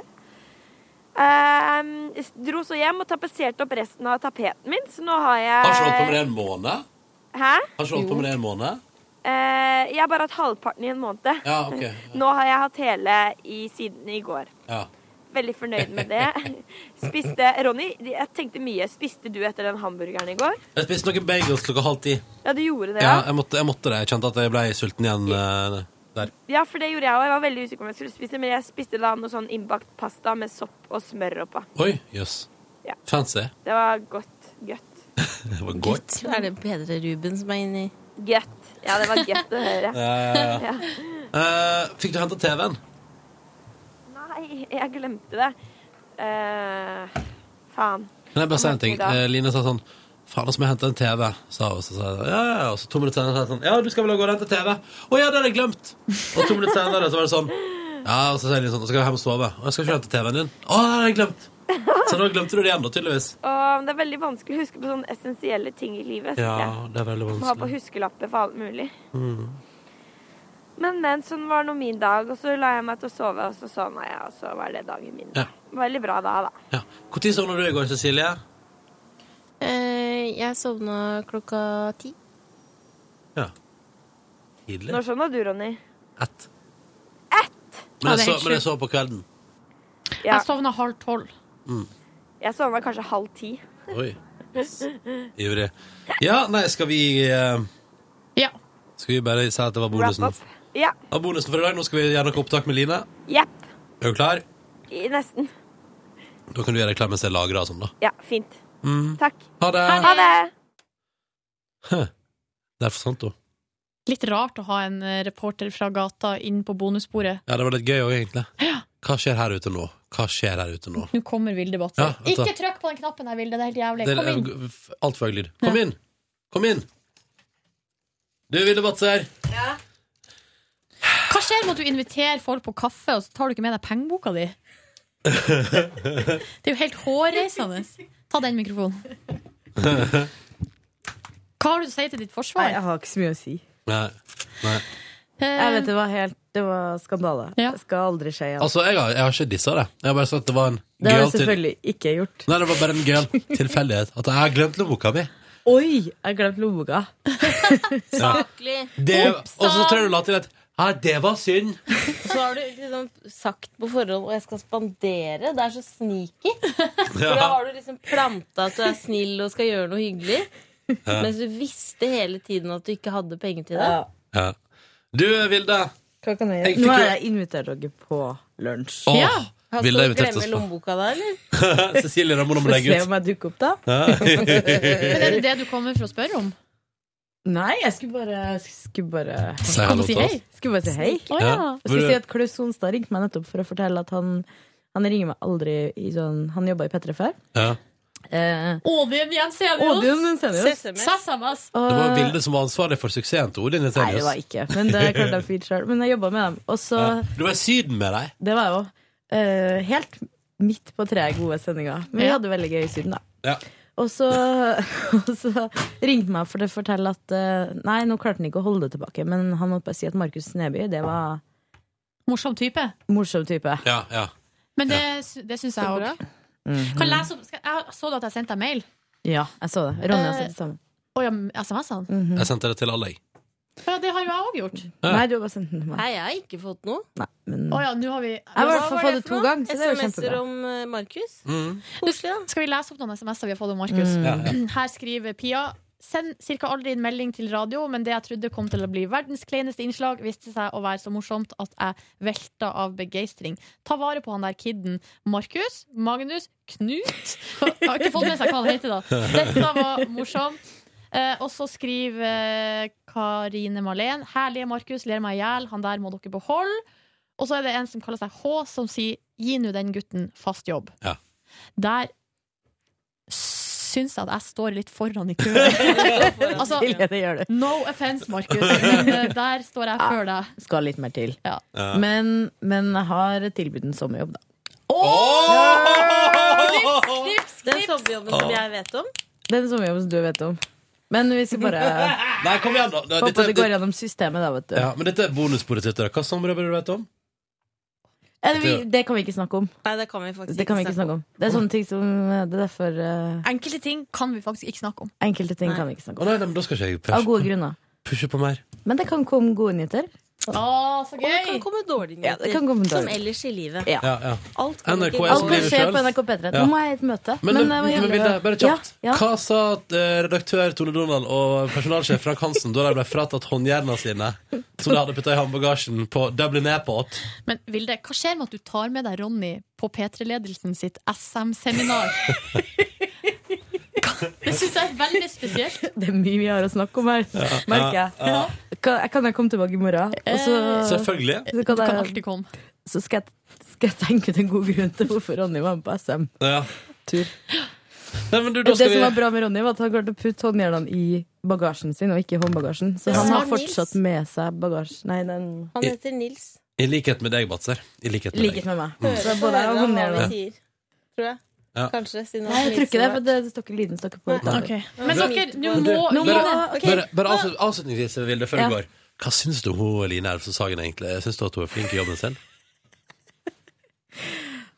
S5: Ehm, dro så hjem og tapetserte opp resten av tapeten min, så nå har jeg
S4: Har ikke du holdt på med det en måned?
S5: Hæ?
S4: Har ikke du holdt på med det en måned?
S5: Eh, jeg har bare hatt halvparten i en måned.
S4: Ja, ok, ja.
S5: *laughs* Nå har jeg hatt hele i, siden i går.
S4: Ja.
S5: Veldig fornøyd med det.
S4: *laughs*
S5: Spiste Ronny, jeg tenkte mye. Spiste du etter den hamburgeren i går?
S4: Jeg spiste noen bagels klokka halv ti.
S5: Ja, du gjorde det,
S4: Ja,
S5: ja?
S4: jeg måtte, jeg måtte det. Jeg kjente at jeg ble sulten igjen eh, der.
S5: Ja, for det gjorde jeg òg. Jeg var veldig usikker på om jeg skulle spise, men jeg spiste da noe sånn innbakt pasta med sopp og smør oppå.
S4: Oi, jøss.
S20: Ja.
S4: Fancy.
S20: Det var godt. Gøtt.
S4: Det var godt.
S3: Er det Peder Ruben som er inni
S20: Gøtt. Ja, det var gøtt å
S4: *laughs*
S20: høre.
S4: Ja, ja, ja. Eh, fikk du henta TV-en?
S20: Nei, jeg glemte det. Eh, faen.
S4: Kan jeg bare si en ting? Eh, Line sa sånn Faen, altså, må jeg hente en TV. Sa hun, så sa jeg ja, ja, ja. Og så to minutter senere sa jeg sånn Ja, du skal vel gå og hente TV? Å ja, det hadde jeg glemt! Og to minutter senere så var det sånn Ja, og så sier Line sånn Så skal jeg hjem og sove. Og jeg skal ikke hente TV-en din. Å, det hadde jeg glemt! Så nå glemte du det igjen, da, tydeligvis.
S20: Og det er veldig vanskelig å huske på sånne essensielle ting i livet. synes jeg.
S4: Ja, det er veldig
S20: Må ha på
S4: vanskelig.
S20: huskelapper for alt mulig.
S4: Mm.
S20: Men, men, sånn var nå min dag. Og så la jeg meg til å sove, og så sovna jeg, og så var det dagen min.
S4: Ja.
S20: Veldig bra da, da.
S4: Når sovna du i går, Cecilie?
S3: Eh, Jeg sovna klokka ti.
S4: Tidlig.
S20: Når sovna du, Ronny?
S4: Men
S20: Ja, det
S4: jeg,
S20: er
S4: så,
S20: helt
S4: men jeg så på kvelden.
S20: Ja.
S2: Jeg sovna halv tolv.
S4: Mm.
S20: Jeg sovna kanskje halv ti.
S4: Oi. Ivrig. Ja, nei, skal vi eh,
S2: Ja.
S4: Skal vi bare si at det var bonusen?
S20: Wrap up. Ja.
S4: Det var bonusen for i dag. Nå skal vi gjøre noe opptak med Line.
S20: Jepp.
S4: Er du klar?
S20: I- Nesten.
S4: Da kan du gjøre deg klar mens jeg lagrer og sånn, da.
S20: Ja, fint.
S4: Mm.
S20: Takk.
S4: Ha det.
S20: Ha det.
S4: Der forsvant hun.
S2: Litt rart å ha en eh, reporter fra gata inn på bonussporet.
S4: Ja, det var litt gøy òg, egentlig. Hva skjer her ute nå? Hva skjer her ute nå?
S2: Nå kommer Vilde
S4: Ja,
S2: Batser.
S4: vet du hva?
S2: Ikke trykk på den knappen der, Vilde. Det er helt jævlig.
S4: Det er-
S2: Kom inn.
S4: Alt for høy lyd. Kom inn! Kom inn! Du, Vilde Batser.
S2: Hva skjer med at du inviterer folk på kaffe, og så tar du ikke med deg pengeboka di? Det er jo helt hårreisende. Ta den mikrofonen. Hva har du å si til ditt forsvar? Eh,
S9: Nei, jeg har ikke så mye å si.
S4: Nei. Nei.
S9: Jeg vet, det var helt Det var skandale. Det skal aldri skje igjen.
S4: Altså, jeg har, jeg har ikke dissa det. Jeg har bare sagt at det var en
S9: det har
S4: gøyal
S9: jeg
S4: til-
S9: selvfølgelig ikke gjort.
S4: Nei, det var bare en gøyal tilfeldighet. At jeg har glemt lommeboka mi.
S9: Oi! Jeg glemte
S3: *laughs*
S9: lommeboka.
S3: Saklig.
S4: Det- Og så tror jeg du la til at Ja, det var synd.
S3: Så har du liksom sagt på forhånd Og jeg skal spandere. Det er så sneaky. For
S4: Ja.
S3: da har du liksom planta at du er snill og skal gjøre noe hyggelig.
S4: Ja.
S3: Mens du visste hele tiden at du ikke hadde penger til det.
S4: Ja. Du, Vilde.
S9: Hva kan jeg
S4: Jeg
S9: gjøre?
S4: fikk
S9: Nå har
S4: jo-
S9: jeg invitert dere på lunsj.
S4: Åh, Ja. Vilde har
S9: Skal du
S4: invitert oss
S9: glemme
S4: på-
S9: lommeboka da, eller?
S4: *laughs* Cecilie, da må du
S9: Få
S4: legge
S9: se
S4: ut.
S9: om jeg dukker *laughs* opp, da.
S2: Men er det det du kommer for å spørre om?
S9: Nei, jeg skulle bare Skulle bare
S4: Si hallo Kom og si til oss. hei.
S9: Skulle bare si hei.
S4: Å, ja. Ja.
S9: Jeg skulle si at Klaus Sonstad ringte meg nettopp for å fortelle at han Han ringer meg aldri i sånn Han jobba i P3 før.
S4: Ja.
S9: Eh,
S2: Odium Jensenius.
S9: Odium Jensenius.
S2: Sesamas.
S4: Det var Vilde som var ansvarlig for suksessen til Odin
S9: Nei, det var ikke. Men det klarte jeg fint sjøl. Men jeg jobba med dem. Og så
S4: Du var i Syden med deg.
S9: Det var jo eh, helt midt på tre gode sendinger. Men vi
S4: Ja.
S9: hadde det veldig gøy i Syden, da.
S4: Ja.
S9: Og så, *laughs* og så ringte meg for å fortelle at eh, Nei, nå klarte han ikke å holde det tilbake, men han måtte bare si at Markus Neby, det var
S2: Morsom type.
S9: Morsom type.
S4: Ja, ja.
S2: Men det, sy- det syns jeg òg. Kan jeg lese opp skal, Jeg så du at jeg sendte deg mail?
S9: Mhm. Ja, jeg så det. Ronny har
S2: Eh,
S9: sett det samme. Mm.
S2: Å ja, SMS-ene?
S9: Mhm.
S4: Jeg sendte det til alle, jeg.
S2: Ja, det har jo jeg òg gjort.
S4: Ja. Nei,
S9: du har bare sendt den til
S3: Nei, jeg har ikke fått noe.
S9: Men...
S2: Å ja, nå har vi Jeg
S3: har i hvert fall fått det to ganger, så det er jo kjempebra.
S2: om
S3: eh, Markus?
S4: Mm.
S2: Skal vi lese opp noen SMS-er vi har fått om Markus?
S9: Mhm.
S3: Mm. Ja, ja.
S2: Her skriver Pia Send cirka aldri inn melding til radio, men det jeg trodde kom til å bli verdens kleineste innslag, viste seg å være så morsomt at jeg velta av begeistring. Ta vare på han der kidden. Markus? Magnus? Knut? *laughs* Jeg har ikke fått med seg hva han heter, da. Dette var morsomt. Eh, og så skriver eh, Karine Malén Herlige Markus, ler meg i hjel. Han der må dere beholde. Og så er det en som kaller seg H, som sier gi nå den gutten fast jobb.
S4: Ja.
S2: Der syns jeg at jeg står litt foran i *laughs* køen. *laughs* altså,
S9: Silje, det gjør du.
S2: no offense, Markus, men eh, der står jeg før deg.
S9: Skal litt mer til.
S4: Ja.
S9: Men, men jeg har tilbudt en sommerjobb, da.
S3: Den sommerjobben som jeg vet om.
S9: Den sommerjobben som du vet om. Men vi skal bare
S4: Nei, kom igjen, da.
S9: håpe at det går gjennom systemet, da, vet du.
S4: ja, men dette er bonussporet sitt. Hva sommerjobber du vet om?
S9: Eller, vi, det kan vi ikke snakke om.
S3: Nei, det kan vi faktisk
S9: Det kan vi ikke snakke om. Det er sånne ting som Det er derfor eh,
S2: Enkelte ting kan vi faktisk ikke snakke om.
S9: Enkelte ting kan vi ikke snakke om.
S4: Å nei, nei, men da skal ikke jeg
S9: Av
S4: pushe,
S9: gode grunner.
S4: pushe på mer.
S9: Men det kan komme gode nyheter.
S2: Å, så
S3: Og det kan komme dårlige
S9: Ja,
S3: nyheter.
S9: det kan komme dårlige.
S3: Som ellers i livet.
S9: Ja.
S4: Ja, ja.
S3: Alt
S4: NRK er
S9: Alt
S4: som
S9: kan
S4: livet
S9: skje
S4: selv.
S9: på NRK P3.
S4: Ja.
S9: Nå må jeg i et møte.
S4: Men, men,
S9: eh, hva
S4: men
S9: gjelder-
S4: Vilde, bare kjapt.
S9: Ja, ja.
S4: Hva sa eh, redaktør Tone Donald og personalsjef Frank Hansen da de ble fratatt håndjernene sine, som de hadde putta i håndbagasjen på Dublin Airport?
S2: Men Vilde, hva skjer med at du tar med deg Ronny på P3-ledelsen sitt *laughs* SM-seminar? Hva- Det syns jeg er veldig spesielt.
S9: Det er mye vi har å snakke om her,
S4: Ja.
S9: merker jeg.
S4: Ja, ja.
S9: Kan, kan jeg komme tilbake i morgen? Og så-
S4: Eh, Selvfølgelig.
S9: Så
S2: Eh, Du
S9: kan,
S2: kan
S9: jeg,
S2: alltid komme.
S9: Så skal jeg, skal jeg tenke ut en god grunn til hvorfor Ronny var med på SM-tur.
S4: Ja. Nei, men du, da
S9: det
S4: skal
S9: som
S4: vi
S9: var bra med Ronny, var at han klarte å putte håndjernene i bagasjen sin, og ikke i håndbagasjen. Så
S3: Ja.
S9: han har
S3: Smart Nils.
S9: fortsatt med seg bagasje Nei, den
S3: Han heter Nils.
S4: I likhet med deg, Batser. I likhet med
S9: Likhet
S4: deg.
S9: med meg.
S4: Mm.
S9: Så både jeg og
S3: Hører han hva
S9: håndjernene.
S3: vi sier, tror jeg.
S4: Ja.
S3: Kanskje. Siden han
S9: Nei, jeg
S3: er
S9: tror ikke det,
S3: Nils.
S9: for det står ikke lyden står ikke på.
S4: Nei.
S9: utenfor.
S2: Men dere, nå
S4: Men du,
S2: må
S4: bare,
S2: Ok.
S4: bare, bare avslut- avslutningsvis, Vilde, før
S2: Ja.
S4: vi går. Hva syns du om hun Line Elvsås Hagen egentlig? Syns du at hun er flink i jobben sin?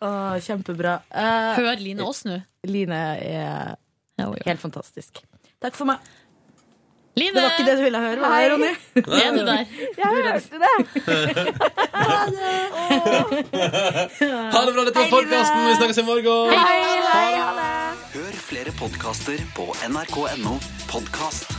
S9: Åh, kjempebra. Eh,
S2: Hør Line oss nå.
S9: Line er helt fantastisk. Takk for meg.
S2: Line!
S9: Det var ikke det du ville høre, var
S5: Hei.
S9: det, Ronny?
S2: Er du der?
S5: Jeg hørte det!
S9: Eh,
S4: Ha det bra, dette var podkasten. Vi snakkes i morgen.
S5: Hei, hei, ha det!
S21: Hør flere podkaster på nrk.no podkast.